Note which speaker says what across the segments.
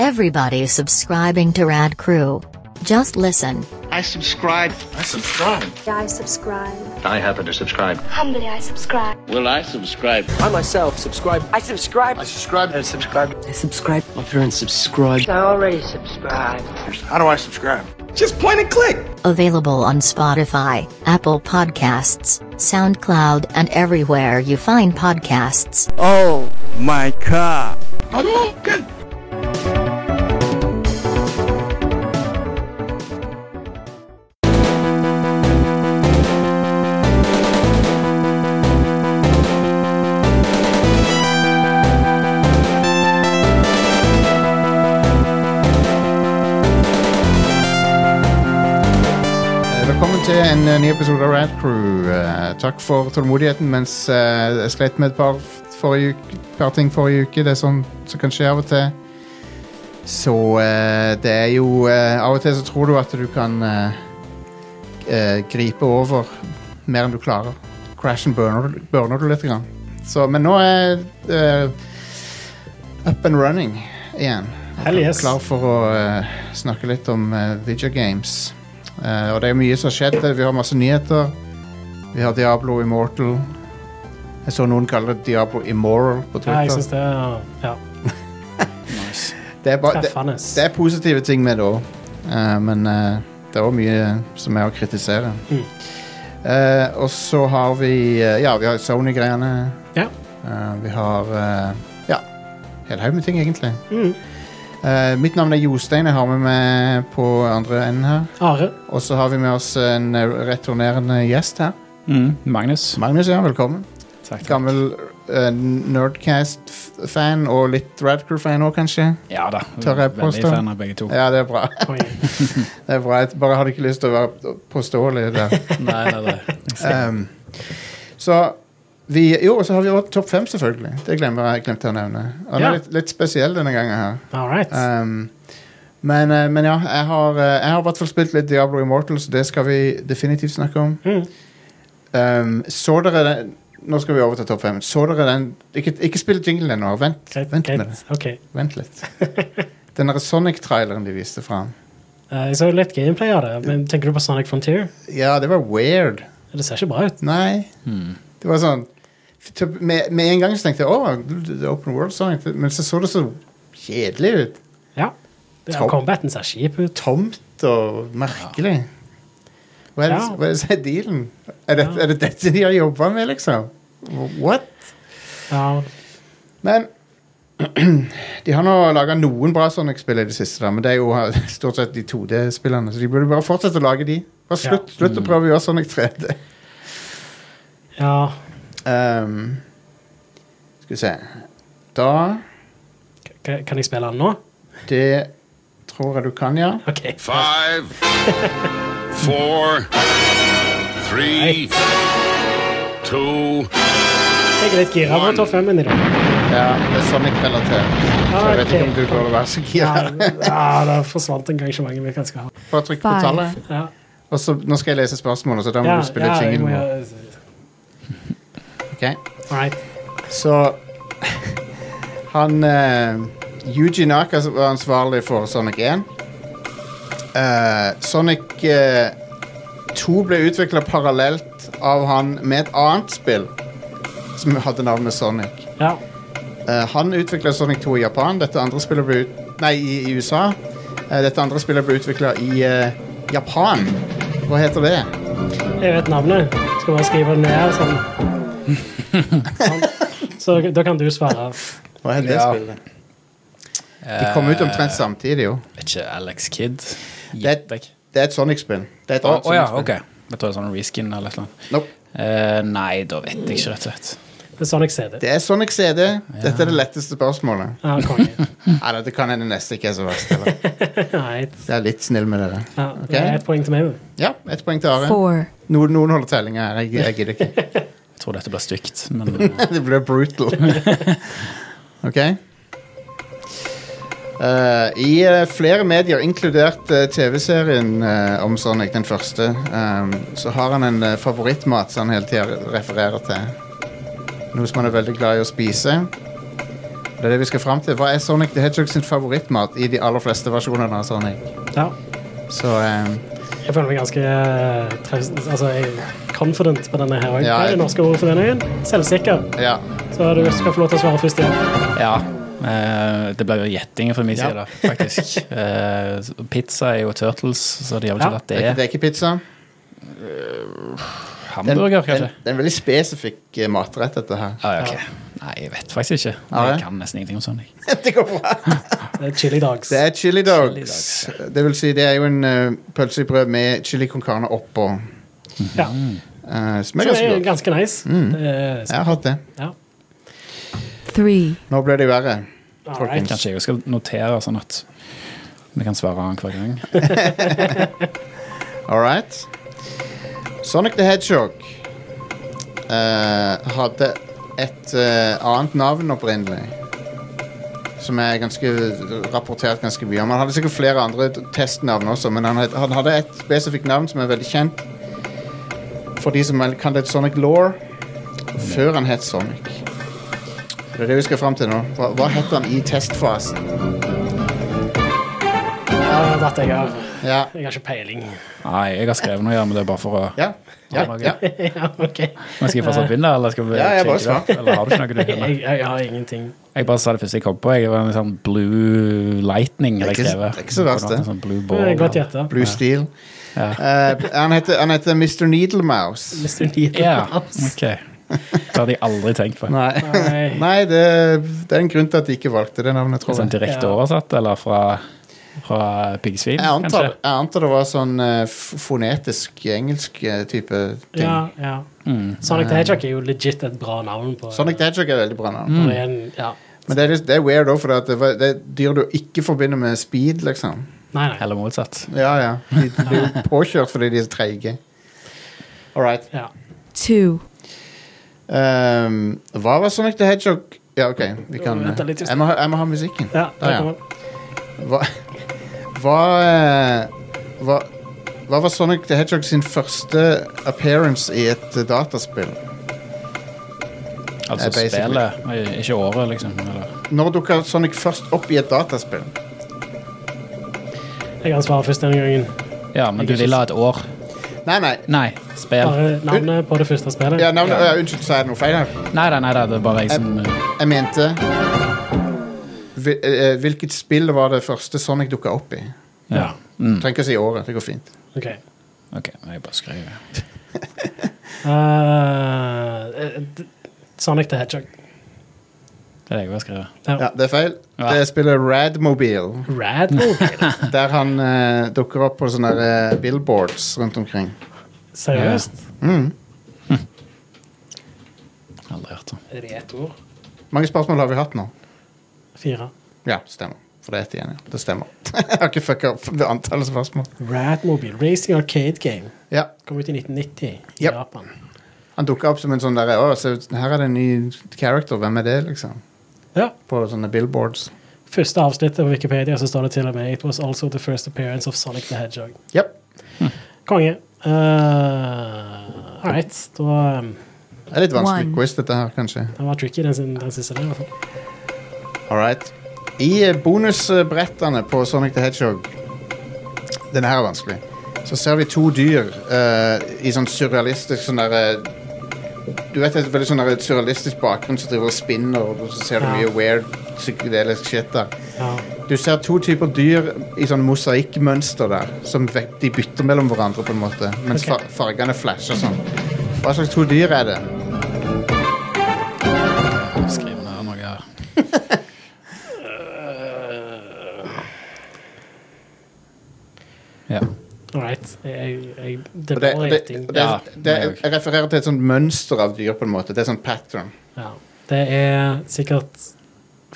Speaker 1: Everybody's subscribing to Rad Crew. Just listen.
Speaker 2: I subscribe.
Speaker 3: I subscribe.
Speaker 4: I subscribe.
Speaker 5: I happen to subscribe.
Speaker 4: Humbly, I subscribe.
Speaker 2: Will I subscribe?
Speaker 6: I myself subscribe. I subscribe.
Speaker 3: I subscribe.
Speaker 6: I subscribe.
Speaker 7: I subscribe.
Speaker 6: My parents subscribe.
Speaker 8: I already subscribe.
Speaker 3: How do I subscribe?
Speaker 6: Just point and click.
Speaker 1: Available on Spotify, Apple Podcasts, SoundCloud, and everywhere you find podcasts.
Speaker 9: Oh my god.
Speaker 3: I'm all good.
Speaker 10: Velkommen til en eh, ny episode av Rad Crew. Eh, takk for tålmodigheten mens eh, jeg slet med et par, f- forrige uke, par ting forrige uke. Det er sånn som kan skje av og til. Så eh, det er jo eh, Av og til så tror du at du kan eh, eh, gripe over mer enn du klarer. Crashen burner, burner du litt. Grann. Så, men nå er eh, up and running igjen.
Speaker 11: Hell yes.
Speaker 10: Klar for å eh, snakke litt om eh, video games. Eh, og det er mye som har skjedd. Vi har masse nyheter. Vi har Diablo Immortal. Jeg så noen kalle det Diablo Immoral på
Speaker 11: Ja, jeg
Speaker 10: Twitter.
Speaker 11: syns det er ja,
Speaker 10: det, er bare, det,
Speaker 11: treffende.
Speaker 10: det er positive ting med det òg, men eh, det er òg mye som er å kritisere.
Speaker 11: Mm.
Speaker 10: Eh, og så har vi eh, Ja, vi har Sony-greiene.
Speaker 11: Ja.
Speaker 10: Eh, vi har eh, Ja, hel haug med ting, egentlig.
Speaker 11: Mm.
Speaker 10: Eh, mitt navn er Jostein. Jeg har med meg på andre enden her.
Speaker 11: Are.
Speaker 10: Og så har vi med oss en eh, returnerende gjest her.
Speaker 12: Mm, Magnus.
Speaker 10: Magnus, ja, velkommen.
Speaker 12: Takk, takk.
Speaker 10: Gammel eh, Nerdcast-fan og litt Radcrew-fan òg, kanskje.
Speaker 12: Ja da.
Speaker 10: Tør jeg
Speaker 12: Veldig
Speaker 10: påstå?
Speaker 12: fan av begge to.
Speaker 10: Ja, det er bra.
Speaker 11: Oi.
Speaker 10: Det er bra. Jeg bare hadde ikke lyst til å være påståelig der.
Speaker 12: Nei, nei, nei.
Speaker 10: Um, så vi, jo, og så har vi også Topp 5, selvfølgelig. Det glemmer jeg glemte jeg å nevne. Han
Speaker 11: Ja.
Speaker 10: er litt, litt spesiell denne gangen her.
Speaker 11: All right.
Speaker 10: Um, men, eh, men ja, jeg har, eh, jeg har i hvert fall spilt litt Diablo Immortal, så det skal vi definitivt snakke om.
Speaker 11: Mm.
Speaker 10: Um, så dere den Nå skal vi over til topp fem. Så dere den Ikke, ikke spill jinglen ennå. Vent,
Speaker 11: Greit.
Speaker 10: vent med det.
Speaker 11: greit. Ok.
Speaker 10: Vent litt. Den der Sonic-traileren de viste fram.
Speaker 11: Eh, jeg så jo litt gameplay av det, men tenker du på Sonic Frontier?
Speaker 10: Ja, det var weird.
Speaker 11: Det ser ikke bra ut.
Speaker 10: Nei.
Speaker 11: Hmm.
Speaker 10: Det var sånn typ, med, med en gang så tenkte jeg å, det er Open World Sonic. Men så så det så kjedelig ut.
Speaker 11: Ja. Det er,
Speaker 10: Tom.
Speaker 11: combaten ser kjip ut.
Speaker 10: Tomt og merkelig. Hva er det,
Speaker 11: Ja.
Speaker 10: hva er det som er dealen? Er det, er det dette de har jobba med, liksom? What?
Speaker 11: Ja.
Speaker 10: Men de har nå laga noen bra Sonic-spill i det siste, da, men det er jo eh, stort sett de 2D-spillene, så de burde bare fortsette å lage de. Bare
Speaker 11: Ja. Hmm.
Speaker 10: slutt, slutt å prøve å gjøre Sonic 3D.
Speaker 11: ja.
Speaker 10: Ehm, skal vi se Da
Speaker 11: K kan jeg spille den nå?
Speaker 10: Det tror jeg du kan, ja.
Speaker 11: OK.
Speaker 5: Five, four, three, two,
Speaker 11: Jeg er litt gira på topp fem-en i dag.
Speaker 10: ja det er sånn Sonic-relatert. Så jeg vet ikke om du burde være så
Speaker 11: Ja,
Speaker 10: gira.
Speaker 11: ja, det forsvant engasjementet mitt ganske hardt.
Speaker 10: Bare trykk på tallet.
Speaker 11: Ja.
Speaker 10: Og så, nå skal jeg lese spørsmålet, så da må
Speaker 11: Ja,
Speaker 10: du spille
Speaker 11: ja, jeg
Speaker 10: jinglen
Speaker 11: må
Speaker 10: vår.
Speaker 11: gjøre-
Speaker 10: Ok.
Speaker 11: All right.
Speaker 10: Så Han eh, Yuji Naka var ansvarlig for Sonic 1. Eh, Sonic eh, 2 ble utvikla parallelt av han med et annet spill som hadde navnet Sonic.
Speaker 11: Ja.
Speaker 10: Eh, han utvikla Sonic 2 i Japan. Dette andre spillet ble ut Nei, i, i USA. Eh, dette andre spillet ble utvikla i eh, Japan. Hva heter det?
Speaker 11: Jeg vet navnet. Skal bare skrive det ned. Sånn. sånn. Så da kan du svare.
Speaker 10: Hva heter
Speaker 12: Ja.
Speaker 10: det spillet? De kom ut omtrent samtidig, jo.
Speaker 12: Vet ikke Alex Kidd?
Speaker 10: Det er,
Speaker 12: Å
Speaker 10: det er et Sonic-spill. Det er et
Speaker 12: å
Speaker 10: annet
Speaker 12: ja, ok.
Speaker 10: Sonic-spill.
Speaker 12: Jeg tror det er sånn reskin eller et eller annet.
Speaker 10: Nope.
Speaker 12: Eh, nei, da vet jeg ikke, rett og slett.
Speaker 11: Det er Sonic CD.
Speaker 10: Det er Sonic CD. Dette er det letteste spørsmålet.
Speaker 11: Ja, konge.
Speaker 10: Nei, dette kan hende neste ikke er så verst. Eller?
Speaker 11: Right.
Speaker 10: Jeg er litt snill med dere.
Speaker 11: Ja,
Speaker 10: Ok.
Speaker 11: Det er ett poeng til meg. da.
Speaker 10: Ja, ett poeng til Are.
Speaker 1: Four.
Speaker 10: Noen, noen holder tellinga her. Jeg, jeg gidder ikke.
Speaker 12: Jeg tror dette blir stygt, men eh,
Speaker 10: Det blir brutal. OK? Eh, I eh, flere medier, inkludert eh, TV-serien eh, om Sonic, den første, eh, så har han en eh, favorittmat som han hele tida refererer til. Noe som han er veldig glad i å spise. Det er det vi skal fram til. Hva er Sonic the Hedgehog sin favorittmat i de aller fleste versjonene av Sonic?
Speaker 11: Ja.
Speaker 10: Så eh,
Speaker 11: Jeg føler meg ganske eh, traus- altså, jeg er confident på denne her. og
Speaker 10: Ja,
Speaker 11: Hva er
Speaker 10: jeg-
Speaker 11: det norske ordet for denne øyen? Selvsikker.
Speaker 10: ja.
Speaker 11: Så du skal få lov til å svare først igjen.
Speaker 12: Ja. eh, det ble jo gjetting fra min
Speaker 10: Ja.
Speaker 12: side, faktisk. Eh, s- pizza er jo Turtles, så de har vel
Speaker 11: Ja.
Speaker 12: ikke
Speaker 10: Det, er,
Speaker 12: tatt
Speaker 10: ikke- det
Speaker 12: det.
Speaker 10: er ikke pizza. Det er,
Speaker 12: Hamburger,
Speaker 10: en,
Speaker 12: kanskje?
Speaker 10: det er en veldig spesifikk eh, matrett, dette her.
Speaker 12: Ah, ja, ok. Nei, jeg vet faktisk ikke.
Speaker 10: Ja,
Speaker 12: Jeg
Speaker 10: ja.
Speaker 12: kan nesten ingenting om Sonic.
Speaker 10: det går bra.
Speaker 11: Det er chili dogs.
Speaker 10: Det er chili dogs.
Speaker 12: Chili dogs,
Speaker 10: Det vil si, det er jo en eh, pølse i brød med chili con carne oppå.
Speaker 11: Ja.
Speaker 12: Mm.
Speaker 10: Uh, som er
Speaker 11: Som
Speaker 10: ganske
Speaker 11: er
Speaker 10: godt.
Speaker 11: ganske nice. Det er-
Speaker 10: Jeg har hatt det.
Speaker 11: Ja.
Speaker 1: Three.
Speaker 10: Nå ble det verre.
Speaker 11: All right.
Speaker 10: Folkens.
Speaker 12: Kanskje jeg skal notere sånn at vi kan svare han hver gang.
Speaker 10: All right. Sonic the Hedgehog eh, hadde et eh, annet navn opprinnelig. Som er ganske rapportert ganske mye om. Han hadde sikkert flere andre t- testnavn også, men han, het, han hadde et spesifikt navn som er veldig kjent for de som vel kan det Sonic Law, før han het Sonic. Det er det vi skal fram til nå. Hva, hva het han i testfasen?
Speaker 11: Ja, dette jeg har.
Speaker 10: Ja.
Speaker 11: Jeg har ikke peiling.
Speaker 12: Nei, jeg har skrevet noe, ja, men det er bare for å
Speaker 10: Ja. Ja. ja.
Speaker 11: ja, ok.
Speaker 12: Men skal jeg fortsatt begynne, eller skal vi
Speaker 10: Ja, jeg bare
Speaker 12: shake it up? Eller har du ikke noe du
Speaker 11: Jeg,
Speaker 12: kan?
Speaker 11: jeg har ingenting.
Speaker 12: Jeg bare sa det første jeg kom på. Jeg var en sånn Blue Lightning.
Speaker 10: Det er
Speaker 12: hadde jeg
Speaker 10: ikke-
Speaker 12: skrevet.
Speaker 10: det er ikke så verst, det.
Speaker 12: En Sånn blue
Speaker 11: Det
Speaker 12: ball,
Speaker 11: er Godt gjetta.
Speaker 10: Blue Steel.
Speaker 12: Ja.
Speaker 10: Eh, han, heter, han heter Mr. Needlemouse.
Speaker 11: Mr. Needle
Speaker 12: Ja,
Speaker 11: Mouse.
Speaker 12: ok. Det hadde jeg aldri tenkt på.
Speaker 10: Nei,
Speaker 11: Nei.
Speaker 10: Nei det, det er en grunn til at de ikke valgte det navnet, tror
Speaker 12: Sånn
Speaker 10: jeg.
Speaker 12: direkte
Speaker 11: Ja.
Speaker 12: oversatt, eller fra, fra piggsvin,
Speaker 10: Jeg antar,
Speaker 12: kanskje?
Speaker 10: jeg antar det var sånn eh, f- fonetisk engelsk eh, type ting.
Speaker 11: Ja, ja.
Speaker 12: Mm.
Speaker 11: Sonic the Hedgehog er jo legit et bra navn på
Speaker 10: Sonic the Hedgehog er veldig bra navn.
Speaker 12: Mm.
Speaker 11: på en, ja.
Speaker 10: Men det er, litt- det er weird òg, for det, at det, var- det er dyr du ikke forbinder med speed, liksom.
Speaker 11: Nei, nei.
Speaker 12: Eller motsatt.
Speaker 10: Ja, ja. De blir jo påkjørt fordi de er så treige. All right.
Speaker 11: Ja.
Speaker 1: Two.
Speaker 10: Ehm, hva var Sonic the Hedgehog Ja, OK, vi kan
Speaker 11: Vent da litt, just-
Speaker 10: jeg, må ha, jeg må ha musikken.
Speaker 11: Ja,
Speaker 10: Der,
Speaker 11: der kommer den.
Speaker 10: Hva, hva, eh, hva, hva var Sonic the Hedgehog sin første appearance i et eh, dataspill?
Speaker 12: Altså
Speaker 10: basically.
Speaker 12: spillet, nei, ikke året, liksom. Eller.
Speaker 10: Når dukka Sonic først opp i et dataspill?
Speaker 11: Jeg kan svare først denne gangen.
Speaker 12: Ja, men du
Speaker 11: ikke
Speaker 12: vil ha et år.
Speaker 10: Nei, nei.
Speaker 12: Nei, spill.
Speaker 11: Bare navnet på det første spillet.
Speaker 10: Ja, navnet, ja. unnskyld, sa jeg noe feil her?
Speaker 12: Nei da, nei da, det er bare jeg som eh,
Speaker 10: Jeg mente hvil- eh, Hvilket spill var det første Sonic dukka opp i?
Speaker 12: Ja. Mm.
Speaker 10: Trenger ikke å si året. Det går fint.
Speaker 11: Ok.
Speaker 12: OK, jeg bare skriver.
Speaker 11: Eh, d- Sonic the Hedgehog.
Speaker 12: Det er det jeg bare skriver.
Speaker 10: Ja, Det er feil.
Speaker 12: Ja.
Speaker 10: Det er spillet Radmobile.
Speaker 11: Radmobile?
Speaker 10: Der han eh, dukker opp på sånne eh, billboards rundt omkring.
Speaker 11: Seriøst?
Speaker 10: Mm.
Speaker 12: Aldri hørt om.
Speaker 11: Er det ett ord?
Speaker 10: Mange spørsmål har vi hatt nå.
Speaker 11: Fire.
Speaker 10: Ja, stemmer. For det er ett igjen, ja. Det stemmer. jeg har ikke fucka opp ved antallet spørsmål.
Speaker 11: Radmobile. Racing Arcade Game.
Speaker 10: Ja,
Speaker 11: Kom ut i 1990
Speaker 10: Yep.
Speaker 11: i Japan.
Speaker 10: Han dukka opp som en sånn derre Å, se, her er det en ny character. Hvem er det, liksom?
Speaker 11: Ja.
Speaker 10: På sånne billboards.
Speaker 11: Første avsnittet på Wikipedia så står det til og med It was also the first appearance of Sonic the Hedgehog.
Speaker 10: Yep.
Speaker 11: Konge. Uh, All right. Da um,
Speaker 10: Det er litt vanskelig
Speaker 1: One.
Speaker 10: quiz, dette her, kanskje.
Speaker 11: Den var tricky, den, sin- den siste der. i hvert fall.
Speaker 10: All right. I eh, bonusbrettene på Sonic the Hedgehog Denne her er vanskelig. Så ser vi to dyr eh, i sånn surrealistisk sånn derre Du vet et veldig sånn der surrealistisk bakgrunn som driver og spinner, og så ser du
Speaker 11: Ja.
Speaker 10: mye weird psykedelisk shit der.
Speaker 11: Ja.
Speaker 10: Du ser to typer dyr i sånn mosaikkmønster der. Som ve- de bytter mellom hverandre, på en måte. Mens
Speaker 11: Ok.
Speaker 10: fa- fargene flasher sånn. Hva slags to dyr er det?
Speaker 12: Skriver ned noe her. Ja.
Speaker 11: All right. Jeg, jeg, det
Speaker 10: Og det,
Speaker 11: var
Speaker 10: og det,
Speaker 11: gjetting.
Speaker 10: og det,
Speaker 12: Ja,
Speaker 10: det,
Speaker 12: meg også.
Speaker 10: jeg refererer til et sånt mønster av dyr, på en måte. Det er sånn pattern.
Speaker 11: Ja. Det er sikkert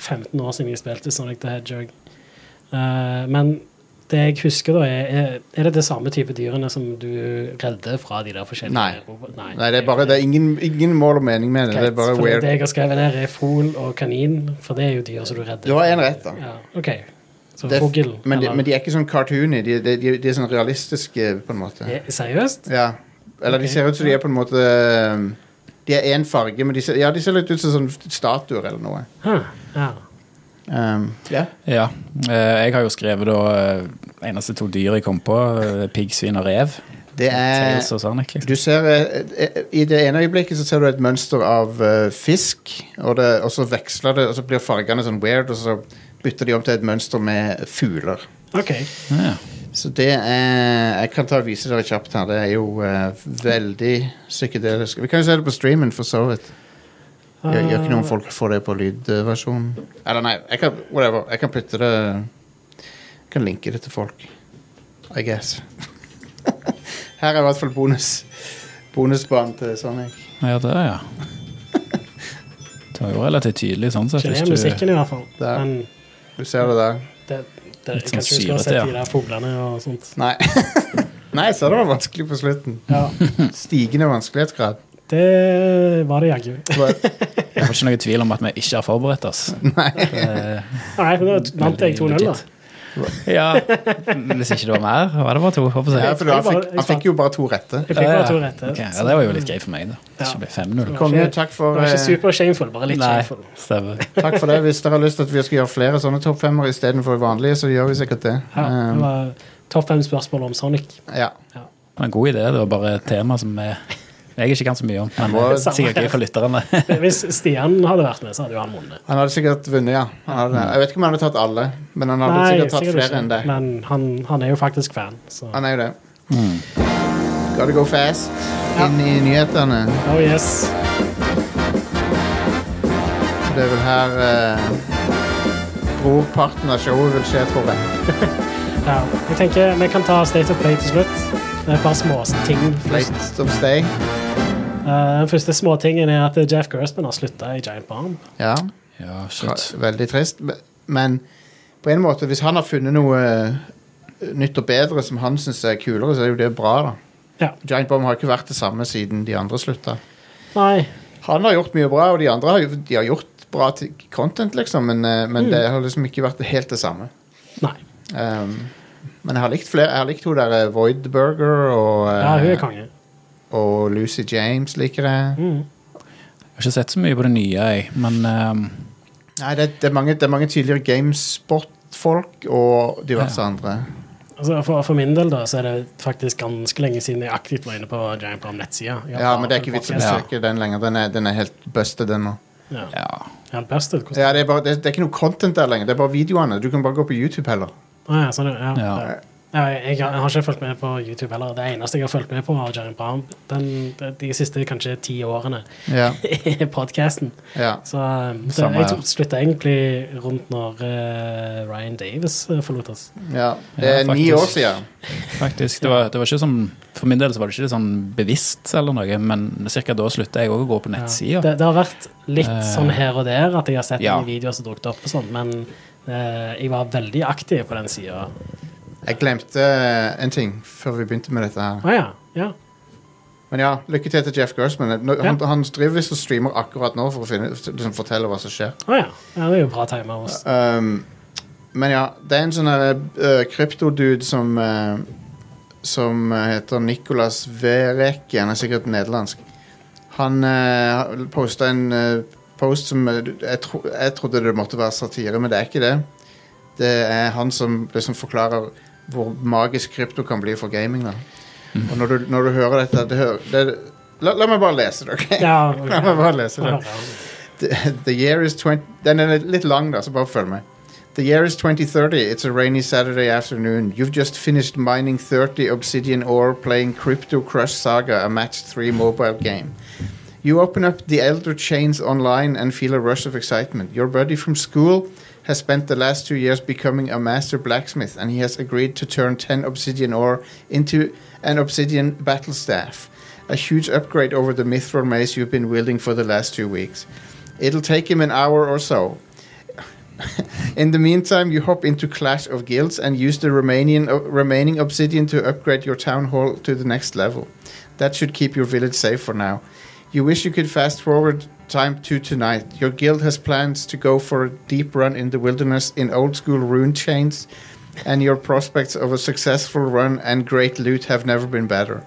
Speaker 11: 15 år siden jeg spilte Sonic the Hedgehog. Eh, men det jeg husker, da, er- er Er det det samme type dyrene som du redder fra de der forskjellige
Speaker 10: Nei.
Speaker 11: robo-
Speaker 10: Nei, det er bare Det er ingen, ingen mål og mening med det. Det er bare
Speaker 11: for
Speaker 10: weird.
Speaker 11: Det jeg har skrevet ned, er fugl og kanin, for det er jo dyr som du redder.
Speaker 10: Du har én rett, da.
Speaker 11: Ja, OK. Så
Speaker 10: Det er, f-
Speaker 11: fugl
Speaker 10: men, de,
Speaker 11: eller-
Speaker 10: men de er ikke sånn cartoony. De, de, de, de er sånn realistiske, på en måte.
Speaker 11: Eh, Seriøst?
Speaker 10: Ja. Eller de
Speaker 11: Ok.
Speaker 10: ser ut som de er på en måte um, De er én farge, men de ser, ja, de ser litt ut som sånn statuer eller noe.
Speaker 11: Hæ, Ja.
Speaker 10: Um,
Speaker 3: Ja.
Speaker 12: Ja. eh, Jeg har jo skrevet da eh, eneste to dyr jeg kom på. eh, Pigg, svin og rev.
Speaker 10: det er
Speaker 12: Tails og Sonic, liksom.
Speaker 10: Du ser eh, eh, I det ene øyeblikket så ser du et mønster av eh, fisk, og, det, og så veksler det, og så blir fargene sånn weird, og så bytter de om til et mønster med fugler.
Speaker 11: OK.
Speaker 12: Ja.
Speaker 10: Så det er Jeg kan ta og vise dere kjapt her. Det er jo eh, veldig psykedelisk. Vi kan jo se det på streamen, for så vidt. Gjør, gjør ikke noe om folk får det på lydversjonen. Eller nei, jeg kan, whatever. Jeg kan putte det Jeg kan linke det til folk. I guess. her er i hvert fall bonus. Bonusbanen til Sonic.
Speaker 12: ja, der, ja. Det var jo relativt tydelig sånn sett.
Speaker 11: Kjenner
Speaker 12: Hvis
Speaker 11: jeg
Speaker 12: du,
Speaker 11: musikken, i hvert fall.
Speaker 10: Der.
Speaker 11: Men
Speaker 10: Du ser det der.
Speaker 11: det, det,
Speaker 12: Litt
Speaker 11: jeg
Speaker 12: sånn
Speaker 11: kanskje vi skulle ha
Speaker 12: syrete,
Speaker 11: sett
Speaker 12: ja.
Speaker 11: de der fuglene og sånt.
Speaker 10: Nei. nei, jeg sa det var vanskelig på slutten. Stigende vanskelighetsgrad.
Speaker 11: Det var det jaggu.
Speaker 12: jeg har ikke noe tvil om at vi ikke har forberedt oss. Eh,
Speaker 11: Nei, men da vant jeg 2-0, da.
Speaker 12: Ja, Hvis ikke det var mer, var det bare to. håper
Speaker 10: Ja,
Speaker 12: jeg.
Speaker 10: for han
Speaker 11: Jeg bare-
Speaker 10: fikk,
Speaker 11: jeg
Speaker 10: han fikk jo bare to rette.
Speaker 11: Jeg fikk bare to
Speaker 12: Ok,
Speaker 11: rette.
Speaker 12: ja, det var jo litt greit for meg, da. Det ikke ble 5-0.
Speaker 10: Konge, takk
Speaker 11: Det
Speaker 10: for
Speaker 11: var ikke
Speaker 10: eh,
Speaker 11: super shameful, bare litt
Speaker 12: Nei,
Speaker 11: shameful.
Speaker 12: stemmer.
Speaker 10: Takk for det. Hvis dere har lyst til at vi skal gjøre flere sånne topp femmere istedenfor vanlige, så gjør vi sikkert det.
Speaker 11: Ja, det
Speaker 10: Um,
Speaker 11: var topp fem spørsmål om Sonic.
Speaker 10: ja.
Speaker 12: Det var en god idé. Det var bare et tema som jeg, jeg ikke kan så mye om. Men
Speaker 10: Må-
Speaker 12: det er sikkert gøy for lytterne.
Speaker 11: Hvis Stian hadde vært med, så hadde jo han vunnet.
Speaker 10: Han hadde sikkert vunnet, ja. Han hadde, jeg vet ikke om han hadde tatt alle, men han hadde sikkert tatt flere enn det.
Speaker 11: men han, han er jo faktisk fan, så
Speaker 10: Han er jo det.
Speaker 12: Mm.
Speaker 10: Gotta go fast inn i nyhetene.
Speaker 11: Oh yes.
Speaker 10: Det er vel her eh, brorparten av showet vil skje, tror jeg.
Speaker 11: Ja. Jeg tenker vi kan ta State of Play til slutt. Det er et par småting først.
Speaker 10: Late of stay.
Speaker 11: Eh, Den første småtingen er at Jeff Gerstmann har slutta i Giant Bomb.
Speaker 10: Ja.
Speaker 12: Ja,
Speaker 10: Tra
Speaker 12: shit.
Speaker 10: veldig trist. Men- Men på en måte, hvis han har funnet noe eh, nytt og bedre som han syns er kulere, så er jo det bra, da.
Speaker 11: Ja.
Speaker 10: Giant Bomb har ikke vært det samme siden de andre slutta.
Speaker 11: Nei.
Speaker 10: Han har gjort mye bra, og de andre har, jo- de har gjort bra til content, liksom, men, eh, men
Speaker 11: Mm.
Speaker 10: det har liksom ikke vært helt det samme.
Speaker 11: Nei.
Speaker 10: Um, men jeg har likt flere. Jeg har likt hun der eh, Voidburger og, eh,
Speaker 11: Ja, hun er konge.
Speaker 10: og Lucy James liker jeg.
Speaker 11: Mm.
Speaker 12: Jeg har ikke sett så mye på det nye, jeg. Men ehm,
Speaker 10: Nei, det, det, er mange, det er mange tidligere GameSpot-folk og diverse andre.
Speaker 11: Altså, for, for min del da, så er det faktisk ganske lenge siden jeg aktivt var inne på Giant Bomb-nettsida.
Speaker 10: Ja, men det er ikke vits å
Speaker 11: Ja.
Speaker 10: besøke den lenger. Den er, den er helt busted, den nå.
Speaker 11: Ja.
Speaker 12: ja.
Speaker 11: Ja, den busted, hvordan-
Speaker 10: Ja, det, er bare, det, det er ikke noe content der lenger. Det er bare videoene. Du kan bare gå på YouTube heller. Eh,
Speaker 11: Ah, ja, sånn,
Speaker 12: Ja.
Speaker 11: ja. Ja. Ja, jeg, jeg har ikke fulgt med på YouTube heller. Det eneste jeg har fulgt med på, var Giant Bomb den, de siste kanskje ti årene.
Speaker 10: Ja,
Speaker 11: Podkasten.
Speaker 10: ja.
Speaker 11: Så um, det,
Speaker 12: Samme
Speaker 11: jeg
Speaker 12: her.
Speaker 11: tror- slutta egentlig rundt når eh, Ryan Davis eh, forlot oss.
Speaker 10: ja. Det er
Speaker 12: Ja,
Speaker 10: ni
Speaker 12: faktisk.
Speaker 10: år siden.
Speaker 12: Faktisk. Det var, det var ikke sånn, for min del så var det ikke sånn bevisst eller noe, men ca. da slutta jeg òg å gå på
Speaker 11: Ja.
Speaker 12: nettsida.
Speaker 11: Det, det har vært litt
Speaker 12: Eh,
Speaker 11: sånn her og der at jeg har sett
Speaker 12: ja.
Speaker 11: noen videoer som dukket opp, og sånt, men eh, jeg var veldig aktiv på den sida.
Speaker 10: Jeg glemte eh, en ting før vi begynte med dette her.
Speaker 11: Å ja. ja.
Speaker 10: Men ja, lykke til til Jeff Gersman. Nå-
Speaker 11: Ja.
Speaker 10: Han, han driver visst og streamer akkurat nå for å finne, liksom, fortelle hva som skjer.
Speaker 11: Å ja. ja. Det er jo bra timer hos
Speaker 12: Eh,
Speaker 10: Um, men ja, det er en sånn her, eh, kryptodude som eh, Som eh, heter Nicolas Vereke. Han er sikkert nederlandsk. Han uh, posta en eh, post som eh, jeg, tro, jeg trodde det måtte være satire, men det er ikke det. Det er han som liksom forklarer hvor magisk krypto kan bli for gaming. da Og når du, når du hører dette det hører, det, la, la meg bare lese det, OK?
Speaker 11: Ja.
Speaker 10: La meg bare lese det.
Speaker 11: ja.
Speaker 10: The, the year is 20... Den er litt lang, da, så bare følg med. The year is 2030. It's a rainy Saturday afternoon. You've just finished mining 30 obsidian ore playing Crypto Crush Saga, a match 3 mobile game. You open up the Elder Chains online and feel a rush of excitement. Your buddy from school has spent the last two years becoming a master blacksmith, and he has agreed to turn 10 obsidian ore into an obsidian battle staff, a huge upgrade over the mithril mace you've been wielding for the last two weeks. It'll take him an hour or so. In the meantime, you hop into Clash of Guilds and use the Romanian, uh, remaining obsidian to upgrade your town hall to the next level. That should keep your village safe for now. You wish you could fast forward time to tonight. Your guild has plans to go for a deep run in the wilderness in old school rune chains, and your prospects of a successful run and great loot have never been better.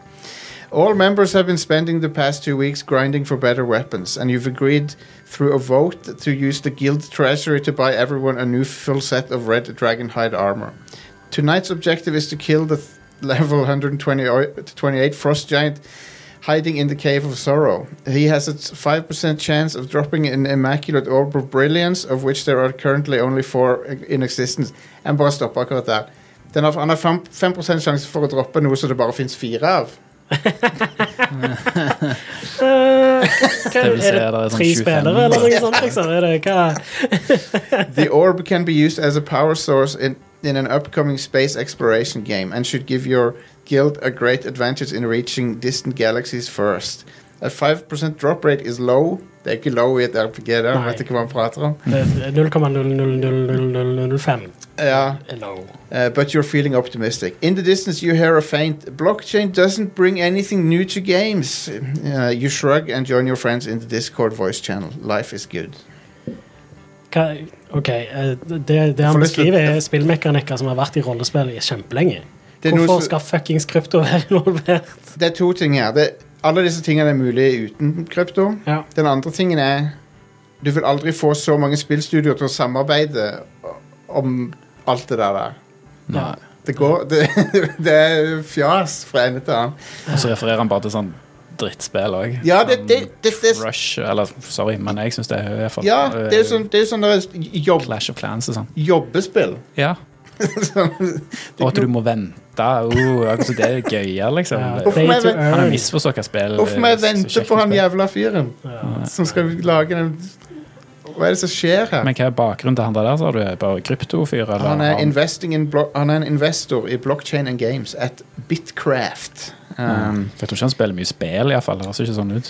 Speaker 10: All members have been spending the past two weeks grinding for better weapons, and you've agreed through a vote to use the guild treasury to buy everyone a new full set of red dragonhide armor. Tonight's objective is to kill the th- level 128 frost giant hiding in the cave of sorrow. He has a 5% chance of dropping an immaculate orb of brilliance, of which there are currently only four in existence. En bare stopper akkurat der. Den har, han har fem- 5 sjanse for å droppe noe som det bare fins fire av.
Speaker 11: Eh, Hva,
Speaker 12: Det vil si
Speaker 11: er det
Speaker 12: at det er sånn 25
Speaker 11: tre spillere eller noe sånt? Liksom? Er det, hva?
Speaker 10: The orb can be used as a power source in, in an upcoming space exploration game and should give your guild a great advantage in reaching distant galaxies first. A 5% drop rate is low. Det er ikke low i et RPG, der.
Speaker 11: Nei.
Speaker 10: vet ikke hva han prater om.
Speaker 11: Det
Speaker 12: Mm.
Speaker 11: er 0,00005
Speaker 10: Ja,
Speaker 11: eller
Speaker 10: uh, but you're feeling optimistic. In the distance, you hear a faint blockchain doesn't bring anything new to games. Uh, you shrug and join your friends in the Discord voice channel. Life is good.
Speaker 11: hva, OK, eh, det, det
Speaker 10: får
Speaker 11: han
Speaker 10: lyst til-
Speaker 11: beskriver, er spillmekanikker som har vært i rollespill i kjempelenge.
Speaker 10: Det er noe
Speaker 11: Hvorfor
Speaker 10: som-
Speaker 11: skal fuckings krypto være involvert?
Speaker 10: Det er to ting her. Det, alle disse tingene er mulig uten krypto.
Speaker 11: Ja.
Speaker 10: Den andre tingen er Du vil aldri få så mange spillstudioer til å samarbeide om alt det der der.
Speaker 12: Nei.
Speaker 10: Det går Det, det er fjas fra ende til annen.
Speaker 12: Og så refererer han bare til sånn drittspill òg.
Speaker 10: Ja, det, det, det, det,
Speaker 12: Rush, eller sorry, men jeg syns det er i hvert fall eh,
Speaker 10: ja, det er jo sånn, det er jo sånn der jobb,
Speaker 12: Clash of Clans og sånn.
Speaker 10: jobbespill.
Speaker 12: Ja.
Speaker 10: Sånn, det er
Speaker 12: Og at
Speaker 10: ikke
Speaker 12: du må vente. Oh, akkurat som det er gøyere, liksom.
Speaker 11: Ja,
Speaker 12: Det-
Speaker 11: day
Speaker 10: meg
Speaker 11: to
Speaker 10: vent-
Speaker 12: Han har
Speaker 11: earn.
Speaker 12: misforstått hva spill
Speaker 10: noe- Hvorfor må jeg
Speaker 12: så
Speaker 10: vente
Speaker 12: kjekt
Speaker 10: på han
Speaker 12: spill.
Speaker 10: jævla fyren
Speaker 11: Ja.
Speaker 10: som skal lage den Hva er det som skjer her?
Speaker 12: Men hva er bakgrunnen til han der, sa du? Er det Bare kryptofyr, eller?
Speaker 10: Han er, investing in blo han er en investor i blockchain and games at Bitcraft. Um,
Speaker 12: Mm. Jeg tror ikke han spiller mye spill, iallfall. Det ser ikke sånn ut.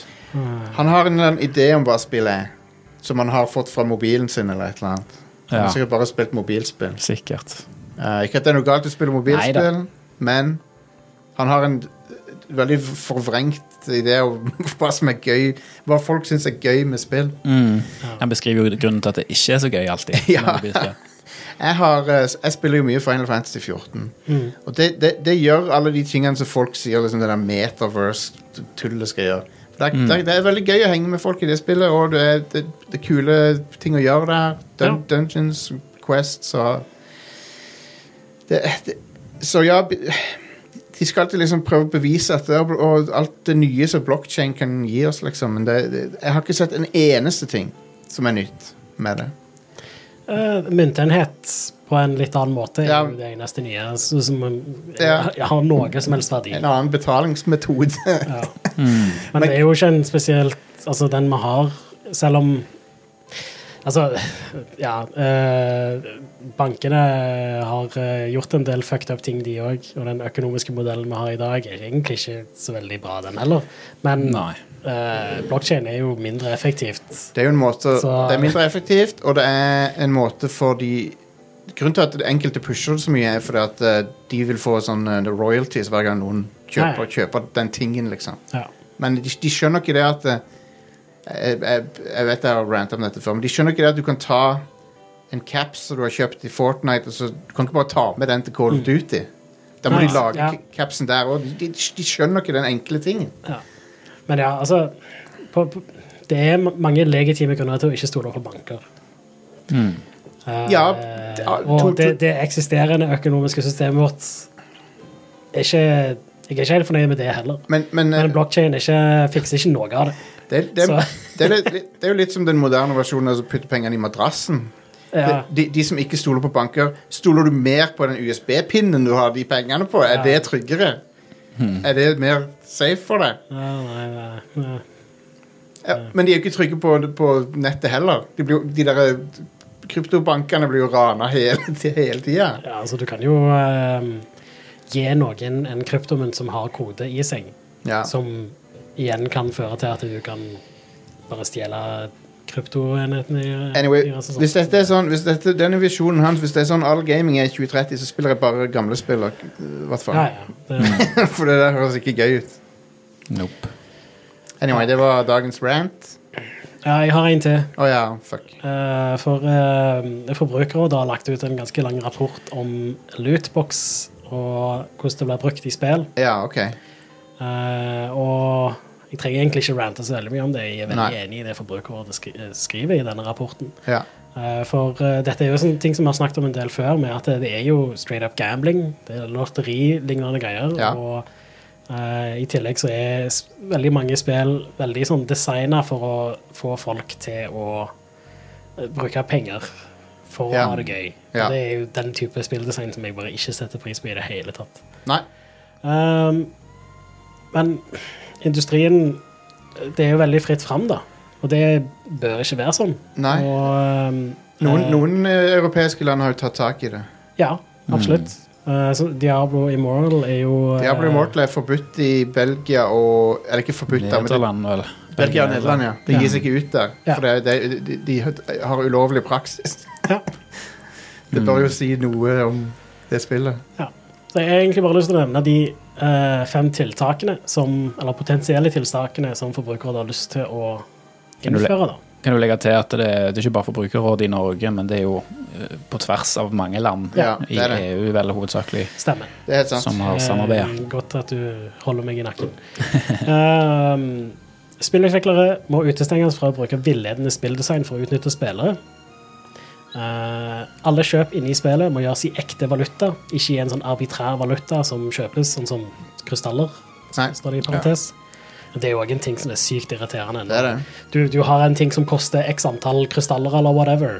Speaker 10: Han har en eller annen idé om hva spillet er, som han har fått fra mobilen sin eller et eller annet. Han har
Speaker 12: Ja.
Speaker 10: sikkert bare spilt mobilspill.
Speaker 12: Sikkert.
Speaker 10: Eh, ikke at det er noe galt å spille mobilspill, men han har en eh, veldig forvrengt idé om hva som er gøy, hva folk syns er gøy med spill.
Speaker 12: Han beskriver jo grunnen til at det ikke er så gøy alltid.
Speaker 10: Ja.
Speaker 12: når det blir spill.
Speaker 10: Jeg, har, eh, jeg spiller jo mye Final Fantasy 14. Og det, det, det gjør alle de tingene som folk sier liksom, det der metaverse-tullet skal gjøre. Det er, det, er, det er veldig gøy å henge med folk i det spillet, og det er, det, det er kule ting å gjøre der. Dun, Dungeons, Quests og det, det, Så ja b- De skal alltid liksom prøve å bevise at det, er- og alt det nye som blockchain kan gi oss, liksom. Men det, det, jeg har ikke sett en eneste ting som er nytt med det.
Speaker 11: Eh, myntenhet på en litt annen måte er
Speaker 10: Ja.
Speaker 11: jo det eneste nye så- som eh,
Speaker 10: Ja.
Speaker 11: har noe som helst verdi.
Speaker 10: En annen betalingsmetode.
Speaker 11: Ja. Men det er jo ikke en spesielt Altså, den vi har, selv om Altså, ja eh, Bankene har eh, gjort en del fucked up ting, de òg. Og den økonomiske modellen vi har i dag, er egentlig ikke så veldig bra, den heller. Men
Speaker 12: Nei.
Speaker 11: eh, blockchain er jo mindre effektivt.
Speaker 10: Det er jo en måte
Speaker 11: Så-
Speaker 10: Det er mindre effektivt, og det er en måte for de Grunnen til at enkelte pusher det så mye, er fordi at eh, de vil få sånne royalties hver gang noen kjøper,
Speaker 11: Ja, ja.
Speaker 10: kjøper den tingen, liksom.
Speaker 11: Ja.
Speaker 10: Men de, de skjønner ikke det at eh, jeg, jeg, jeg vet jeg har rantet om dette før, men de skjønner ikke det at du kan ta en caps som du har kjøpt i Fortnite, og så du kan ikke bare ta med den til Call of Duty. Da må
Speaker 11: Nei,
Speaker 10: de lage
Speaker 11: Mm. ja.
Speaker 10: ca- capsen der òg. De, de, de skjønner ikke den enkle tingen.
Speaker 11: Men ja, altså på, på, Det er ma- mange legitime grunner til å ikke stole på banker. Eh,
Speaker 10: Ja, d- ja, to-
Speaker 11: og det, det eksisterende økonomiske systemet vårt er ikke Jeg er ikke helt fornøyd med det heller.
Speaker 10: Men, men, eh,
Speaker 11: Men blockchain er ikke, fikser ikke noe av det.
Speaker 10: Det, det,
Speaker 11: Så-
Speaker 10: det, er litt- litt- det er jo litt som den moderne versjonen av å putte pengene i madrassen.
Speaker 11: Ja,
Speaker 10: De, de som ikke stoler på banker, stoler du mer på den USB-pinnen du har de pengene på? Er
Speaker 11: Ja.
Speaker 10: det tryggere? Er det mer safe for deg?
Speaker 11: ja, nei, nei, nei.
Speaker 10: Ja, men de er jo ikke trygge på, på nettet heller. De, blir, jo- de der eh, kryptobankene blir jo rana hele, hele tida.
Speaker 11: ja, altså du kan jo eh, gi noen en kryptomunt som har kode i seg,
Speaker 10: Ja.
Speaker 11: som igjen kan føre til at du kan bare stjele kryptoenheten i
Speaker 10: Anyway,
Speaker 11: i- altså sånn.
Speaker 10: hvis dette er sånn, hvis dette, denne visjonen hans Hvis det er sånn all gaming er i 2030, så spiller jeg bare gamle spill. og- eh, Hva
Speaker 11: Ja,
Speaker 10: faen?
Speaker 11: ja. Det,
Speaker 10: for det der høres ikke gøy ut.
Speaker 12: Nope.
Speaker 10: Anyway, det var dagens rant.
Speaker 11: ja, jeg har en til.
Speaker 10: Å ja, fuck.
Speaker 11: Eh, for uh, Forbrukerrådet har lagt ut en ganske lang rapport om lootbox og hvordan det blir brukt i spill.
Speaker 10: Ja, ok.
Speaker 11: Eh, og jeg trenger egentlig ikke rante så veldig mye om det. Jeg er veldig
Speaker 10: Nei.
Speaker 11: enig i det Forbrukerrådet skri eh, skriver i denne rapporten.
Speaker 10: Ja.
Speaker 11: Eh, for eh, dette er jo sånne ting som vi har snakket om en del før, med at det er jo straight up gambling. Det er lotterilignende greier.
Speaker 10: Ja.
Speaker 11: Og eh, i tillegg så er s- veldig mange spill veldig sånn designa for å få folk til å eh, bruke penger for
Speaker 10: Ja.
Speaker 11: å ha det gøy.
Speaker 10: Ja.
Speaker 11: Det er jo den type spilldesign som jeg bare ikke setter pris på i det hele tatt.
Speaker 10: Nei.
Speaker 11: Ehm, men industrien Det er jo veldig fritt fram, da. Og det bør ikke være sånn.
Speaker 10: Nei.
Speaker 11: Og, ehm,
Speaker 10: Noen,
Speaker 11: eh,
Speaker 10: noen eh, europeiske land har jo tatt tak i det.
Speaker 11: Ja, absolutt. Eh, så Diablo Immoral er jo eh,
Speaker 10: Diablo Immortal er forbudt i Belgia og Eller ikke forbudt, da, men det-
Speaker 12: Nederland, vel.
Speaker 10: Belgia og Nederland, ja. De gir seg ikke ut der.
Speaker 11: Ja.
Speaker 10: For det, det, de, de har ulovlig praksis.
Speaker 11: Ja.
Speaker 10: Det bør jo si noe om det spillet.
Speaker 11: Så jeg har egentlig bare lyst til å nevne de eh, fem tiltakene som, eller potensielle tiltakene som forbrukere har lyst til å
Speaker 12: Kan du le-
Speaker 11: innføre. da.
Speaker 12: Kan du legge til at det, det er ikke bare forbrukerrådet i Norge, men det er jo eh, på tvers av mange land
Speaker 10: Ja,
Speaker 12: i
Speaker 10: det er det.
Speaker 12: EU, vel hovedsakelig,
Speaker 11: Stemmer.
Speaker 10: Det er helt sant.
Speaker 12: som har samarbeida.
Speaker 11: Eh, Godt at du holder meg i nakken. Ehm, spillutviklere må utestenges fra å bruke villedende spilldesign for å utnytte spillere. Eh, alle kjøp inne i spillet må gjøres i ekte valuta, ikke i en sånn arbitrær valuta som kjøpes, sånn som krystaller,
Speaker 10: Nei,
Speaker 11: står det i parentes. Det er jo òg en ting som er sykt irriterende.
Speaker 10: det er det.
Speaker 11: Du, du har en ting som koster x antall krystaller eller whatever,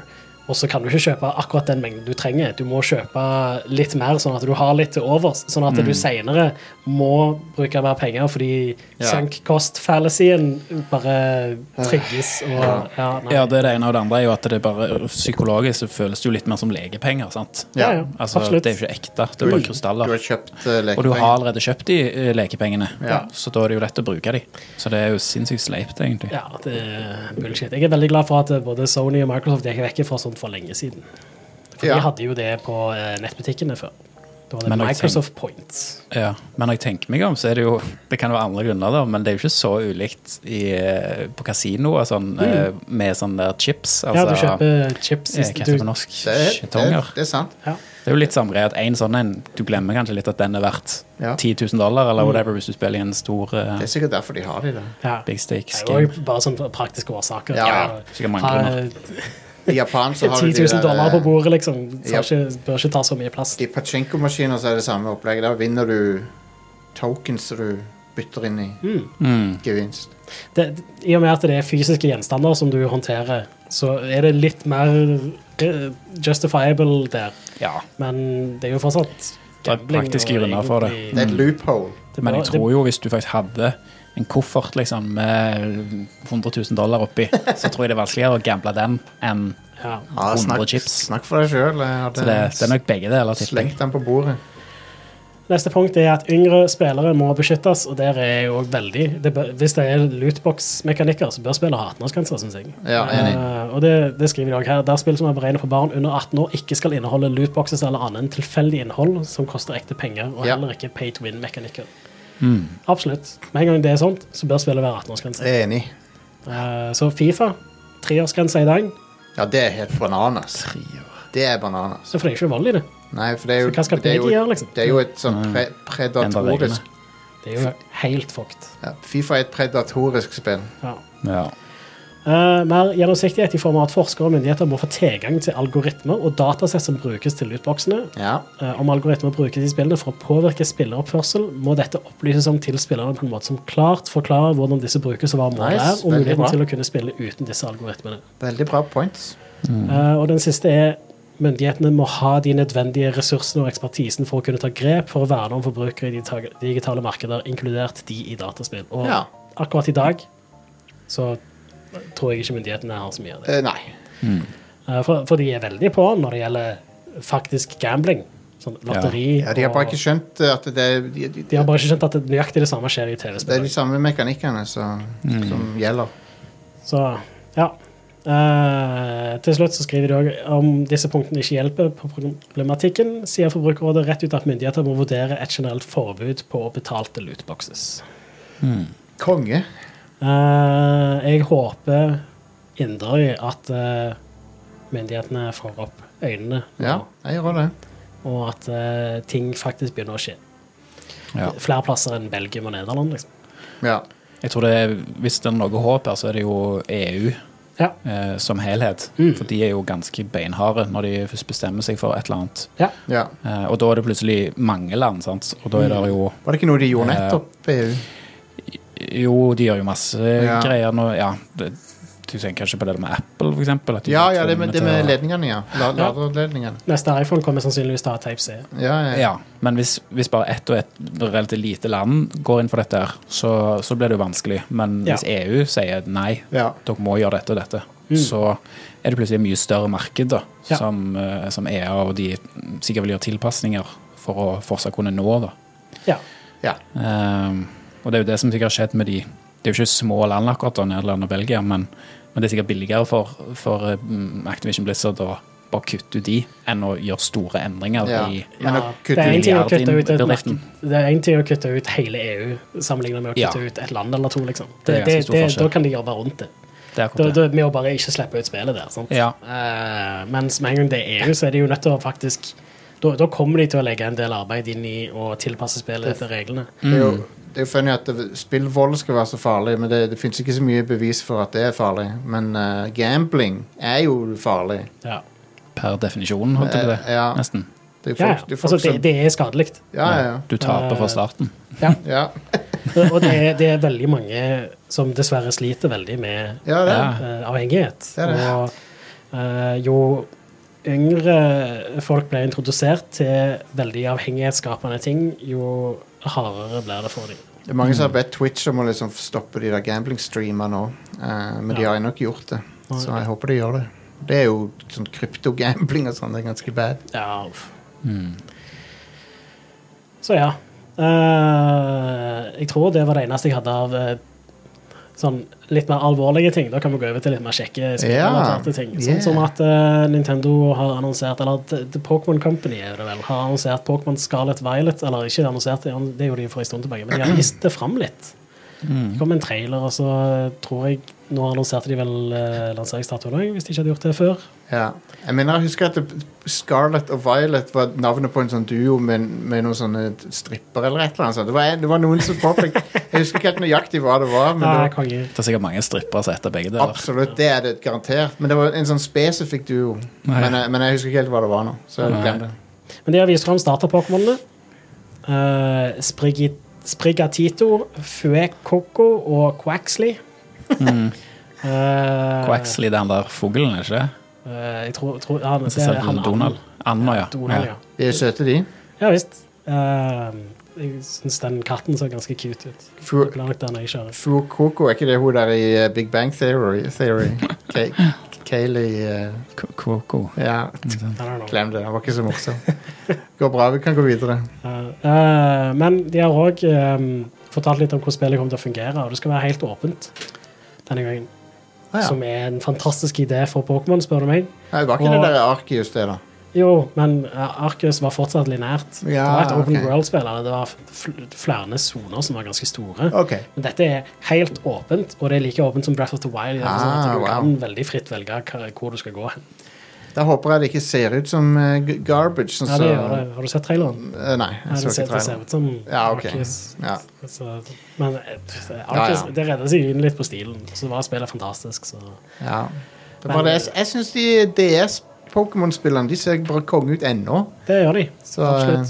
Speaker 11: og så kan du ikke kjøpe akkurat den mengden du trenger. Du må kjøpe litt mer, sånn at du har litt til overs, sånn
Speaker 10: Mm.
Speaker 11: at du seinere må bruke mer penger fordi
Speaker 10: Ja.
Speaker 11: sunk cost-fallacyen bare trigges og Ja, nei.
Speaker 12: Ja, det er det ene og det andre er jo at det bare psykologisk så føles det jo litt mer som legepenger, sant?
Speaker 11: ja, ja,
Speaker 12: Altså,
Speaker 11: absolutt.
Speaker 12: Det er jo ikke ekte, det er bare krystaller.
Speaker 10: Du har kjøpt eh, lekepenger.
Speaker 12: Og du har allerede kjøpt de eh, lekepengene,
Speaker 10: Ja.
Speaker 12: så da er det jo lett å bruke de. Så det er jo sinnssykt sleipt, egentlig.
Speaker 11: Ja, det er bullshit. Jeg er veldig glad for at både Sony og Microsoft gikk vekk fra sånt for lenge siden. For
Speaker 10: Ja.
Speaker 11: de hadde jo det på eh, nettbutikkene før. Da var det
Speaker 12: Men jeg
Speaker 11: Microsoft Points.
Speaker 12: Ja. Men når jeg tenker meg om, så er det jo Det kan være andre grunner, da, men det er jo ikke så ulikt i, eh, på kasinoer sånn, eh, med sånn der chips.
Speaker 10: Altså-
Speaker 11: ja, du kjøper chips.
Speaker 12: eh,
Speaker 11: i-
Speaker 12: Hva heter det på
Speaker 11: Du,
Speaker 12: norsk?
Speaker 10: det er, det, er,
Speaker 12: Skjetonger.
Speaker 10: det er sant.
Speaker 12: Det er jo litt samme greie at en sånn en Du glemmer kanskje litt at den er verdt
Speaker 10: Ja.
Speaker 12: 10 000 dollar, eller whatever, hvis du spiller i en stor eh,
Speaker 10: Det er sikkert derfor de har de det.
Speaker 11: ja.
Speaker 12: big stakes
Speaker 11: Det er
Speaker 12: game.
Speaker 11: jo bare sånn for praktiske årsaker.
Speaker 10: Ja, ja.
Speaker 12: Sikkert mange
Speaker 11: Ha,
Speaker 12: grunner.
Speaker 10: I Japan så har
Speaker 11: 10
Speaker 10: du de
Speaker 11: 000 dollar på
Speaker 10: der, eh,
Speaker 11: bordet, liksom.
Speaker 10: Ja.
Speaker 11: Så ikke, bør ikke ta så mye plass.
Speaker 10: I pachinko-maskiner så er det samme opplegget. Der vinner du tokens som du bytter inn i
Speaker 11: Mm.
Speaker 10: Mm. gevinst.
Speaker 11: Det, I og med at det er fysiske gjenstander som du håndterer, så er det litt mer eh, justifiable der.
Speaker 12: Ja.
Speaker 11: Men det er jo fortsatt
Speaker 12: Det er
Speaker 11: gambling,
Speaker 12: praktiske
Speaker 11: og
Speaker 12: grunner for det.
Speaker 11: egentlig-
Speaker 10: Det er et loophole.
Speaker 11: det
Speaker 12: Men
Speaker 11: bør-
Speaker 12: jeg tror jo hvis du faktisk hadde en koffert liksom, med 100 000 dollar oppi, så tror jeg det er vanskeligere å gamble den enn
Speaker 11: det, ja.
Speaker 10: Ja,
Speaker 12: 100
Speaker 10: snakk,
Speaker 12: chips.
Speaker 10: snakk for deg sjøl.
Speaker 12: Så det, det er nok begge deler, tipper jeg.
Speaker 10: Slengt den på bordet.
Speaker 11: Neste punkt er at yngre spillere må beskyttes, og der er jeg jo veldig det bør, Hvis det er lootbox-mekanikker, så bør spillere ha 18-årsgrense, syns jeg.
Speaker 10: Ja, enig.
Speaker 11: Eh, og det, det skriver de også her. Der spill som er beregnet for barn under 18 år, ikke skal inneholde lootboxes eller annet tilfeldig innhold som koster ekte penger, og
Speaker 10: Ja.
Speaker 11: heller ikke pay to win-mekanikker.
Speaker 12: Mm.
Speaker 11: Absolutt. Med en gang det er sånt, så bør spillet være 18-årsgrense.
Speaker 10: Jeg er Enig.
Speaker 11: Eh, så Fifa, treårsgrense i dag.
Speaker 10: Ja, det er helt bananas. Det er bananas.
Speaker 11: Så for det er ikke uvanlig, det.
Speaker 10: Nei, for det er jo,
Speaker 11: Så hva skal
Speaker 10: det er jo,
Speaker 11: Peggy gjøre, liksom?
Speaker 10: det er jo et sånn pre predatorisk
Speaker 11: Det er jo helt fucked.
Speaker 10: ja, Fifa er et predatorisk spill.
Speaker 11: Ja.
Speaker 12: Ja.
Speaker 11: Eh, mer gjennomsiktighet i form av at forskere og myndigheter må få tilgang til algoritmer og datasett som brukes til lootboxene,
Speaker 10: Ja.
Speaker 11: Eh, Om algoritmer brukes i spillene for å påvirke spilleroppførsel, må dette opplyses om til spillerne på en måte som klart forklarer hvordan disse brukes, og hva målet
Speaker 10: Nice,
Speaker 11: er,
Speaker 10: veldig
Speaker 11: og muligheten
Speaker 10: bra.
Speaker 11: til å kunne spille uten disse algoritmene.
Speaker 10: Veldig bra points.
Speaker 11: Eh, og den siste er myndighetene må ha de nødvendige ressursene og ekspertisen for å kunne ta grep for å verne om forbrukere i de tag- digitale markeder, inkludert de i dataspill. Og
Speaker 10: Ja.
Speaker 11: akkurat i dag så tror jeg ikke myndighetene har så mye av det.
Speaker 10: Eh, nei.
Speaker 11: Eh, for, for de er veldig på når det gjelder faktisk gambling. Sånn lotteri
Speaker 10: Ja, de har bare
Speaker 11: og-
Speaker 10: ikke skjønt eh, at det, er- de, de,
Speaker 11: De har bare ikke skjønt at det nøyaktig det samme skjer i
Speaker 10: det er
Speaker 11: TV-spill.
Speaker 10: de samme mekanikkene som, som gjelder.
Speaker 11: Så, ja. Eh, til slutt så skriver de òg om disse punktene ikke hjelper på problematikken, sier Forbrukerrådet rett ut at myndigheter må vurdere et generelt forbud på betalte lootboxes.
Speaker 10: Konge.
Speaker 11: Eh, jeg håper inderlig at eh, myndighetene får opp øynene, nå,
Speaker 10: Ja, jeg gjør også det.
Speaker 11: og at eh, ting faktisk begynner å skje.
Speaker 12: Ja.
Speaker 11: flere plasser enn Belgium og Nederland. liksom.
Speaker 10: Ja.
Speaker 12: Jeg tror det er, Hvis det er noe håp her, så er det jo EU
Speaker 11: Ja.
Speaker 12: eh, som helhet.
Speaker 10: Mm.
Speaker 12: For de er jo ganske beinharde når de først bestemmer seg for et eller annet.
Speaker 11: ja.
Speaker 10: ja.
Speaker 12: Eh, og da er det plutselig mange land, sant? og da er det jo
Speaker 10: Var det ikke noe de gjorde nettopp? EU?
Speaker 12: Jo, de gjør jo masse
Speaker 10: Ja.
Speaker 12: greier nå. Ja, det, du tenker kanskje på det med Apple, for eksempel? At de
Speaker 10: Ja,
Speaker 12: blir
Speaker 10: ja, det med,
Speaker 12: tvunget
Speaker 10: det
Speaker 12: til
Speaker 10: med
Speaker 12: å-
Speaker 10: ledningene, ja. La-
Speaker 11: Ja.
Speaker 10: Laderledningene.
Speaker 11: Neste iPhone kommer sannsynligvis til å ha Type-C.
Speaker 10: Ja, ja.
Speaker 12: Ja, men hvis, hvis bare ett og ett relativt lite land går inn for dette, her, så, så blir det jo vanskelig. Men
Speaker 11: Ja.
Speaker 12: hvis EU sier nei,
Speaker 10: Ja.
Speaker 12: dere må gjøre dette og dette, så er det plutselig et mye større marked da,
Speaker 11: Mm. Ja.
Speaker 12: som, eh, som EA og de sikkert vil gjøre tilpasninger for å fortsatt kunne nå. Da.
Speaker 11: Ja.
Speaker 10: ja.
Speaker 12: Ehm, og det er jo det som sikkert har skjedd med de Det er jo ikke små land akkurat, da, Nederland og Belgia, men, men det er sikkert billigere for, for eh, Activision Blizzard å bare kutte ut de enn å gjøre store endringer
Speaker 10: Ja.
Speaker 12: i
Speaker 10: Men å
Speaker 11: Ja,
Speaker 10: kutte
Speaker 11: det er én ting å
Speaker 12: milliarder
Speaker 11: kutte ut et
Speaker 12: inn-
Speaker 11: marked.
Speaker 12: bedriften.
Speaker 11: Det er en ting å kutte ut hele EU sammenlignet med å
Speaker 12: Ja.
Speaker 11: kutte ut et land eller to. liksom.
Speaker 12: Det
Speaker 11: Det,
Speaker 12: er
Speaker 11: det,
Speaker 12: ganske stor
Speaker 11: det,
Speaker 12: forskjell.
Speaker 11: da kan de jobbe rundt det.
Speaker 12: Det er akkurat
Speaker 11: Da,
Speaker 12: det.
Speaker 11: da, med å bare ikke slippe ut spillet der. sant?
Speaker 12: Ja.
Speaker 11: Eh, mens med en gang det er EU, så er de jo nødt til å faktisk da, da kommer de til å legge en del arbeid inn i å tilpasse spillet etter reglene.
Speaker 10: Det er jo, det er jo funny at det- spillvold skal være så farlig, men det, det finnes ikke så mye bevis for at det er farlig. Men eh, gambling er jo farlig.
Speaker 11: Ja.
Speaker 12: Per definisjon, holdt jeg på det.
Speaker 10: Eh, ja.
Speaker 12: Nesten.
Speaker 10: Det er jo
Speaker 11: Ja,
Speaker 10: folk,
Speaker 11: ja.
Speaker 10: det er folk
Speaker 11: Altså, det,
Speaker 10: som
Speaker 11: det er skadelig.
Speaker 10: Ja, ja, ja.
Speaker 12: Du taper
Speaker 11: Eh.
Speaker 12: fra starten.
Speaker 10: ja.
Speaker 11: Og det er, det er veldig mange som dessverre sliter veldig med
Speaker 10: ja det. er det.
Speaker 11: eh, avhengighet.
Speaker 10: Det er det.
Speaker 11: Og eh, jo yngre folk blir introdusert til veldig avhengighetsskapende ting, jo hardere blir det for dem.
Speaker 10: Det er mange som har bedt Twitch om å liksom stoppe de der gambling-streamene nå, eh, men de
Speaker 11: Ja.
Speaker 10: har ennå ikke gjort det.
Speaker 11: Nei.
Speaker 10: Så jeg håper de gjør det. Det er jo sånn kryptogambling og sånn, det er ganske bad.
Speaker 11: Ja, uff. Så ja. Eh, jeg tror det var det eneste jeg hadde av eh, sånn litt mer alvorlige ting. Da kan vi gå over til litt mer kjekke spillrelaterte ting. Sånn
Speaker 10: yeah.
Speaker 11: som at eh, Nintendo har annonsert, eller at eh, The Pokémon Company er det vel, har annonsert Pokémon Scarlet Violet. Eller ikke annonsert, det, det gjorde de for en stund tilbake, men de har vist det fram litt. Det kom en trailer, og så eh, tror jeg Nå annonserte de vel uh, lanseringsdatoen òg, hvis de ikke hadde gjort det før.
Speaker 10: Ja. Jeg mener, jeg husker at det- Scarlet og Violet var navnet på en sånn duo med, med noen sånne stripper eller et eller annet sånt. Det var, en- det var noen som påpekte Jeg husker ikke helt nøyaktig hva det var, men det
Speaker 11: Ah,
Speaker 10: var
Speaker 11: konge.
Speaker 12: Det er sikkert mange strippere som heter begge deler.
Speaker 10: Absolutt, det er det garantert. Men det var en sånn spesifikk duo. Men, jeg- men jeg husker ikke helt hva det var nå. Så jeg glem det.
Speaker 11: Men de har vist fram starter-pokémonene. Eh, Sprigi- Sprigatito, Fuecoco og Quaxley. Mm. Eh,
Speaker 12: Quaxley, den der fuglen, er ikke det?
Speaker 11: eh, jeg tror, tror ja, det,
Speaker 12: Så ser
Speaker 11: er
Speaker 12: du
Speaker 11: han
Speaker 12: Donald. Anna, ja.
Speaker 11: Anna. Donald, ja.
Speaker 12: ja.
Speaker 10: De er søte, de.
Speaker 11: ja visst. Eh, jeg syns den katten så ganske cute ut.
Speaker 10: Fu-
Speaker 11: Det blir nok den jeg kjører.
Speaker 10: Flo Coco, er ikke det hun der i eh, Big Bang Theory? Theory. Kay- Kayleigh eh,
Speaker 12: Ko- Koko.
Speaker 10: Ja,
Speaker 11: I don't know.
Speaker 10: glem det. Den var ikke så morsom. Går bra, vi kan gå videre.
Speaker 11: Eh, eh, men de har òg fortalt litt om hvordan spillet kommer til å fungere, og det skal være helt åpent denne gangen.
Speaker 10: Ah, ja.
Speaker 11: Som er en fantastisk idé for Pokémon, spør du meg.
Speaker 10: Nei, Det var ikke
Speaker 11: Og-
Speaker 10: det der Arkius, det, da.
Speaker 11: Jo, men eh, Arcus var fortsatt linært. det
Speaker 10: Ja,
Speaker 11: var et Open
Speaker 10: ok.
Speaker 11: World-spill. eller Det var fl- flere soner som var ganske store.
Speaker 10: Ok.
Speaker 11: Men dette er helt åpent, og det er like åpent som Breath of the Wild. i den forstand
Speaker 10: Ah,
Speaker 11: at du
Speaker 10: wow.
Speaker 11: kan veldig fritt velge hva- hvor du skal gå hen.
Speaker 10: Da håper jeg det ikke ser ut som eh, g- garbage. Sånn,
Speaker 11: Ja, det gjør
Speaker 10: så,
Speaker 11: det. Har du sett traileren?
Speaker 10: Eh, nei,
Speaker 11: Nei,
Speaker 10: jeg
Speaker 11: det,
Speaker 10: så
Speaker 11: ser,
Speaker 10: ikke
Speaker 11: det ser
Speaker 10: traileren.
Speaker 11: ut som
Speaker 10: Ja, ok.
Speaker 11: Arceus.
Speaker 10: Ja.
Speaker 11: Så- Men eh, pff,
Speaker 10: Ja,
Speaker 11: Arceus,
Speaker 10: ja.
Speaker 11: det redder seg inn litt på stilen. Så var spillet fantastisk, så
Speaker 10: Ja. Det var det. Jeg, jeg syns de DS-Pokémon-spillerne De ser bare konge ut ennå.
Speaker 11: det gjør de.
Speaker 10: Så, eh, Mm.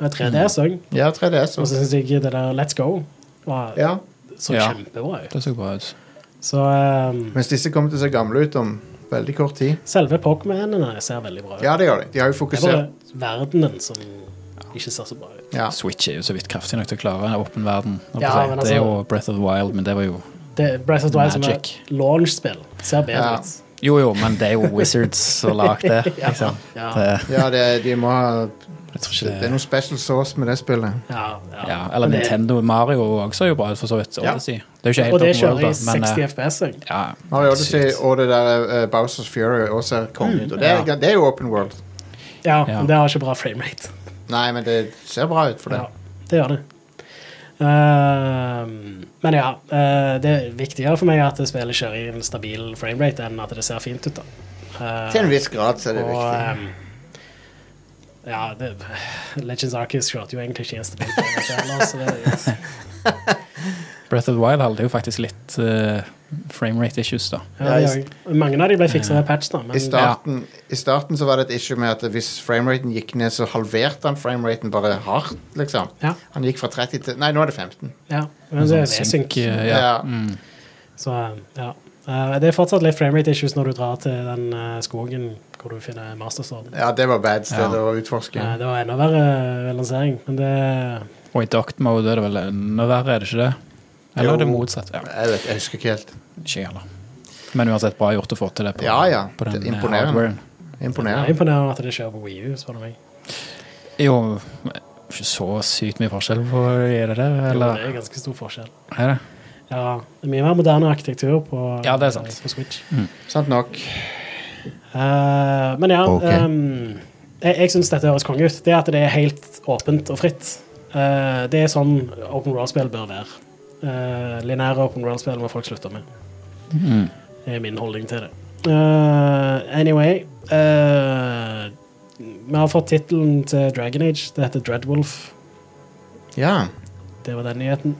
Speaker 11: Absolutt. 3DS òg.
Speaker 10: Ja, 3DS
Speaker 11: Og så
Speaker 10: også.
Speaker 11: syns jeg det der Let's Go var
Speaker 10: Ja.
Speaker 11: så
Speaker 12: Ja.
Speaker 11: kjempebra ut.
Speaker 12: Det så bra ut.
Speaker 11: Så ehm,
Speaker 10: Mens disse kommer til å se gamle ut om veldig kort tid.
Speaker 11: Selve Pokémonene ser veldig bra ut.
Speaker 10: Ja, det gjør de. De har jo
Speaker 11: det er bare
Speaker 10: fokusert
Speaker 11: verdenen som ikke ser så bra ut.
Speaker 10: ja.
Speaker 12: Switch er jo så vidt kraftig nok til å klare en åpen verden. holdt jeg
Speaker 11: Ja,
Speaker 12: på å si.
Speaker 11: men
Speaker 12: det er
Speaker 11: altså-
Speaker 12: jo Breath of the Wild, men det var jo
Speaker 11: Det er Breath of the Wild som er
Speaker 12: Magic.
Speaker 11: launch-spill. Ser bedre
Speaker 10: Ja.
Speaker 11: ut.
Speaker 12: Jo jo, men det er jo Wizards som har lagd det. Liksom.
Speaker 11: Ja.
Speaker 12: det.
Speaker 10: ja det, de må ha
Speaker 12: Jeg tror
Speaker 10: Det
Speaker 12: ikke
Speaker 10: er
Speaker 12: det
Speaker 10: noe special sauce med det spillet.
Speaker 11: Ja, ja.
Speaker 12: ja, Eller
Speaker 11: Men det-
Speaker 12: Nintendo Mario også ser jo bra ut, for så vidt.
Speaker 10: Ja.
Speaker 12: Odyssey. Det er jo ikke helt
Speaker 11: Og det
Speaker 12: open
Speaker 11: kjører
Speaker 12: world,
Speaker 11: i
Speaker 12: da, men,
Speaker 11: 60
Speaker 12: eh,
Speaker 11: FPS. jeg.
Speaker 12: ja,
Speaker 10: Mario Odyssey
Speaker 12: sykt.
Speaker 10: og det der eh, Bowsers Fury også ser konge ut. Og det,
Speaker 11: Mm,
Speaker 10: er- det er jo open world.
Speaker 11: Ja,
Speaker 12: Ja.
Speaker 11: men det har ikke bra framerate.
Speaker 10: Nei, men det ser bra ut for det.
Speaker 11: Ja, det gjør det. Ehm, men ja, eh, det er viktigere for meg at spillet kjører i en stabil framerate enn at det ser fint ut. da. Eh,
Speaker 10: Til en viss grad så er det
Speaker 11: og
Speaker 10: viktig.
Speaker 11: ehm, Ja, det, Legends Archives kjørte jo egentlig ikke gjestebil på dette heller, så det,
Speaker 12: Breath of the Wild hadde jo faktisk litt uh, framerate issues, da.
Speaker 11: ja, de, mange av de ble fiksa ved patch, da, men
Speaker 10: I starten, I starten så var det et issue med at hvis frameraten gikk ned, så halverte han frameraten bare hardt, liksom.
Speaker 11: Ja.
Speaker 10: Han gikk fra 30 til Nei, nå er det 15.
Speaker 11: ja, men det er
Speaker 12: Sånn
Speaker 11: synk.
Speaker 12: synk, uh,
Speaker 10: Ja.
Speaker 12: ja.
Speaker 11: Så, ja. Eh, det er fortsatt litt framerate issues når du drar til den eh, skogen hvor du finner mastersorden.
Speaker 10: ja, det var bad sted
Speaker 12: Ja.
Speaker 10: å utforske.
Speaker 11: Eh, det var enda verre lansering, men det
Speaker 12: Og i Doct Mode er det vel enda verre, er det ikke det? Eller
Speaker 10: Jo.
Speaker 12: er det motsatt? Ja,
Speaker 10: Jeg vet, jeg husker ikke helt.
Speaker 12: ikke jeg heller. Men uansett bra gjort å få til det på,
Speaker 10: Ja, ja.
Speaker 12: på den
Speaker 10: Det er
Speaker 12: eh,
Speaker 10: imponerende.
Speaker 12: hardwaren.
Speaker 11: er
Speaker 10: Imponerende.
Speaker 11: imponerende at det kjører på Wii U, spør du meg.
Speaker 12: Jo, ikke så sykt mye forskjell på er det det,
Speaker 11: Jo, Det
Speaker 12: eller
Speaker 11: er ganske stor forskjell.
Speaker 12: er det?
Speaker 11: Ja, det er mye mer moderne arkitektur på,
Speaker 12: Ja, det er sant.
Speaker 11: på Switch.
Speaker 10: Sant nok.
Speaker 11: Eh, men ja,
Speaker 10: Ok.
Speaker 11: ehm, jeg, jeg syns dette høres konge ut. Det at det er helt åpent og fritt. Eh, det er sånn open world-spill bør være. Uh, Linære open world-spill må folk slutte med. Det er min holdning til det. Eh, anyway eh, Vi har fått tittelen til Dragon Age. Det heter Dreadwolf.
Speaker 10: Ja.
Speaker 11: Det var den nyheten.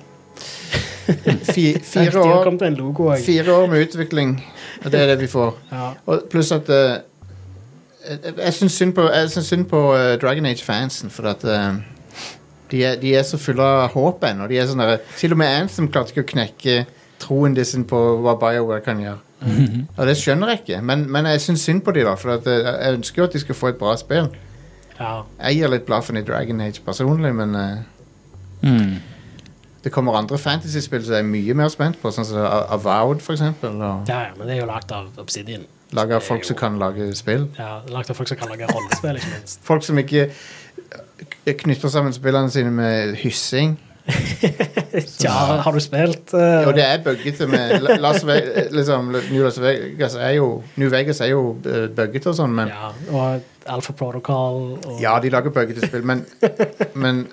Speaker 10: Fi,
Speaker 11: De
Speaker 10: fire,
Speaker 11: har
Speaker 10: år,
Speaker 11: kommet med en logo òg.
Speaker 10: fire år med utvikling, og det er det vi får.
Speaker 11: Ja.
Speaker 10: Og pluss at eh, Jeg, jeg syns synd på, jeg syns synd på eh, Dragon Age-fansen, for at eh, de, er, de er så fulle av håp ennå. De er sånn derre- Til og med Anthem klarte ikke å knekke troen de sin på hva BioWare kan gjøre. Og det skjønner jeg ikke, men, men jeg syns synd på de da. For at, eh, jeg ønsker jo at de skal få et bra spill.
Speaker 11: ja.
Speaker 10: Jeg gir litt blaffen i Dragon Age personlig, men eh,
Speaker 12: Mm.
Speaker 10: det kommer andre fantasyspill som jeg er mye mer spent på, sånn som A- Avowed, for eksempel. Og
Speaker 11: Ja, ja, men det er jo lagd av Obsidian.
Speaker 10: lage av folk som kan lage spill.
Speaker 11: Ja, lagd av folk som kan lage rollespill, ikke minst.
Speaker 10: Folk som ikke k- knytter sammen spillene sine med hyssing.
Speaker 11: Ja, har du spilt? eh,
Speaker 10: Og det er buggete med La- Las Ve- liksom, New Las Vegas er jo New Vegas er jo eh, buggete og sånn, men
Speaker 11: Ja, og Alpha Protocol og
Speaker 10: Ja, de lager buggete spill, men, men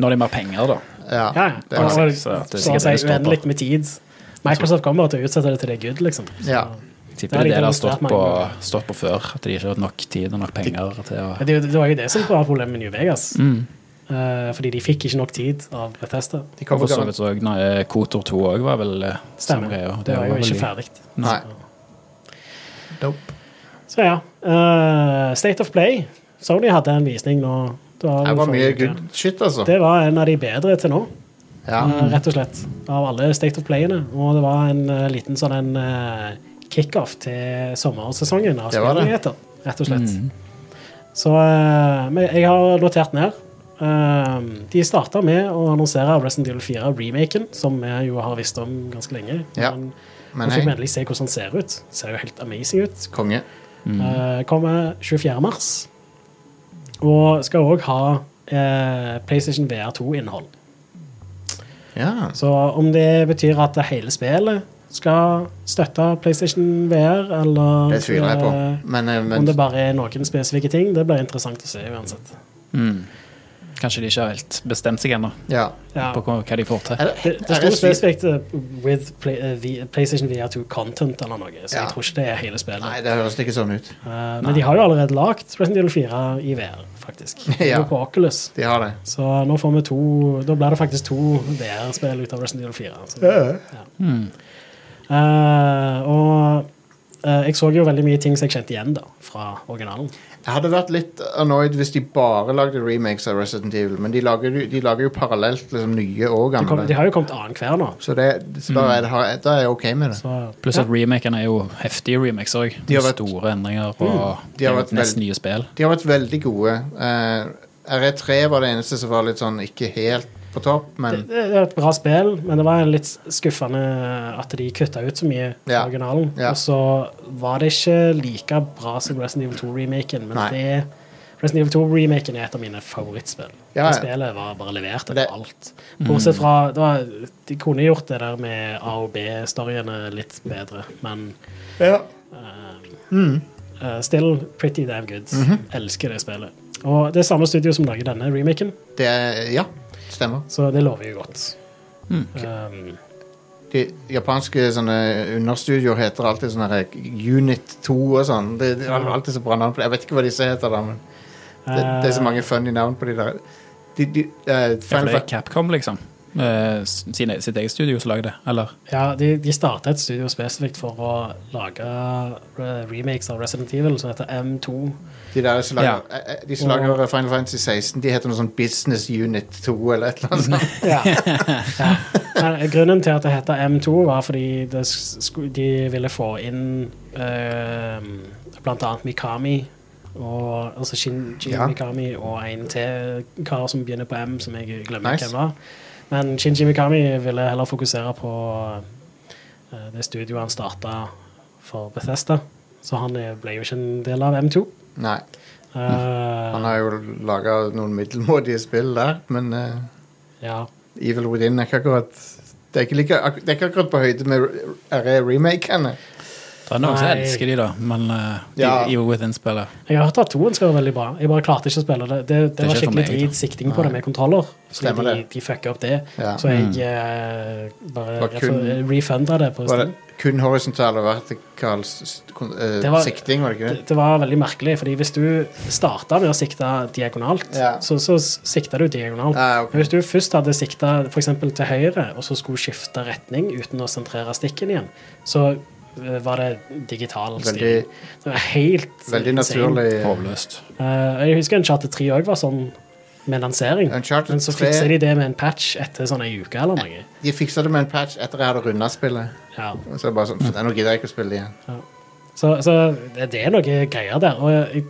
Speaker 12: Når det er mer penger, da.
Speaker 10: ja,
Speaker 11: ja, ja.
Speaker 10: det
Speaker 11: Og
Speaker 10: er,
Speaker 11: så-
Speaker 12: så det er
Speaker 11: så å
Speaker 12: sikkert
Speaker 11: si
Speaker 12: det det står på.
Speaker 11: uendelig med tid. Microsoft kommer bare til å utsette det til det er good, liksom. Så-
Speaker 10: ja.
Speaker 12: Jeg
Speaker 11: Det er
Speaker 12: Tipper det er det
Speaker 11: litt
Speaker 12: det har
Speaker 11: demonstrert
Speaker 12: stått
Speaker 11: mange
Speaker 12: på,
Speaker 11: ganger.
Speaker 12: stått på før. At de ikke har hatt nok tid og nok penger til å
Speaker 11: Men Det, det var jo det som var problemet med New Vegas.
Speaker 10: Mm.
Speaker 11: Eh, fordi de fikk ikke nok tid av Bethesda.
Speaker 10: De
Speaker 12: Og
Speaker 10: kommer
Speaker 12: for så
Speaker 10: garan-
Speaker 12: vidt så nei, eh, Kotor 2 òg var vel eh, samme
Speaker 11: Stemmer.
Speaker 12: greia.
Speaker 11: Det var jo
Speaker 12: vel
Speaker 11: ikke
Speaker 12: i-
Speaker 11: ferdig.
Speaker 10: Nei. Nope.
Speaker 11: Så ja. eh, State of Play. Sony hadde en visning nå. Det var,
Speaker 10: Det
Speaker 11: vel
Speaker 10: var mye
Speaker 11: forrige uke.
Speaker 10: good shit, altså.
Speaker 11: Det var en av de bedre til nå.
Speaker 10: Ja.
Speaker 11: Eh, rett og slett. Av alle State of Play-ene. Og det var en eh, liten sånn en eh, kickoff til sommersesongen av
Speaker 10: Det var det. Mm.
Speaker 11: spillnyheter, rett og slett. Så eh, men jeg har notert ned. Eh, de starta med å annonsere Resident Evil 4-remaken, som vi jo har visst om ganske lenge.
Speaker 10: Ja,
Speaker 11: Men
Speaker 10: Men
Speaker 11: nå fikk vi
Speaker 10: hei,
Speaker 11: endelig se hvordan den ser ut. Ser jo helt amazing ut.
Speaker 10: konge. Mm.
Speaker 11: Eh, kommer 24. mars. Og skal òg ha eh, PlayStation VR2-innhold.
Speaker 10: Ja.
Speaker 11: Så om det betyr at hele spillet skal støtte PlayStation VR, eller
Speaker 10: Det tviler jeg på. Men, eh,
Speaker 11: om
Speaker 10: men
Speaker 11: det bare er noen spesifikke ting, det blir interessant å se uansett.
Speaker 12: Kanskje de ikke har helt bestemt seg ennå
Speaker 10: ja.
Speaker 11: Ja.
Speaker 12: på hva, hva de får til.
Speaker 10: Er
Speaker 11: Det,
Speaker 10: det,
Speaker 11: det
Speaker 10: er det sykt?
Speaker 11: sto spesifikt eh, with play, eh, V- PlayStation VR2 content eller noe, så
Speaker 10: Ja.
Speaker 11: jeg tror ikke det er hele spillet.
Speaker 10: Nei, det høres ikke sånn ut.
Speaker 11: Eh, men de har jo allerede lagd Resident Evil 4 i VR, faktisk. Det er
Speaker 10: Ja.
Speaker 11: jo På Oculus.
Speaker 10: De har det.
Speaker 11: Så nå får vi to Da blir det faktisk to VR-spill ut av Resident Evil 4. altså. Ja. Eh, og eh, jeg så jo veldig mye ting som jeg kjente igjen da, fra originalen.
Speaker 10: Jeg hadde vært litt annoyed hvis de bare lagde remakes av Resident Evil, men de lager, jo- de lager jo parallelt liksom, nye og
Speaker 11: De, kom,
Speaker 10: gamle.
Speaker 11: de har jo kommet annenhver nå.
Speaker 10: Så, det, så da, er det, har- da er jeg ok med det.
Speaker 11: Så,
Speaker 12: Pluss
Speaker 11: ja.
Speaker 12: at remaken er jo heftige remakes òg.
Speaker 10: De har vært- Mm.
Speaker 12: Store endringer og
Speaker 10: De har
Speaker 12: det er jo
Speaker 10: vært
Speaker 12: nesten
Speaker 10: veld-
Speaker 12: nye spill.
Speaker 10: De har vært veldig gode. Eh, RE3 var det eneste som var litt sånn ikke helt på topp,
Speaker 11: det,
Speaker 10: men
Speaker 11: det er et bra spill, men det var litt skuffende at de kutta ut så mye fra
Speaker 10: Ja.
Speaker 11: originalen.
Speaker 10: Ja.
Speaker 11: Og så var det ikke like bra som Resident Evil 2-remaken, men
Speaker 10: Nei.
Speaker 11: det Resident Evil 2-remaken er et av mine favorittspill.
Speaker 10: Ja, ja.
Speaker 11: Det Spillet var bare levert
Speaker 10: Det-
Speaker 11: etter alt. Bortsett fra det var, De kunne gjort det der med A- og B-storyene litt bedre, men
Speaker 10: ja.
Speaker 11: eh, still pretty damn good.
Speaker 10: Mhm.
Speaker 11: Elsker det spillet. Og det er samme studio som lager denne remaken,
Speaker 10: Det er, ja, stemmer.
Speaker 11: så det lover jo godt. Um,
Speaker 10: De japanske sånne understudioer heter alltid sånn her Unit 2 og sånn. Det, det er alltid så bra navn på det. Jeg vet ikke hva disse heter, da, men Det, det er
Speaker 11: Eh.
Speaker 10: så mange funny navn på de der. De, de, eh,
Speaker 12: Ja, for
Speaker 10: Final
Speaker 12: det er
Speaker 10: Fa-
Speaker 12: Capcom, liksom. Eh, sine, sitt eget studio som lager det, eller?
Speaker 11: Ja, de, de starta et studio spesifikt for å lage eh, remakes av Resident Evil som heter M2.
Speaker 10: de der som lager,
Speaker 12: Ja.
Speaker 10: eh, eh, de som lager Final Fantasy 16, de heter noe sånn Business Unit 2 eller et eller annet sånt.
Speaker 11: Ja. Nei, Grunnen til at det heter M2 var fordi det sku, de ville få inn eh, blant annet Mikami, og, altså Shin, Shin
Speaker 10: Ja.
Speaker 11: Mikami og en til kar som begynner på M, som jeg glemmer
Speaker 10: Nice.
Speaker 11: hvem var. Men Shinji Mikami ville heller fokusere på eh, det studioet han starta for Bethesda, så han eh, ble jo ikke en del av M2.
Speaker 10: Nei.
Speaker 11: Eh,
Speaker 10: Han har jo laga noen middelmådige spill der, men eh,
Speaker 11: ja.
Speaker 10: Evil Within er ikke akkurat det er ikke, like, ak- det er ikke akkurat på høyde med RE-remakene.
Speaker 12: Det er noen som
Speaker 11: Nei.
Speaker 12: elsker de, da, men eh, de-
Speaker 10: Ja.
Speaker 12: Evil Within-spillet
Speaker 11: Jeg har hørt at toen skal være veldig bra. Jeg bare klarte ikke å spille det. Det, det,
Speaker 12: er
Speaker 11: var
Speaker 12: ikke for
Speaker 11: skikkelig
Speaker 12: meg, da.
Speaker 11: drit sikting på det med kontroller. Så
Speaker 10: liksom. Stemmer
Speaker 11: de,
Speaker 10: det.
Speaker 11: de fucker opp det.
Speaker 10: Ja. Mm.
Speaker 11: Så jeg eh, bare
Speaker 10: Var kun-
Speaker 11: refu- refunda det på
Speaker 10: Var
Speaker 11: Steam.
Speaker 10: det kun horisontal og vertikal s- kon- eh,
Speaker 11: Det var-
Speaker 10: sikting, var det ikke
Speaker 11: Det,
Speaker 10: det?
Speaker 11: det var veldig merkelig, fordi hvis du starta med å sikte diagonalt,
Speaker 10: Ja.
Speaker 11: så, så sikta du diagonalt.
Speaker 10: Ah, ok.
Speaker 11: Men hvis du først hadde sikta f.eks. til høyre, og så skulle skifte retning uten å sentrere stikken igjen, så eh, var det digital
Speaker 10: Veldig-
Speaker 11: styring. Det var helt
Speaker 10: Veldig
Speaker 11: insane.
Speaker 10: naturlig.
Speaker 12: Håpløst.
Speaker 11: Eh, jeg husker Uncharted 3 òg var sånn med lansering.
Speaker 10: Uncharted
Speaker 11: men så
Speaker 10: 3
Speaker 11: fikser de det med en patch etter sånn ei uke eller noe.
Speaker 10: De fiksa det med en patch etter jeg hadde runda spillet.
Speaker 11: Ja.
Speaker 10: Og Så er det bare sånn, "Nei, Nå gidder jeg ikke å spille det igjen.
Speaker 11: Så, så det det er noe greier der. Og jeg,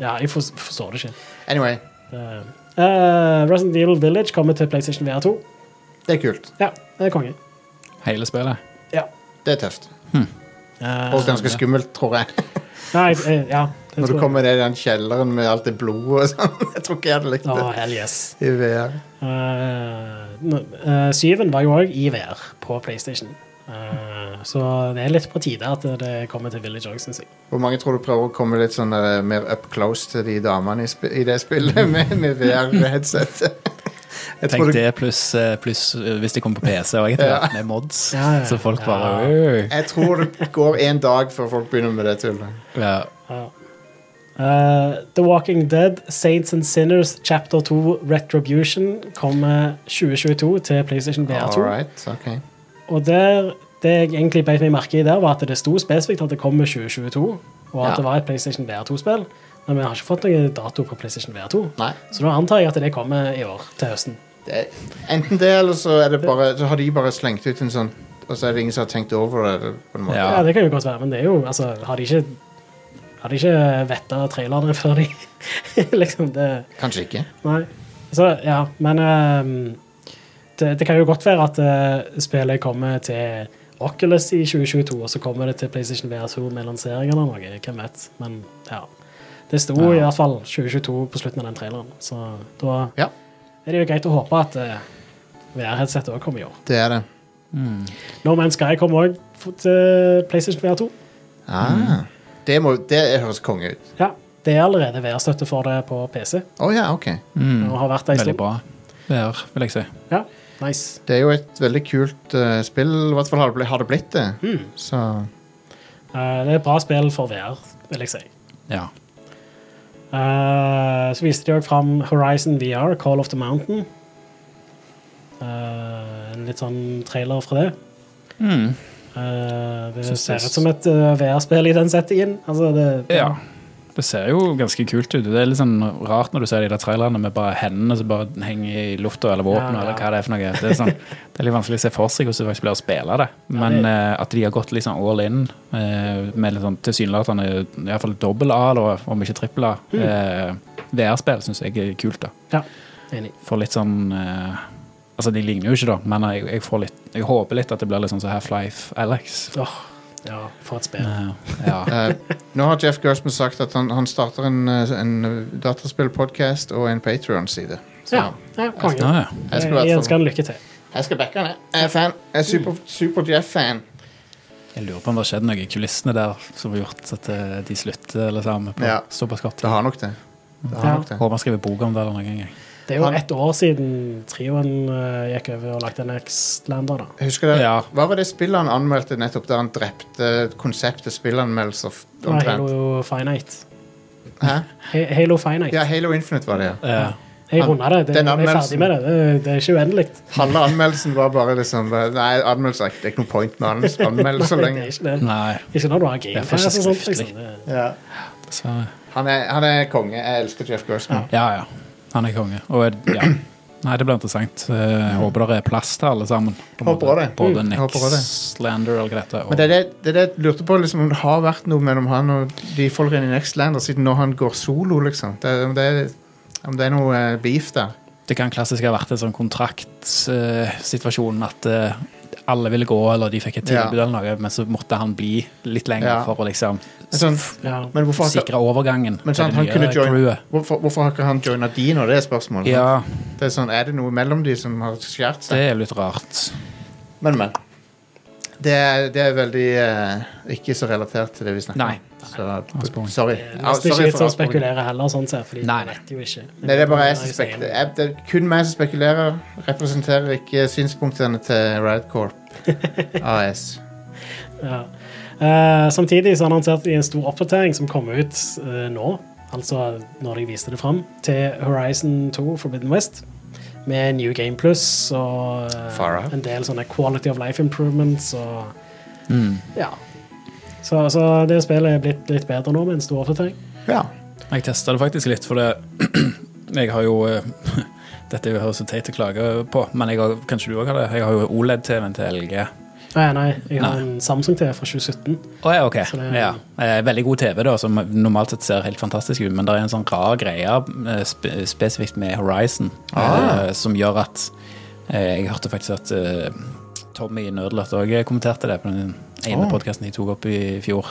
Speaker 11: ja, jeg for- forstår det ikke.
Speaker 10: Anyway,
Speaker 11: Uh, uh, Resident Evil Village kommer til PlayStation VR2.
Speaker 10: det er kult.
Speaker 11: Ja, det er konge.
Speaker 12: Hele spillet.
Speaker 11: Ja.
Speaker 10: Det er tøft.
Speaker 11: Eh,
Speaker 10: Og ganske skummelt, tror jeg.
Speaker 11: nei, eh, ja, det
Speaker 10: Når du
Speaker 11: tror jeg.
Speaker 10: kommer ned i den kjelleren med alt det blodet og sånn. Jeg tror ikke jeg hadde likt
Speaker 11: Å,
Speaker 10: det
Speaker 11: hell yes.
Speaker 10: i VR.
Speaker 11: Eh, nå- eh, Syven var jo òg i VR på PlayStation. Eh, så det er litt på tide at det kommer til Village òg, syns jeg.
Speaker 10: Hvor mange tror du prøver å komme litt sånn eh, mer up close til de damene i, sp i det spillet med, med VR-headset? Jeg
Speaker 12: Tenk
Speaker 10: tror du,
Speaker 12: det, pluss plus, hvis det kommer på PC og etter
Speaker 10: Ja.
Speaker 12: hvert med mods.
Speaker 11: Ja, ja.
Speaker 12: Så folk bare
Speaker 11: Ja.
Speaker 12: «Øy».
Speaker 10: jeg tror det går én dag før folk begynner med det tullet.
Speaker 12: ja.
Speaker 11: Ja. Eh, The Walking Dead, Saints and Sinners, Chapter 2, Retribution kommer 2022 til PlayStation VR2.
Speaker 10: All right, ok.
Speaker 11: Og der, det jeg egentlig beit meg merke i der, var at det sto spesifikt at det kommer 2022, og at
Speaker 10: Ja.
Speaker 11: det var et PlayStation VR2-spill. Men vi har ikke fått noen dato på PlayStation VR2,
Speaker 10: Nei.
Speaker 11: så da antar jeg at det kommer i år til høsten.
Speaker 10: Det, enten det, eller så, er det bare, så har de bare slengt ut en sånn Og så er det ingen som har tenkt over det. på en måte.
Speaker 11: Ja,
Speaker 12: Ja.
Speaker 11: det kan jo godt være, men det er jo altså, Har de ikke, har de ikke vetta trailerne før de liksom det
Speaker 10: Kanskje ikke.
Speaker 11: Nei. Så, ja, men ehm, det, det kan jo godt være at eh, spillet kommer til Oculus i 2022, og så kommer det til PlayStation VR2 med lansering eller noe. Hvem vet. Men ja. Det sto i hvert fall 2022 på slutten av den traileren, så da
Speaker 10: Ja.
Speaker 11: er det jo greit å håpe at eh, VR-headsetet òg kommer i år.
Speaker 10: Det er det.
Speaker 11: No Man's Sky kommer òg til PlayStation VR2.
Speaker 10: Ah. Det, må, det høres konge ut.
Speaker 11: Ja, det er allerede VR-støtte for det på PC.
Speaker 10: Å ja, ok.
Speaker 11: Og har vært det
Speaker 12: Mm. Veldig
Speaker 11: en stund.
Speaker 12: bra. Det er, vil jeg si.
Speaker 11: Ja, nice.
Speaker 10: Det er jo et veldig kult eh, spill. I hvert fall har det blitt, har det, blitt det.
Speaker 11: Hmm.
Speaker 10: Så
Speaker 11: Eh, det er et bra spill for VR, vil jeg si.
Speaker 12: Ja.
Speaker 11: Eh, så viste de òg fram Horizon VR, Call of the Mountain. Eh, en litt sånn trailer fra det. Mm. Eh, det
Speaker 12: Syns
Speaker 11: ser
Speaker 12: det-
Speaker 11: ut som et eh, VR-spill i den settingen. Altså, det, det-
Speaker 12: ja. Det ser jo ganske kult ut. Det er litt sånn rart når du ser de der trailerne med bare hendene som bare henger i lufta, eller våpen,
Speaker 11: Ja, ja.
Speaker 12: eller hva det er for noe. Det er, sånn, det er litt vanskelig å se for seg hvordan det faktisk blir å spille det. Men
Speaker 11: det-
Speaker 12: eh, at de har gått litt sånn all in, eh, med litt sånn tilsynelatende iallfall dobbel A, da, om ikke trippel A, eh, VR-spill, syns jeg er kult. da.
Speaker 11: ja. Enig.
Speaker 12: Får litt sånn eh, Altså, de ligner jo ikke, da, men jeg, jeg, får litt, jeg håper litt at det blir litt sånn som Half-Life Alex.
Speaker 11: Åh, ja, for et spill.
Speaker 12: Eh, ja.
Speaker 10: Eh, nå har Jeff Gersman sagt at han, han starter en, eh, en dataspillpodkast og en Patrion-side. Så
Speaker 11: Ja, ja konge.
Speaker 12: Ja, ja.
Speaker 10: jeg sånn-
Speaker 11: Jeg, Hmm.
Speaker 10: skal, i hvert fall-
Speaker 11: ønsker han lykke til.
Speaker 10: jeg skal backe han. jeg. Jeg er fan. Jeg er super, super Jeff-fan.
Speaker 12: Jeg lurer på om det har skjedd noe i kulissene der som har gjort at eh, de slutter eller sammen på
Speaker 10: Ja.
Speaker 12: såpass kort
Speaker 10: Det
Speaker 12: tid.
Speaker 10: har nok det. det, har
Speaker 11: Ja.
Speaker 10: nok det.
Speaker 12: Håper han skriver bok om det eller noe en gang.
Speaker 11: Det er jo
Speaker 10: Han-
Speaker 11: ett år siden trioen eh, gikk over og lagde Nextlander, da.
Speaker 10: Husker dere,
Speaker 12: Ja.
Speaker 10: Hva var det spillet han anmeldte nettopp der han drepte konseptet spillanmeldelser? f-
Speaker 11: Det var
Speaker 10: omtrent?
Speaker 11: Halo Finite.
Speaker 10: Hæ?
Speaker 11: Ha- Halo Finite.
Speaker 10: Ja, Halo Infinite var det, ja.
Speaker 12: Ja.
Speaker 11: Jeg runda det. det
Speaker 10: Den
Speaker 11: jeg er
Speaker 10: anmeldelsen.
Speaker 11: ferdig med det. Det, det er ikke uendelig.
Speaker 10: Halve anmeldelsen var bare liksom Nei, anmeldelser er ikke- det er ikke noe point med anmeldelser. Anmeld så
Speaker 11: Nei, det
Speaker 10: lenge.
Speaker 11: er ikke det.
Speaker 12: Nei,
Speaker 11: Ikke når du har
Speaker 12: Det er for
Speaker 11: gamepass og sånt.
Speaker 12: skriftlig.
Speaker 11: Liksom. Det-
Speaker 10: Ja.
Speaker 12: dessverre.
Speaker 10: Han, er, han er konge. Jeg elsker Jeff Gersman.
Speaker 12: Ja, ja. Han er konge. Og er- ja. Nei, det blir interessant. Eh, Jeg håper det er plass til alle sammen. På en
Speaker 10: Håper
Speaker 12: måte.
Speaker 10: det.
Speaker 12: Både
Speaker 10: Mm,
Speaker 12: Nick
Speaker 10: håper det.
Speaker 12: Slander og alt dette. Og,
Speaker 10: Men det er det, det er det jeg lurte på, liksom, om det har vært noe mellom han og de folkene i Nextlander siden når han går solo, liksom. Det, om, det er, om det er noe eh, beef der.
Speaker 12: det kan klassisk ha vært en sånn kontraktsituasjon at eh, alle ville gå, eller de fikk et
Speaker 10: Ja.
Speaker 12: tilbud eller noe, men så måtte han bli litt lenger
Speaker 10: Ja.
Speaker 12: for å liksom
Speaker 10: Men Sånn,
Speaker 11: Ja.
Speaker 10: men hvorfor har ikke,
Speaker 12: sikre overgangen
Speaker 10: men sånn, han kunne join, hvorfor, hvorfor har ikke han joina de når det er spørsmålet?
Speaker 12: Ja,
Speaker 10: Det er, sånn, er det noe mellom de som har skjært
Speaker 12: det
Speaker 10: seg?
Speaker 12: er litt rart.
Speaker 10: Men, men. Det er, det er veldig eh, ikke så relatert til det vi snakker om.
Speaker 12: Nei.
Speaker 10: Så,
Speaker 12: Avsporing.
Speaker 10: sorry.
Speaker 11: Det
Speaker 10: Ah,
Speaker 11: er
Speaker 10: sorry
Speaker 11: ikke litt
Speaker 10: for
Speaker 11: sånn
Speaker 10: avsporing.
Speaker 11: spekulere heller, sånn sett, fordi
Speaker 12: Nei,
Speaker 11: man
Speaker 12: nei.
Speaker 11: vet jo ikke.
Speaker 10: Nei, det er bare jeg som
Speaker 11: jo
Speaker 10: spekulerer.
Speaker 11: stein.
Speaker 10: Jeg- Det er kun meg som spekulerer. Representerer ikke synspunktene til Radcorp AS.
Speaker 11: Ja. Eh, samtidig så annonserte de en stor oppdatering som kommer ut eh, nå, altså når de viste det fram, til Horizon 2 Forbidden West. Med New Game Plus og eh,
Speaker 10: Far out.
Speaker 11: en del sånne quality of life improvements og
Speaker 12: Mm.
Speaker 11: Ja. Så, så det spillet er blitt litt bedre nå, med en stor oppdatering.
Speaker 10: Ja.
Speaker 12: Jeg testa det faktisk litt, for det Jeg har jo eh, Dette høres så teit å klage på, men jeg har, kanskje du òg har det? Jeg har jo OLED-TV-en til LG.
Speaker 11: Nei, nei, jeg har
Speaker 12: Nei.
Speaker 11: en Samsung TV fra 2017.
Speaker 12: Å ja, ok.
Speaker 11: Så det-
Speaker 12: Ja. Eh, Veldig god TV, da, som normalt sett ser helt fantastisk ut, men det er en sånn rar greie eh, spe spesifikt med Horizon
Speaker 10: Ah.
Speaker 12: eh, som gjør at eh, Jeg hørte faktisk at eh, Tommy Nødlert òg kommenterte det på den ene
Speaker 10: Ah.
Speaker 12: podkasten de tok opp i fjor.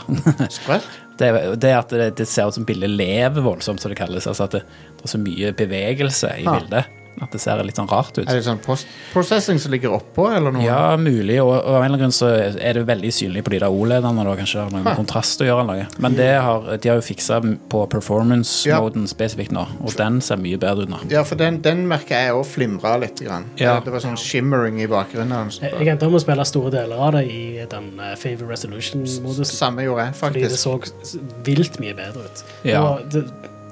Speaker 10: Sprøtt.
Speaker 12: Det, er- det er at det, det ser ut som bildet lever voldsomt, som det kalles. Altså at det, det er så mye bevegelse i
Speaker 10: Ah.
Speaker 12: bildet at det ser litt sånn rart ut.
Speaker 10: Er det sånn post processing som ligger oppå, eller noe?
Speaker 12: Ja, mulig, og, og av en eller annen grunn så er det veldig synlig på de der O-lederne. da, Kanskje det har noe
Speaker 10: Ah.
Speaker 12: med kontrast å gjøre. eller noe. Men det har, de har jo fiksa på performance-moden spesifikt nå, og den ser mye bedre ut nå.
Speaker 10: Ja, for den, den merker jeg òg flimra litt. Grann.
Speaker 12: Ja.
Speaker 10: Det, det var sånn shimmering i bakgrunnen.
Speaker 11: Jeg, Eh, jeg endte opp med å spille store deler av det i den eh, Favor Resolution-modusen.
Speaker 10: Samme gjorde jeg,
Speaker 11: Fordi det
Speaker 10: faktisk.
Speaker 11: så s- vilt mye bedre ut.
Speaker 12: Ja.
Speaker 11: Og det,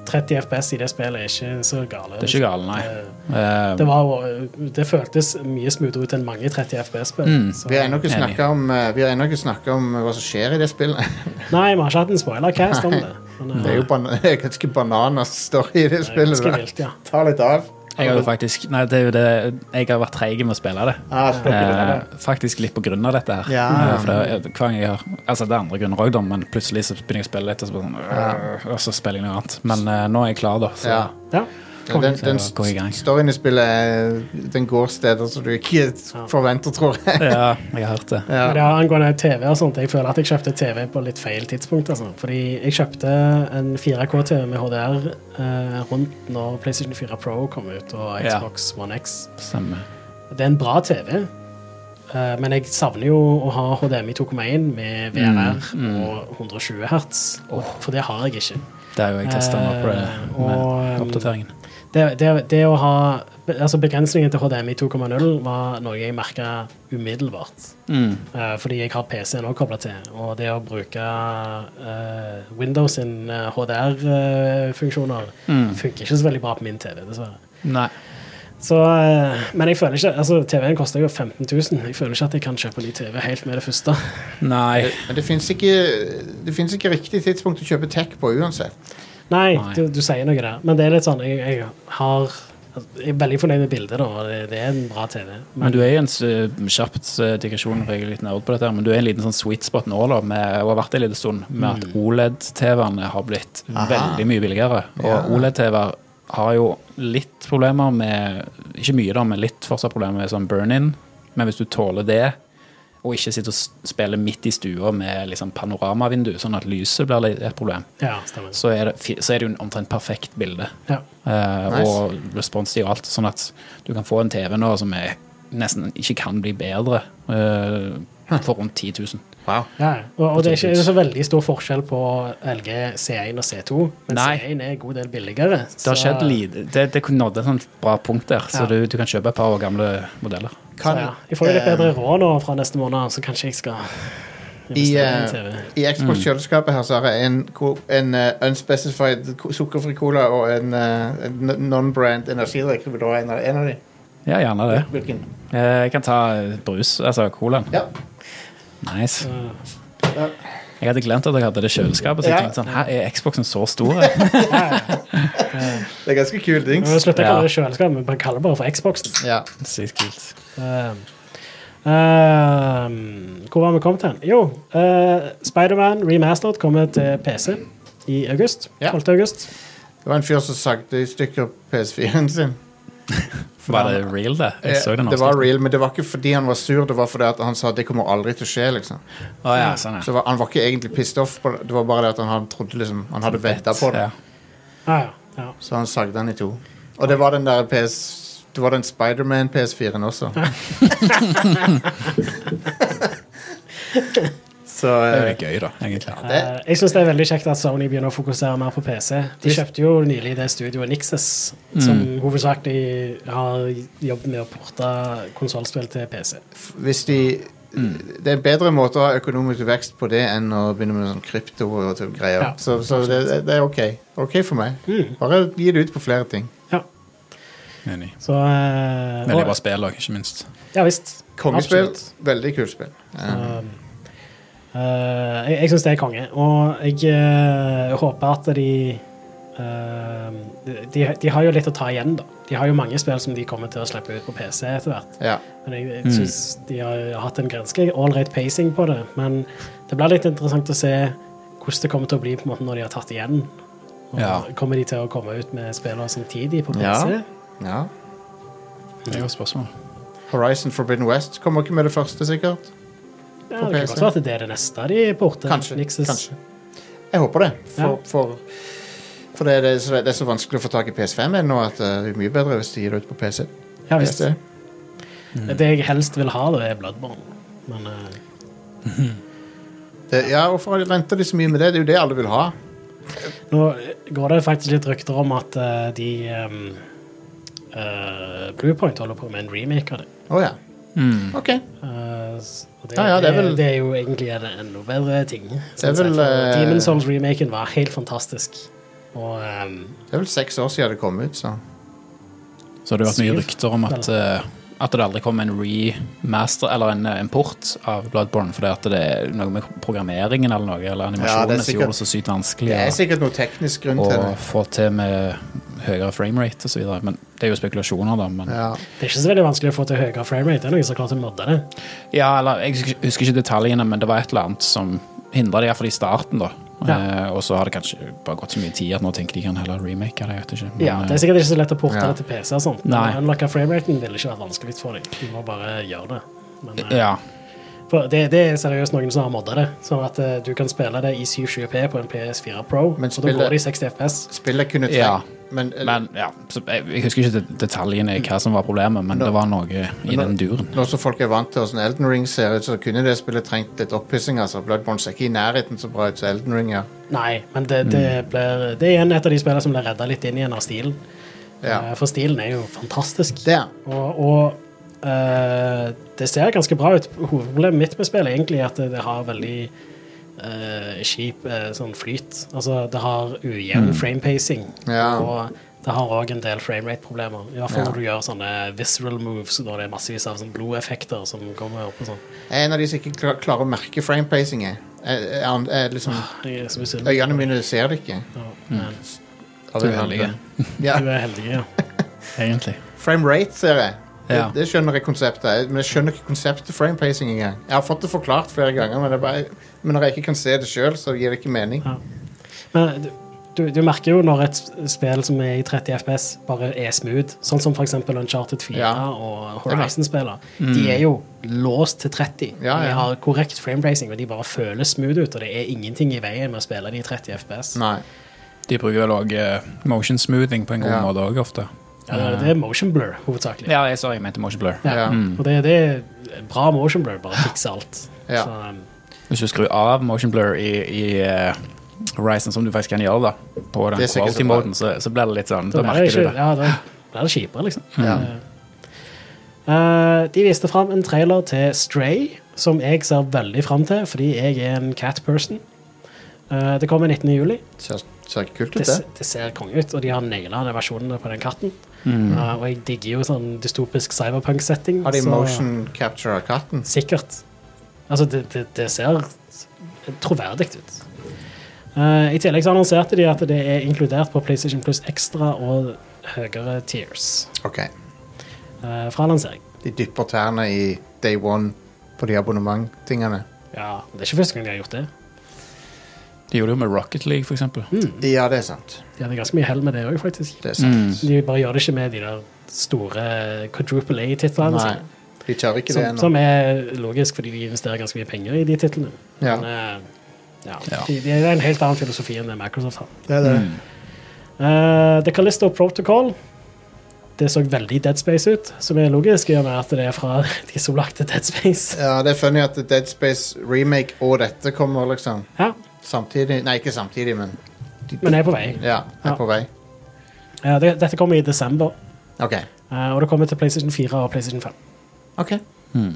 Speaker 11: 30 FPS i det spillet er ikke så gale.
Speaker 12: Det er ikke galt, nei.
Speaker 11: Det,
Speaker 12: Eh,
Speaker 11: det, var, jo- det føltes mye smoothere ut enn mange 30 FPS-spill.
Speaker 12: Mm.
Speaker 10: Vi har ennå ikke
Speaker 12: Enig.
Speaker 10: snakka om, eh, vi har ennå ikke snakket om eh, hva som skjer i det spillet.
Speaker 11: Nei, vi har ikke hatt en spoilercast om det. Men, eh,
Speaker 10: Det er jo ban det er ganske bananas story i det
Speaker 11: det er
Speaker 10: spillet.
Speaker 11: ganske
Speaker 10: da.
Speaker 11: vilt, ja.
Speaker 10: Ta litt av.
Speaker 12: Eh, jeg har jo faktisk Nei, det er jo det Jeg har vært treig med å spille det.
Speaker 10: Ah,
Speaker 12: Eh,
Speaker 10: spekulerer.
Speaker 12: faktisk litt på grunn av dette her.
Speaker 10: Ja.
Speaker 12: Eh, for det, er- hver gang jeg har, altså det er andre grunner også da, men plutselig så begynner jeg å spille litt, og så, bare sånn, øh, og så spiller jeg noe annet. Men eh, nå er jeg klar, da. Så.
Speaker 10: ja.
Speaker 11: ja.
Speaker 10: Ja, Den, den
Speaker 12: Så gå i gang.
Speaker 10: st- storyen i spillet eh, Den går steder som du ikke forventer, tror jeg.
Speaker 12: ja, jeg har hørt det.
Speaker 11: Men det er angående TV og sånt, jeg føler at jeg kjøpte TV på litt feil tidspunkt. Altså. Fordi jeg kjøpte en 4K-TV med HDR eh, rundt når PlayStation 4 Pro kom ut, og
Speaker 12: Ja.
Speaker 11: Xbox One X.
Speaker 12: Stemmer.
Speaker 11: Det er en bra TV, eh, men jeg savner jo å ha HDMI 2,1 med VRR
Speaker 12: Mm,
Speaker 11: og 120 hertz, og- for det har jeg ikke.
Speaker 12: Det er jo jeg testa nå på det
Speaker 11: Eh,
Speaker 12: med
Speaker 11: og, um,
Speaker 12: oppdateringen.
Speaker 11: Det, det, det å ha altså Begrensningen til HDMI 2,0 var noe jeg merka umiddelbart.
Speaker 12: Mm.
Speaker 11: Eh, fordi jeg har PC-en òg kobla til. Og det å bruke eh, Windows sin eh, HDR-funksjoner eh,
Speaker 12: Mm.
Speaker 11: funker ikke så veldig bra på min TV, dessverre.
Speaker 12: Nei.
Speaker 11: Så, eh, men jeg føler ikke altså TV-en koster jo 15 000. Jeg føler ikke at jeg kan kjøpe ny TV helt med det første.
Speaker 12: Nei.
Speaker 10: Men det fins ikke, det finnes ikke riktig tidspunkt å kjøpe tech på uansett.
Speaker 11: Nei,
Speaker 12: Nei.
Speaker 11: Du, du sier noe der. Men det er litt sånn Jeg, jeg har altså, Jeg er veldig fornøyd med bildet, da. Og det, det er en bra TV.
Speaker 12: Men du er i en s- kjapt eh, digresjon, for jeg er litt nerd på dette, her, men du er i en liten sånn sweet spot nå, da, med, og har vært det en liten stund, med at E OLED-TV-ene har blitt veldig mye billigere. Og E OLED-TV-er har jo litt problemer med Ikke mye, da, men litt fortsatt problemer med sånn burn-in. Men hvis du tåler det, og ikke sitter og s- spiller midt i stua med liksom panoramavindu, sånn at lyset blir litt- et problem,
Speaker 11: Ja, stemmer.
Speaker 12: så er det, fi- så er det jo en omtrent perfekt bilde.
Speaker 11: Ja.
Speaker 12: Eh,
Speaker 10: Nice.
Speaker 12: Og responstid og alt. Sånn at du kan få en TV nå som er, nesten ikke kan bli bedre eh, for rundt 10 000.
Speaker 11: Ja, ja. og, og det er ikke så veldig stor forskjell på LG C1 og C2, men
Speaker 12: Nei.
Speaker 11: C1 er en god del billigere.
Speaker 12: Det har
Speaker 11: så-
Speaker 12: skjedd lite. Det, det kunne nådd et sånt bra punkt der, så
Speaker 11: Ja.
Speaker 12: du, du kan kjøpe et par år gamle modeller.
Speaker 11: Så, ja. Jeg får jo litt
Speaker 10: eh,
Speaker 11: bedre råd nå fra neste måned, så kanskje jeg skal
Speaker 10: I,
Speaker 11: Investere
Speaker 10: eh,
Speaker 11: i en TV.
Speaker 10: I
Speaker 12: Mm.
Speaker 10: Xbox-kjøleskapet her så har jeg en, ko- en eh, unspecified ko- sukkerfri cola og en, eh, en n- non-brand energidrikk. Vil du ha en av, en av de?
Speaker 12: Ja, gjerne det.
Speaker 10: Hvilken?
Speaker 12: Eh, Jeg kan ta eh, brus, altså colaen.
Speaker 10: Ja.
Speaker 12: Nice.
Speaker 10: Ja.
Speaker 12: Jeg hadde glemt at jeg hadde det kjøleskapet, så jeg
Speaker 10: Ja.
Speaker 12: tenkte sånn, her er Xboxen så stor. jeg?»
Speaker 10: Det er ganske kule
Speaker 11: Men Vi
Speaker 10: dings.
Speaker 11: slutter å
Speaker 12: Ja.
Speaker 11: kalle det kjøleskap, men man kaller det bare for Xboxen.
Speaker 10: Ja.
Speaker 12: Sykt kult.
Speaker 11: Um, um, hvor var vi kommet hen? Jo, uh, Spiderman Remastered kommer til PC i august.
Speaker 10: Ja.
Speaker 11: 12. august.
Speaker 10: Det var en fyr som sagde i stykker PS4-en sin.
Speaker 12: Var det real, det? Jeg så den
Speaker 10: Eh, det var
Speaker 12: avsnitten.
Speaker 10: real, men det var ikke fordi han var sur, det var fordi at han sa at det kommer aldri til å skje. liksom.
Speaker 12: Å ja, sånn,
Speaker 10: Så var, Han var ikke egentlig pissed off, på det det var bare det at han hadde, trodde liksom, han hadde venta på det.
Speaker 12: ja.
Speaker 11: Ah, ja, ja.
Speaker 10: Så han sagde den i to. Og det var den der PS... Det var den Spiderman PS4-en også. Så
Speaker 12: Det er
Speaker 10: eh,
Speaker 12: jo gøy, da, egentlig.
Speaker 10: det,
Speaker 11: Eh, jeg syns det er veldig kjekt at Sony begynner å fokusere mer på PC. De kjøpte jo nylig det studioet Nixes, som
Speaker 12: Mm.
Speaker 11: hovedsakelig har jobbet med å porte konsollspill til PC.
Speaker 10: hvis de
Speaker 12: Mm.
Speaker 10: Det er en bedre måte å ha økonomisk vekst på det enn å begynne med sånn krypto og typ greier.
Speaker 11: Ja,
Speaker 10: så så det, det er ok. Ok for meg.
Speaker 11: Mm.
Speaker 10: Bare gi det ut på flere ting.
Speaker 11: Ja,
Speaker 12: Enig.
Speaker 11: så eh,
Speaker 12: Veldig
Speaker 11: og-
Speaker 12: bra spill òg, ikke minst.
Speaker 11: Ja visst.
Speaker 10: Kongespill.
Speaker 11: Absolutt.
Speaker 10: Veldig kult spill. Eh,
Speaker 11: Um, eh, jeg jeg syns det er konge, og jeg eh, håper at de eh, de, de har jo litt å ta igjen, da. De har jo mange spill som de kommer til å slippe ut på PC etter hvert.
Speaker 10: ja.
Speaker 11: Men jeg, jeg syns de har hatt en ganske ålreit pacing på det. Men det blir litt interessant å se hvordan det kommer til å bli på en måte når de har tatt igjen. Og
Speaker 12: Ja.
Speaker 11: Kommer de til å komme ut med spillere samtidig på PC?
Speaker 10: Ja. ja.
Speaker 12: Det er jo et spørsmål.
Speaker 10: Horizon Forbidden West kommer ikke med det første, sikkert.
Speaker 11: Ja,
Speaker 10: På
Speaker 11: det kan
Speaker 10: PC.
Speaker 11: godt være at det er det neste de porter.
Speaker 10: Kanskje,
Speaker 11: Nixes.
Speaker 10: kanskje. Jeg håper det. For,
Speaker 11: Ja.
Speaker 10: for, for det, er- det, er så, det er så vanskelig å få tak i PS5 ennå at eh, det er mye bedre hvis de gir det ut på PC.
Speaker 11: Ja, visst.
Speaker 10: Det-
Speaker 11: Det jeg helst vil ha, da, er Bloodborne. Men eh,
Speaker 10: Det, ja, Hvorfor venter de så mye med det? Det er jo det alle vil ha.
Speaker 11: nå går det faktisk litt rykter om at eh, de um, eh, Bluepoint holder på med en remake av det.
Speaker 10: Å ja.
Speaker 11: Mm.
Speaker 10: OK.
Speaker 11: Eh, s- og det,
Speaker 10: Ja, ja, det
Speaker 11: det,
Speaker 10: er vel-
Speaker 11: det er jo egentlig en enda bedre ting.
Speaker 10: er
Speaker 11: sånn sett.
Speaker 10: vel, eh,
Speaker 11: Demon's Souls-remaken var helt fantastisk. Og ehm,
Speaker 10: Det er vel seks år siden det kom ut, så
Speaker 12: Så har det vært mye
Speaker 11: Syv.
Speaker 12: rykter om at, eh, at det aldri kom en remaster, eller en, eh, en port av Bloodborne, fordi at det er noe med programmeringen eller noe, eller
Speaker 10: Ja, det
Speaker 12: animasjonen
Speaker 10: er
Speaker 12: som
Speaker 10: sikkert-
Speaker 12: gjorde det så sykt vanskelig
Speaker 10: Det er
Speaker 12: å-
Speaker 10: sikkert noe teknisk grunn
Speaker 12: å
Speaker 10: til det.
Speaker 12: få til med høyere framerate og så videre. Men det er jo spekulasjoner, da. Men, ja.
Speaker 10: Ja.
Speaker 11: det er ikke så veldig vanskelig å få til høyere framerate. Det er noen som har klart å modde det.
Speaker 12: eller jeg husker ikke- husker ikke detaljene, men det var et eller annet som hindra det, iallfall i starten, da.
Speaker 11: Ja.
Speaker 12: Eh, og så har det kanskje bare gått så mye tid at nå tenker de kan heller remake eller jeg vet ikke. Men,
Speaker 11: Ja, det
Speaker 12: eh,
Speaker 11: er sikkert ikke så lett å porte
Speaker 10: Ja.
Speaker 11: det til PC og sånt.
Speaker 12: Nei.
Speaker 11: Men unlocka frameraten ville ikke vært vanskelig for deg. Du må bare gjøre det. Men, eh,
Speaker 12: ja.
Speaker 11: For det, det er seriøst noen som har modda det, sånn at eh, du kan spille det i 720p på en PS4 Pro,
Speaker 10: Men
Speaker 11: og da
Speaker 10: spille-
Speaker 11: går det i 60 FPS.
Speaker 10: Spillet kunne trengt
Speaker 12: Ja.
Speaker 10: men, eh,
Speaker 12: Men ja, så jeg, jeg husker ikke det- detaljene i hva som var problemet, men det var noe i den duren.
Speaker 10: nå som folk er vant til hvordan Elden Ring ser ut, så kunne det spillet trengt litt oppussing. Altså. Bloodborne ser ikke i nærheten så bra ut som Elden Ring gjør.
Speaker 11: Nei, men det, det,
Speaker 10: Mm.
Speaker 11: blir, det er igjen et av de spillene som blir redda litt inn igjen av stilen.
Speaker 10: Ja.
Speaker 11: Eh, For stilen er jo fantastisk.
Speaker 10: Det er
Speaker 11: Og, og eh, det ser ganske bra ut. Hovedproblemet mitt med spillet er egentlig at det, det har veldig eh, kjip eh, sånn flyt. Altså, det har ujevn framepacing.
Speaker 10: Mm. Ja.
Speaker 11: Og det har òg en del framerate-problemer. I hvert fall når du gjør sånne visceral moves, når det er massevis av sånn blodeffekter som kommer opp og sånn.
Speaker 10: Jeg er en av de som ikke klar, klarer å merke framepacing. Jeg. Jeg, jeg, jeg, er liksom,
Speaker 11: Jeg er så misunnelig.
Speaker 10: øynene mine ser det ikke.
Speaker 11: Ja, men
Speaker 10: Mm. Av
Speaker 12: Du
Speaker 10: en
Speaker 12: er
Speaker 10: eller annen
Speaker 12: heldig.
Speaker 10: grunn. Ja.
Speaker 11: Du er heldig, ja.
Speaker 12: Egentlig.
Speaker 10: Frame rate, ser jeg. Det,
Speaker 12: Ja.
Speaker 10: det skjønner jeg konseptet. Jeg- Men jeg skjønner ikke konseptet framepacing engang. Jeg har fått det forklart flere ganger, men, det er bare, men når jeg ikke kan se det sjøl, så gir det ikke mening.
Speaker 11: Ja. Men du- du, du merker jo når et s- spill som er i 30 FPS, bare er smooth. Sånn som f.eks. Uncharted 4
Speaker 10: Ja.
Speaker 11: og Horizon-spiller. De er jo låst til 30.
Speaker 10: Mm. Ja, ja.
Speaker 11: De har korrekt framebracing, og de bare føles smooth ut. Og det er ingenting i veien med å spille de i 30 FPS.
Speaker 10: Nei.
Speaker 12: De bruker vel òg motion smoothing på en god
Speaker 10: Ja.
Speaker 12: måte òg, ofte.
Speaker 11: Ja, det- det er motion blur, hovedsakelig.
Speaker 12: Ja, jeg, sorry, jeg mente motion blur.
Speaker 10: Ja.
Speaker 11: Og det, det er bra motion blur, bare fikse alt.
Speaker 10: Ja.
Speaker 11: Så, um,
Speaker 12: Hvis du skrur av motion blur i, i eh, Horizon, som du faktisk kan gjøre, da, på den
Speaker 10: Det er sikkert så bra.
Speaker 12: quality-moden, så, så blir det litt sånn Da
Speaker 11: Da blir det
Speaker 12: merker du
Speaker 11: ikke-
Speaker 12: det.
Speaker 11: Ja, da blir det kjipere, liksom.
Speaker 10: Ja.
Speaker 11: Eh, Eh, de viste fram en trailer til Stray, som jeg ser veldig fram til, fordi jeg er en cat person. Eh, det kommer 19. juli.
Speaker 10: Ser, ser kult ut,
Speaker 11: Det,
Speaker 10: det.
Speaker 11: s- det ser konge ut, og de har naila den versjonen på den katten. Eh, og jeg digger jo sånn dystopisk cyberpunk-setting.
Speaker 10: Har de
Speaker 11: så-
Speaker 10: motion capture av katten?
Speaker 11: Sikkert. Altså, det, det, det ser troverdig ut. Eh, I tillegg så annonserte de at det er inkludert på PlayStation Plus Extra og høyere tiers
Speaker 10: OK.
Speaker 11: eh, fra lansering.
Speaker 10: De dypper tærne i day one på de abonnementtingene.
Speaker 11: Ja, Det er ikke første gang de har gjort det.
Speaker 12: De gjorde det jo med Rocket League, for eksempel.
Speaker 10: Ja, det er sant.
Speaker 11: De hadde ganske mye hell med det òg, faktisk.
Speaker 10: Det er sant.
Speaker 11: De bare gjør det ikke med de der store quadruple A-titlene
Speaker 10: Nei,
Speaker 11: sine.
Speaker 10: de tør ikke det
Speaker 11: Som,
Speaker 10: ennå.
Speaker 11: som er logisk, fordi de investerer ganske mye penger i de titlene.
Speaker 10: Ja.
Speaker 11: Men, eh, ja.
Speaker 12: Ja.
Speaker 11: De, de er en helt annen filosofi enn det Microsoft har.
Speaker 10: Det er det.
Speaker 11: Eh, The Callisto Protocol Det så veldig Dead Space ut, som er logisk, i og med at det er fra de som lagde Dead Space.
Speaker 10: Ja, det er funny at Dead Space remake og dette kommer liksom
Speaker 11: Ja,
Speaker 10: samtidig. Nei, ikke samtidig, men
Speaker 11: men jeg er på vei.
Speaker 10: ja, er
Speaker 11: Ja.
Speaker 10: på vei.
Speaker 11: Eh, det, dette kommer i desember,
Speaker 10: OK.
Speaker 11: eh, og det kommer til PlayStation 4 og PlayStation 5.
Speaker 10: ok
Speaker 11: Mm.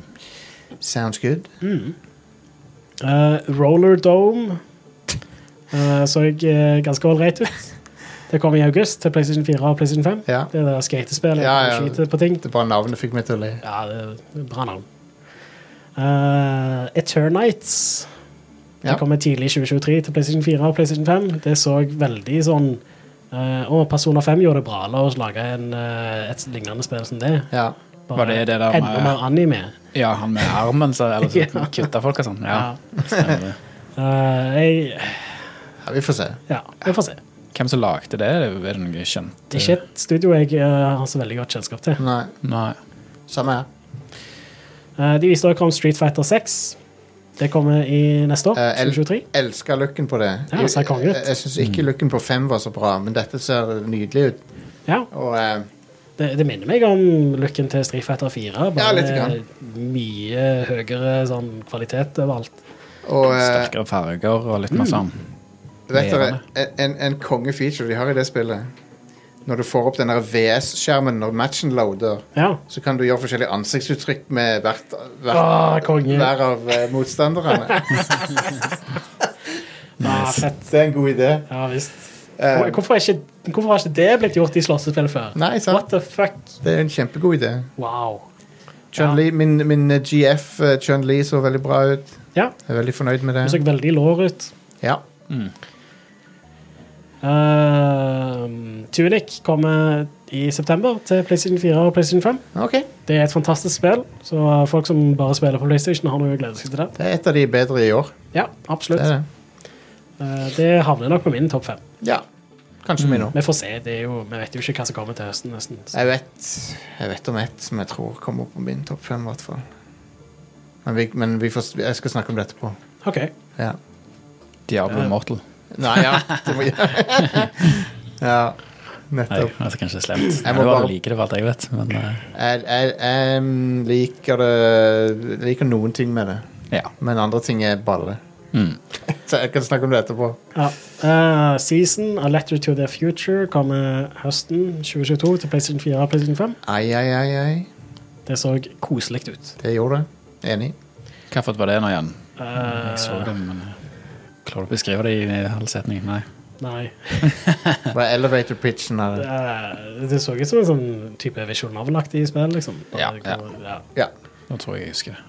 Speaker 10: Sounds good.
Speaker 11: Eh, Roller Dome eh, så jeg eh, ganske ålreit ut. Det kommer i august til PlayStation 4 og PlayStation 5.
Speaker 10: Ja.
Speaker 11: Det er der skatespillet
Speaker 10: Ja, ja.
Speaker 11: og skyter på ting.
Speaker 10: Det er bare navnet fikk meg til å le.
Speaker 11: Ja, det er bra navn. Eh, Eternites.
Speaker 10: Ja.
Speaker 11: Det kommer tidlig i 2023 til PlayStation 4 og PlayStation 5. Det så veldig sånn eh, Å, Persona 5 gjorde det bra. La oss lage en, eh, et lignende spill som det.
Speaker 10: Ja.
Speaker 11: Bare
Speaker 12: Var det det der
Speaker 11: enda
Speaker 12: med-
Speaker 11: mer anime.
Speaker 12: Ja, han med armen, så, eller så
Speaker 11: Ja.
Speaker 12: kutta folk og sånn. Ja. stemmer det.
Speaker 11: Eh, jeg,
Speaker 10: ja, vi får se.
Speaker 11: ja, vi får se.
Speaker 12: Hvem som lagde det? Er det noe jeg
Speaker 11: Det
Speaker 12: kjente?
Speaker 11: er ikke et studio jeg eh, har så veldig godt kjennskap til.
Speaker 10: Nei,
Speaker 12: Nei.
Speaker 10: samme her.
Speaker 11: Eh, de viste også om Street Fighter 6. Det kommer i neste år,
Speaker 10: Eh, el-
Speaker 11: 2023.
Speaker 10: Elsker looken på det.
Speaker 11: Ja, ser konge ut.
Speaker 10: Jeg,
Speaker 11: Mm.
Speaker 10: jeg syns ikke looken på fem var så bra, men dette ser nydelig ut.
Speaker 11: Ja,
Speaker 10: Og eh,
Speaker 11: Det, det minner meg om looken til Street Fighter 4.
Speaker 10: Ja,
Speaker 11: Bare
Speaker 10: lite grann.
Speaker 11: mye høyere sånn, kvalitet overalt.
Speaker 10: Og eh,
Speaker 12: Sterkere farger og litt mer sånn.
Speaker 10: vet dere,
Speaker 12: levende.
Speaker 10: en, en kongefeature de har i det spillet Når du får opp den der VS-skjermen når matchen loader,
Speaker 11: Ja.
Speaker 10: så kan du gjøre forskjellige ansiktsuttrykk med hvert, hvert,
Speaker 11: Ah, konge.
Speaker 10: hver av eh, motstanderne.
Speaker 11: Ah, fett.
Speaker 10: Det er en god idé.
Speaker 11: Ja visst.
Speaker 10: Eh,
Speaker 11: Hvor- Hvorfor, er ikke, hvorfor har ikke det blitt gjort i slåssespill før?
Speaker 10: Nei, sant.
Speaker 11: What the fuck?
Speaker 10: Det er en kjempegod idé.
Speaker 11: Wow.
Speaker 10: Chun-Li, min, min eh, GF eh, Chun-Li så veldig bra ut.
Speaker 11: Ja,
Speaker 10: Jeg er veldig fornøyd med
Speaker 11: hun så
Speaker 10: det.
Speaker 11: veldig lår ut.
Speaker 10: Ja.
Speaker 11: Ehm, Tunic kommer i september til PlayStation 4 og PlayStation 5.
Speaker 10: OK.
Speaker 11: Det er et fantastisk spill, så folk som bare spiller på PlayStation, har noe å glede seg til det.
Speaker 10: Det er et av de bedre i år.
Speaker 11: Ja,
Speaker 10: Det er
Speaker 11: absolutt.
Speaker 10: det.
Speaker 11: Eh, Det havner nok på min topp fem.
Speaker 10: Ja. Kanskje min òg.
Speaker 11: Vi får se. Det er jo, vi vet jo ikke hva som kommer til høsten. nesten. Så,
Speaker 10: Jeg vet, jeg vet om ett som jeg tror kommer på min topp fem, i hvert fall. Men, vi, men vi får, jeg skal snakke om det etterpå.
Speaker 11: OK.
Speaker 10: Ja.
Speaker 12: Diablo Mortal.
Speaker 10: Nei, ja. Det må, ja.
Speaker 12: Nei,
Speaker 10: Nettopp.
Speaker 12: altså kanskje slemt.
Speaker 10: Jeg
Speaker 12: Jeg
Speaker 10: må
Speaker 12: bare...
Speaker 10: bare-
Speaker 12: liker det for alt jeg vet, men eh,
Speaker 10: Jeg, jeg, jeg liker det jeg liker noen ting med det,
Speaker 12: ja.
Speaker 10: men andre ting er balle.
Speaker 12: Mm.
Speaker 10: Så jeg kan snakke om det etterpå.
Speaker 11: Ja. Eh, season A Letter to the Future kommer høsten 2022 til PlayStation 4 og PlayStation 5.
Speaker 10: Ai, ai, ai, ai.
Speaker 11: Det så koselig ut.
Speaker 10: Det gjorde det. Enig.
Speaker 12: Hvilket var det nå igjen? jeg så det, men eh, klarer du å beskrive det i i halv setning? Nei.
Speaker 11: Nei.
Speaker 10: Bare elevator pitchen av det.
Speaker 11: Eh, det så ut som en sånn type Vision Novel-aktig spill, liksom.
Speaker 12: Ja,
Speaker 11: det går- ja.
Speaker 10: Ja.
Speaker 12: Nå tror jeg jeg husker det.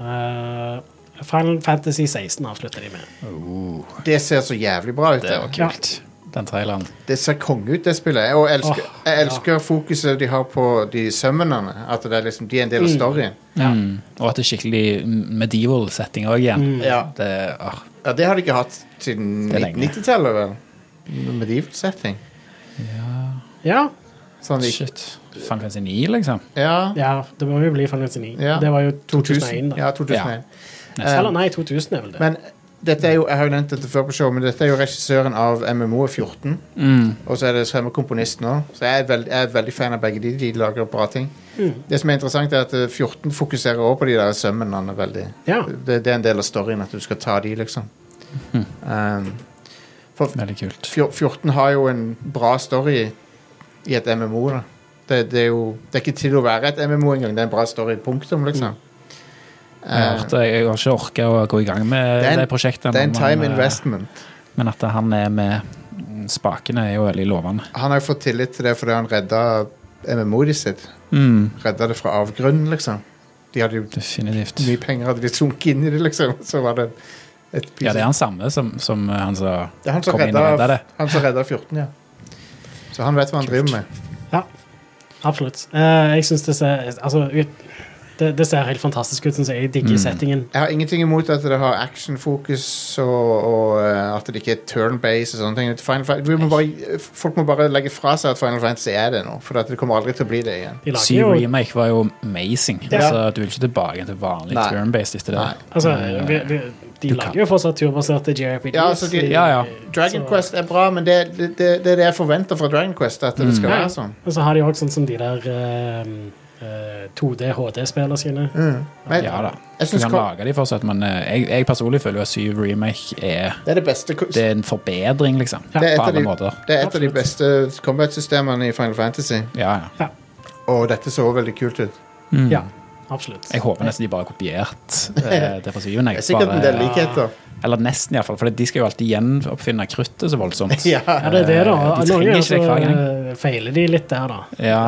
Speaker 11: Eh, Final Fantasy 16 avslutter de med.
Speaker 10: Det ser så jævlig bra ut.
Speaker 12: Det var kult. Den traileren.
Speaker 10: det ser konge ut, det spillet. Og jeg elsker,
Speaker 11: Åh,
Speaker 10: jeg elsker fokuset de har på de summonene. At det er liksom, de er en del av storyen.
Speaker 12: Mm. Og at det er skikkelig medieval setting òg igjen.
Speaker 10: Mm. Ja.
Speaker 12: Det, ah,
Speaker 10: ja, Det har de ikke hatt siden
Speaker 12: Det er lenge.
Speaker 10: 90-tallet, vel? Medieval setting.
Speaker 11: Ja,
Speaker 10: Sånn, de-
Speaker 12: shit. Final Fantasy 9, liksom.
Speaker 10: ja,
Speaker 11: ja, det må jo bli Final Fantasy 9.
Speaker 10: Ja.
Speaker 11: Det var jo
Speaker 10: 2000.
Speaker 11: 2001, da.
Speaker 10: Ja, 2001.
Speaker 11: Eller nei, 2000 er vel det.
Speaker 10: Men dette er jo, jeg har jo nevnt dette før på showet, men dette er jo regissøren av MMO 14. Og så er det samme komponisten òg. Så jeg er, veld, jeg er veldig fan av begge de. De lager bra ting.
Speaker 11: Mm.
Speaker 10: Det som er interessant, er at eh, 14 fokuserer også på de der sømmene veldig.
Speaker 11: Ja.
Speaker 10: Det, det er en del av storyen at du skal ta de, liksom. Um, for
Speaker 12: Veldig kult.
Speaker 10: fjor- 14 har jo en bra story i et MMO, da. Det, det er jo det er ikke til å være et MMO engang. Det er en bra story. Punktum, liksom.
Speaker 12: Jeg har,
Speaker 10: Eh,
Speaker 12: hørt- jeg har ikke orka å gå i gang med
Speaker 10: Det er
Speaker 12: det,
Speaker 10: en-
Speaker 12: prosjektet.
Speaker 10: det er en
Speaker 12: men,
Speaker 10: time
Speaker 12: eh,
Speaker 10: investment.
Speaker 12: Men at han er med mm, spakene, er jo veldig lovende.
Speaker 10: Han har jo fått tillit til det fordi han redda MMO-et sitt. Redda det fra avgrunnen, liksom. De hadde jo
Speaker 12: Definitivt.
Speaker 10: mye penger, hadde de sunket inn i det, liksom. Så var det et
Speaker 12: Ja, det er han samme som, som eh, han som
Speaker 10: Det er han som
Speaker 12: kom inn og redda
Speaker 10: redda,
Speaker 12: det.
Speaker 10: han som redda 14, ja. Så han vet hva han driver med.
Speaker 11: Ja, absolutt. Eh, jeg syns det ser Altså, ut, det, det ser helt fantastisk ut, syns jeg. Jeg digger settingen.
Speaker 10: Jeg har ingenting imot at det har actionfokus, og, og eh, at det ikke er turn-base og sånne ting. Final, Fan- vi må bare, folk må bare legge fra seg at Final Fantasy er det nå, for at det kommer aldri til å bli det igjen.
Speaker 11: De lager
Speaker 12: Syv
Speaker 11: jo
Speaker 12: remake var jo amazing.
Speaker 11: Ja.
Speaker 12: Altså, du vil ikke tilbake til vanlig
Speaker 10: Nei.
Speaker 12: turn-based etter det. Eh,
Speaker 10: Nei.
Speaker 11: Altså, vi, vi, de
Speaker 12: Du
Speaker 11: lager
Speaker 12: kan.
Speaker 11: jo fortsatt turbaserte JRPGs.
Speaker 10: Ja, altså,
Speaker 11: Eh,
Speaker 10: de-
Speaker 12: Ja, ja.
Speaker 10: Dragon
Speaker 11: Så-
Speaker 10: Quest er bra, men det, det, det, det er det jeg forventer fra Dragon Quest, at det
Speaker 12: Mm.
Speaker 10: skal
Speaker 11: Ja, ja.
Speaker 10: være sånn.
Speaker 11: Og så har de òg sånn som de der ehm, eh, 2D HD-spillene sine.
Speaker 10: Men
Speaker 12: Ja da.
Speaker 10: jeg
Speaker 12: Du
Speaker 10: synes
Speaker 12: kan
Speaker 10: kom-
Speaker 12: lage de fortsatt, men eh, jeg, jeg personlig føler jo at syv remake er
Speaker 10: det er det beste ko-
Speaker 12: det er en forbedring, liksom.
Speaker 10: det er
Speaker 12: på
Speaker 10: et av
Speaker 12: alle
Speaker 10: de,
Speaker 12: måter.
Speaker 10: det er et av de
Speaker 11: Absolutt.
Speaker 10: beste combat-systemene i Final Fantasy,
Speaker 12: Ja, ja.
Speaker 11: Ja,
Speaker 10: og dette så veldig kult ut.
Speaker 11: ja absolutt.
Speaker 12: Jeg håper nesten de bare har kopiert eh, det fra syven. jeg.
Speaker 10: Det er sikkert en
Speaker 12: Bare-
Speaker 10: del likheter.
Speaker 12: Eller nesten, iallfall. For de skal jo alltid gjenoppfinne kruttet så voldsomt.
Speaker 10: Ja.
Speaker 11: Ja, det er det, da.
Speaker 12: Eh, de trenger
Speaker 11: Noen ganger
Speaker 12: ikke det hver gang.
Speaker 11: så, eh, feiler de litt der, da.
Speaker 12: Ja.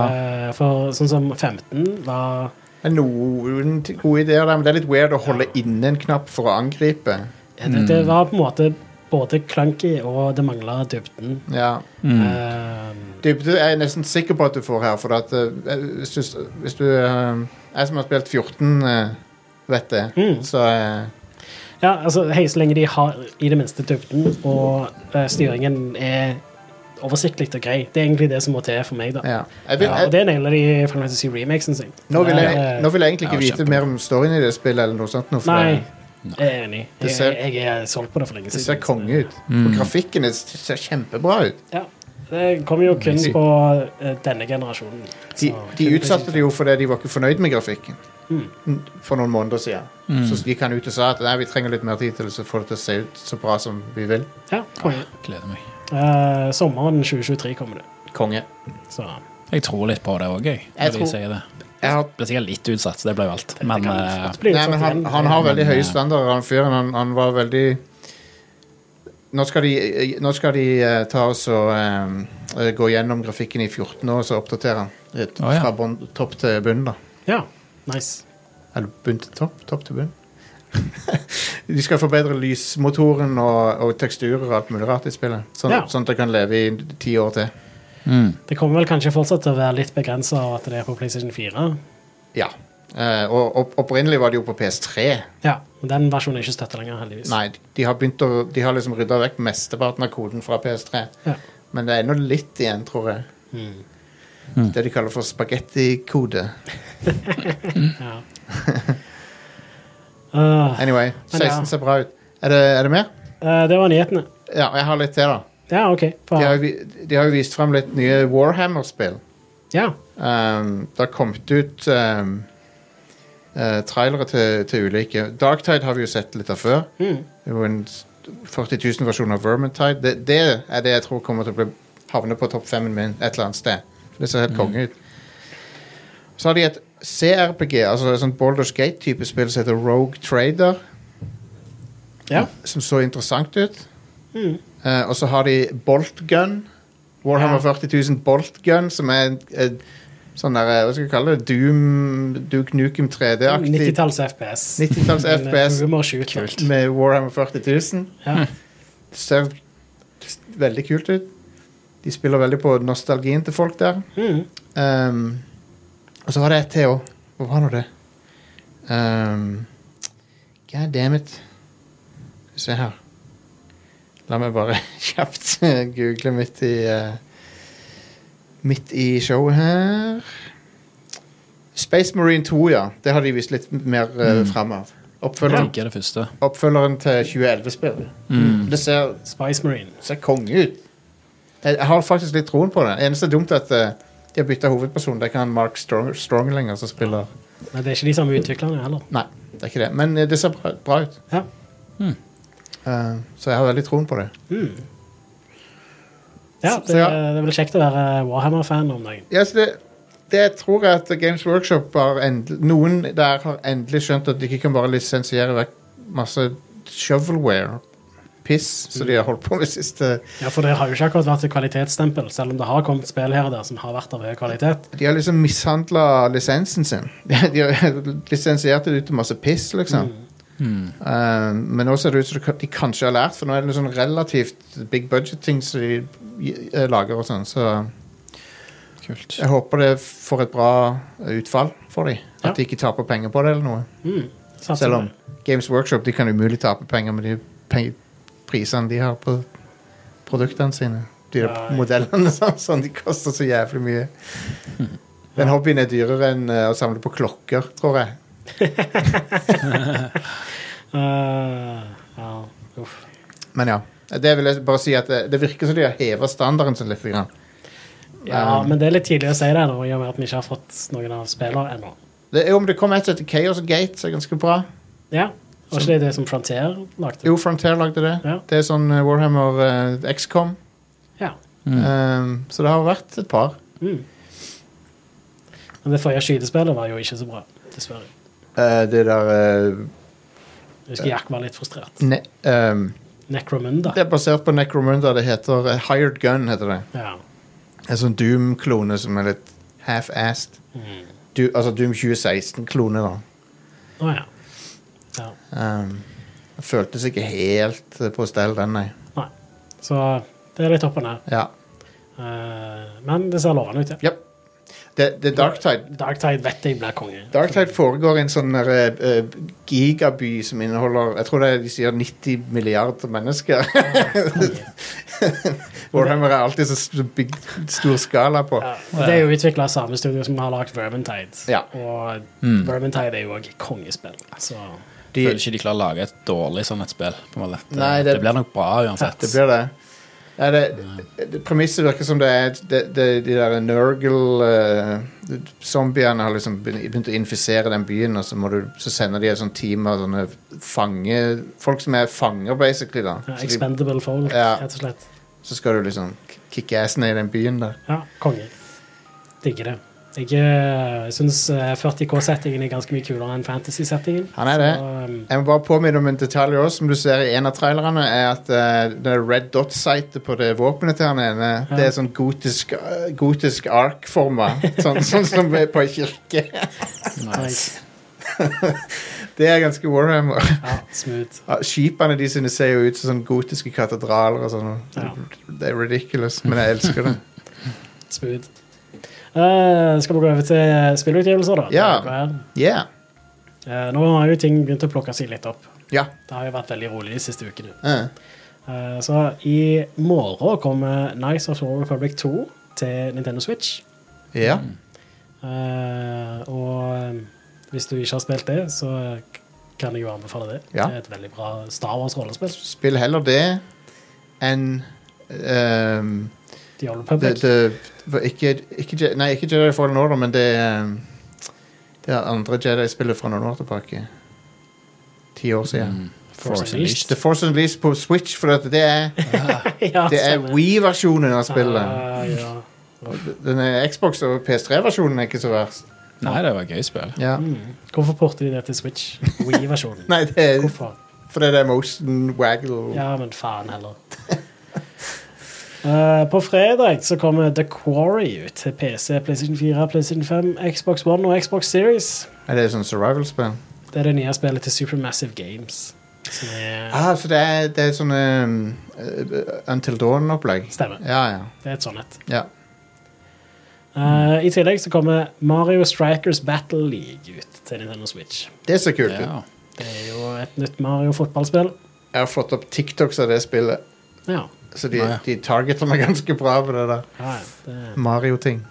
Speaker 11: Eh, For sånn som 15 var
Speaker 10: Det er noen t- gode ideer der, men det er litt weird å holde inne en knapp for å angripe.
Speaker 11: ja, det,
Speaker 12: Mm.
Speaker 11: det var på en måte både clunky og det mangla dybden.
Speaker 10: Ja.
Speaker 12: Mm.
Speaker 11: Eh,
Speaker 10: Dybde er jeg nesten sikker på at du får her, for at, eh, hvis du, hvis du eh, Jeg som har spilt 14, eh, vet det,
Speaker 12: Mm.
Speaker 10: så eh,
Speaker 11: ja, altså, hei, så lenge de har i det minste dybden, og eh, styringen er oversiktlig og grei. Det er egentlig det som må til for meg, da.
Speaker 10: ja. Jeg vil,
Speaker 11: Ja, og
Speaker 10: jeg,
Speaker 11: det nailer de i Final Fantasy Remake, syns jeg.
Speaker 10: nå, vil jeg,
Speaker 11: Eh,
Speaker 10: nå vil jeg egentlig
Speaker 12: Ja,
Speaker 10: ikke vite
Speaker 12: kjempebra.
Speaker 10: mer om storyen i det spillet, eller noe sånt. Nå, for
Speaker 11: Nei,
Speaker 10: det-
Speaker 11: jeg er enig.
Speaker 10: Det
Speaker 11: Jeg,
Speaker 10: ser-
Speaker 11: jeg, jeg er solgt på det for lenge
Speaker 10: det
Speaker 11: siden.
Speaker 10: ser konge ut. Og grafikken er- ser kjempebra ut.
Speaker 11: Ja. Det kommer jo kun på eh, denne generasjonen.
Speaker 10: De,
Speaker 11: Så-
Speaker 10: de utsatte det jo fordi de var ikke fornøyd med grafikken Mm, for noen måneder siden. Så gikk han ut og sa at nei, vi trenger litt mer tid til å få det til å se ut så bra som vi vil.
Speaker 11: Ja, konge.
Speaker 12: Gleder meg.
Speaker 11: Eh, sommeren 2023 kommer det.
Speaker 10: Konge.
Speaker 11: Så
Speaker 12: Jeg tror litt på det òg, jeg.
Speaker 10: Jeg
Speaker 12: når de
Speaker 10: tror-
Speaker 12: sier det.
Speaker 10: Jeg har,
Speaker 12: Ble sikkert litt utsatt, så det ble jo alt. Men
Speaker 11: kan
Speaker 12: eh,
Speaker 11: fort bli
Speaker 10: nei, men
Speaker 11: utsatt
Speaker 10: han,
Speaker 11: sånn igjen.
Speaker 10: han har veldig
Speaker 12: Men,
Speaker 10: høye
Speaker 12: eh,
Speaker 10: standarder, han fyren. Han, han var veldig Nå skal de, eh, nå skal de eh, ta oss og eh, gå gjennom grafikken i 14 år, og så oppdatere han. Litt,
Speaker 12: Å, ja.
Speaker 10: Fra bånn- topp til bunn, da.
Speaker 11: Ja, nice.
Speaker 10: Eller bunn til topp, topp til bunn. De skal forbedre lysmotoren og, og teksturer og alt mulig rart i spillet. Sånn,
Speaker 11: Ja.
Speaker 10: sånn at det kan leve i ti år til.
Speaker 11: Det kommer vel kanskje fortsatt til å være litt begrensa av at det er på PlayStation 4.
Speaker 10: Ja. Eh, og opp, opprinnelig var det jo på PS3.
Speaker 11: Ja, og Den versjonen er ikke støtta lenger, heldigvis.
Speaker 10: Nei, de har, begynt å, de har liksom rydda vekk mesteparten av koden fra PS3.
Speaker 11: Ja.
Speaker 10: Men det er ennå litt igjen, tror jeg. Det de kaller for spagettikode.
Speaker 11: Ja. Ah,
Speaker 10: Anyway,
Speaker 11: Men
Speaker 10: 16
Speaker 11: ja.
Speaker 10: ser bra ut. Er det, er det mer?
Speaker 11: eh, det var nyhetene.
Speaker 10: Ja, jeg har litt til, da.
Speaker 11: Ja, OK. Bra.
Speaker 10: De har, jo vi- de har jo vist fram litt nye Warhammer-spill.
Speaker 11: Ja.
Speaker 10: Um, det har kommet ut um, eh, trailere til, til ulike. Darktide har vi jo sett litt av før. Det er jo en s- 40 000 versjon av Vermintide. Det, det er det jeg tror kommer til å bli, havne på topp fem-en min et eller annet sted. For det ser helt konge ut. Så har de et CRPG, altså et sånt Baldur's Gate-type spill som heter Rogue Trader,
Speaker 11: ja.
Speaker 10: som så interessant ut. Eh, og så har de Bolt Gun. Warhammer 40 000 Bolt Gun, som er en- en sånn der, eh, hva skal vi kalle det, Doom, Duke Nukem 3D-aktig.
Speaker 11: 90-talls FPS.
Speaker 10: 90-talls
Speaker 11: Men, eh,
Speaker 10: FPS.
Speaker 11: Humor shoot. Kult.
Speaker 10: Med Warhammer 40 000.
Speaker 11: Ja.
Speaker 10: Det ser veldig kult ut. De spiller veldig på nostalgien til folk der.
Speaker 11: Mm.
Speaker 10: Ehm, og så var det et til òg. Hva var nå det? Um, God damn it. Skal vi se her. La meg bare kjapt google midt i eh, Midt i showet her. Space Marine 2, ja. Det har de vist litt mer uh, fram av. Oppfølgeren,
Speaker 12: Ikke det første.
Speaker 10: oppfølgeren til 2011-spillet. Det ser,
Speaker 11: Spice Marine.
Speaker 10: ser konge ut. Jeg, jeg har faktisk litt troen på det. Eneste er dumt at eh, de har bytta hovedperson. Det er ikke han Mark Strong, Strong lenger som spiller.
Speaker 11: Men det er ikke de samme utviklerne heller.
Speaker 10: Nei, det er ikke det. Men eh, det ser bra, bra ut.
Speaker 11: Ja.
Speaker 10: Eh, så jeg har veldig troen på det.
Speaker 11: Ja,
Speaker 10: Så-
Speaker 11: det,
Speaker 10: så ja.
Speaker 11: det er vel kjekt å være Warhammer-fan om dagen.
Speaker 10: Ja, så det det tror jeg at Games Workshop har endel, Noen der har endelig skjønt at de ikke kan bare lisensiere vekk masse shovelware. Piss som de har holdt på med siste
Speaker 11: Ja, for det har jo ikke akkurat vært et kvalitetsstempel, selv om det har kommet spill her og der som har vært av høy kvalitet.
Speaker 10: De har liksom mishandla lisensen sin. De har lisensiert det ut til masse piss, liksom. Eh, men nå ser det ut som de kanskje har lært, for nå er det noe sånn relativt big budget-ting som de eh, lager og sånn, så
Speaker 12: Kult.
Speaker 10: jeg håper det får et bra utfall for dem. At
Speaker 11: Ja.
Speaker 10: de ikke taper penger på det eller noe.
Speaker 11: Mm, Satser
Speaker 10: Selv om
Speaker 11: på det.
Speaker 10: Games Workshop de kan umulig tape penger med de pe- prisene de har på produktene sine. De der
Speaker 11: Nei.
Speaker 10: modellene sånn, sånn, de koster så jævlig mye. Den hobbyen er dyrere enn eh, å samle på klokker, tror jeg.
Speaker 11: Eh, ja, uff.
Speaker 10: Men ja. Det vil jeg bare si at eh, det, det virker som de har heva standarden sin litt. Grann.
Speaker 11: Ja,
Speaker 10: Um,
Speaker 11: men det er litt tidlig å si det nå, i og med at vi ikke har fått noen av spillene ennå.
Speaker 10: Det, jo, men det kom et som heter Chaos Gate, som er ganske bra.
Speaker 11: Ja, Var ikke det det som Frontier lagde?
Speaker 10: Jo, Frontier lagde det.
Speaker 11: Ja.
Speaker 10: Det er sånn eh, Warhammer eh, XCOM.
Speaker 11: Ja.
Speaker 10: Um, så det har vært et par.
Speaker 11: Mm. Men det forrige skytespillet var jo ikke så bra, dessverre.
Speaker 10: Eh, det der eh,
Speaker 11: Jeg husker Jack var litt frustrert.
Speaker 10: ne, um,
Speaker 11: Necromunda.
Speaker 10: Det er basert på Necromunda. Det heter eh, Hired Gun. heter det
Speaker 11: Ja.
Speaker 10: En sånn Doom-klone som er litt half-assed.
Speaker 11: Mm.
Speaker 10: Du, altså Doom 2016-klone, da.
Speaker 11: Å ja. ja.
Speaker 10: Um, føltes ikke helt eh, på stell, den, nei.
Speaker 11: Nei. Så det er litt opp og ned.
Speaker 10: Ja.
Speaker 11: Eh, men det ser lovende ut, ja.
Speaker 10: Yep. Det, det er Darktide.
Speaker 11: Darktide vet jeg blir konge.
Speaker 10: Darktide foregår i en sånn der, eh, eh, gigaby som inneholder Jeg tror det er, de sier 90 milliarder mennesker. Warhammer er alltid så st- big, stor skala på.
Speaker 11: Ja, og det er jo utvikla av samme studio som har lagd Vermintide.
Speaker 10: Ja.
Speaker 11: Og Vermintide er jo òg kongespill. Så
Speaker 10: De,
Speaker 12: Føler ikke de klarer å lage et dårlig sånn et spill. på en måte. Det,
Speaker 10: Nei,
Speaker 12: det,
Speaker 10: det-
Speaker 12: blir nok bra uansett.
Speaker 10: det blir det. Nei, det, det Premisset virker som det er det, det, de der Nurgle-zombiene har liksom begyn- begynt å infisere den byen, og så, må du, så sender de et sånt team av sånne fange... Folk som er fanger, basically. da. Så
Speaker 11: ja,
Speaker 10: de-
Speaker 11: Expendable Folk,
Speaker 10: Ja.
Speaker 11: rett og slett.
Speaker 10: så skal du liksom kicke assen i den byen der.
Speaker 11: Ja, konge. Digger det. Jeg eh, syns 40K-settingen er ganske mye kulere enn Fantasy-settingen.
Speaker 10: Han er det.
Speaker 11: Så, um,
Speaker 10: Jeg må bare påminne om en detalj også, som du ser i en av trailerne, er at eh, det red dot-sitet på det våpenet til han ene, det er sånn gotisk, eh, gotisk ark-forma. Sånn, sånn som er på en kirke.
Speaker 11: nice.
Speaker 10: Det er ganske Warhammer.
Speaker 11: Ja, smooth.
Speaker 10: Ja, Skipene de sine ser jo ut som sånn gotiske katedraler og sånn.
Speaker 11: Ja.
Speaker 10: Det er ridiculous, men jeg elsker det.
Speaker 11: smooth. Eh, skal vi gå over til spillutgivelser, da?
Speaker 10: Ja.
Speaker 11: Hva er det?
Speaker 10: Yeah.
Speaker 11: Eh, nå har jo ting begynt å plukke seg litt opp.
Speaker 10: Ja.
Speaker 11: Det har jo vært veldig rolig de siste ukene.
Speaker 10: eh,
Speaker 11: Eh, Så i morgen kommer Nice of the Old Republic 2 til Nintendo Switch.
Speaker 10: ja.
Speaker 11: Eh, og eh, hvis du ikke har spilt det, så kan jeg jo anbefale det.
Speaker 10: Ja.
Speaker 11: Det er et veldig bra Star Wars-rollespill.
Speaker 10: Spill heller det enn ehm,
Speaker 11: The Old
Speaker 10: det,
Speaker 11: Republic.
Speaker 10: det, ikke, ikke, Je- nei, ikke Jedi Fallen Order, men det um, Det er andre Jedi-spillet fra noen år tilbake. Ti år siden.
Speaker 11: Force Unleashed.
Speaker 10: The Force Unleashed på Switch, for at det er,
Speaker 11: ja,
Speaker 10: det er
Speaker 11: stemmer.
Speaker 10: We-versjonen av spillet.
Speaker 11: Ah, ja.
Speaker 10: Den er Xbox- og PS3-versjonen er ikke så verst.
Speaker 12: Nei, det var et gøy spill.
Speaker 10: Ja.
Speaker 11: Mm. Hvorfor porter de det til Switch? Wii-versjonen.
Speaker 10: Nei, det er
Speaker 11: Hvorfor?
Speaker 10: fordi det er motion waggle.
Speaker 11: Ja, men faen heller. Eh, på fredag så kommer The Quarry ut til PC, PlayStation 4, PlayStation 5, Xbox One og Xbox Series.
Speaker 10: Er det sånn survival-spill?
Speaker 11: Det er det nye spillet til Supermassive Games. Som er,
Speaker 10: Ah, så det er, det er sånn um, uh, Until Dawn-opplegg?
Speaker 11: Stemmer.
Speaker 10: Ja, ja.
Speaker 11: det er et sånt et.
Speaker 10: ja.
Speaker 11: Eh, I tillegg så kommer Mario Strikers Battle League ut til Nintendo Switch.
Speaker 10: Det ser kult ut.
Speaker 12: Ja.
Speaker 11: Det er jo et nytt Mario-fotballspill.
Speaker 10: Jeg har fått opp TikToks av det spillet,
Speaker 11: Ja.
Speaker 10: så de,
Speaker 12: Ah, ja.
Speaker 10: de targeter meg ganske bra på det der
Speaker 11: Ja, ja, det,
Speaker 10: Mario-ting.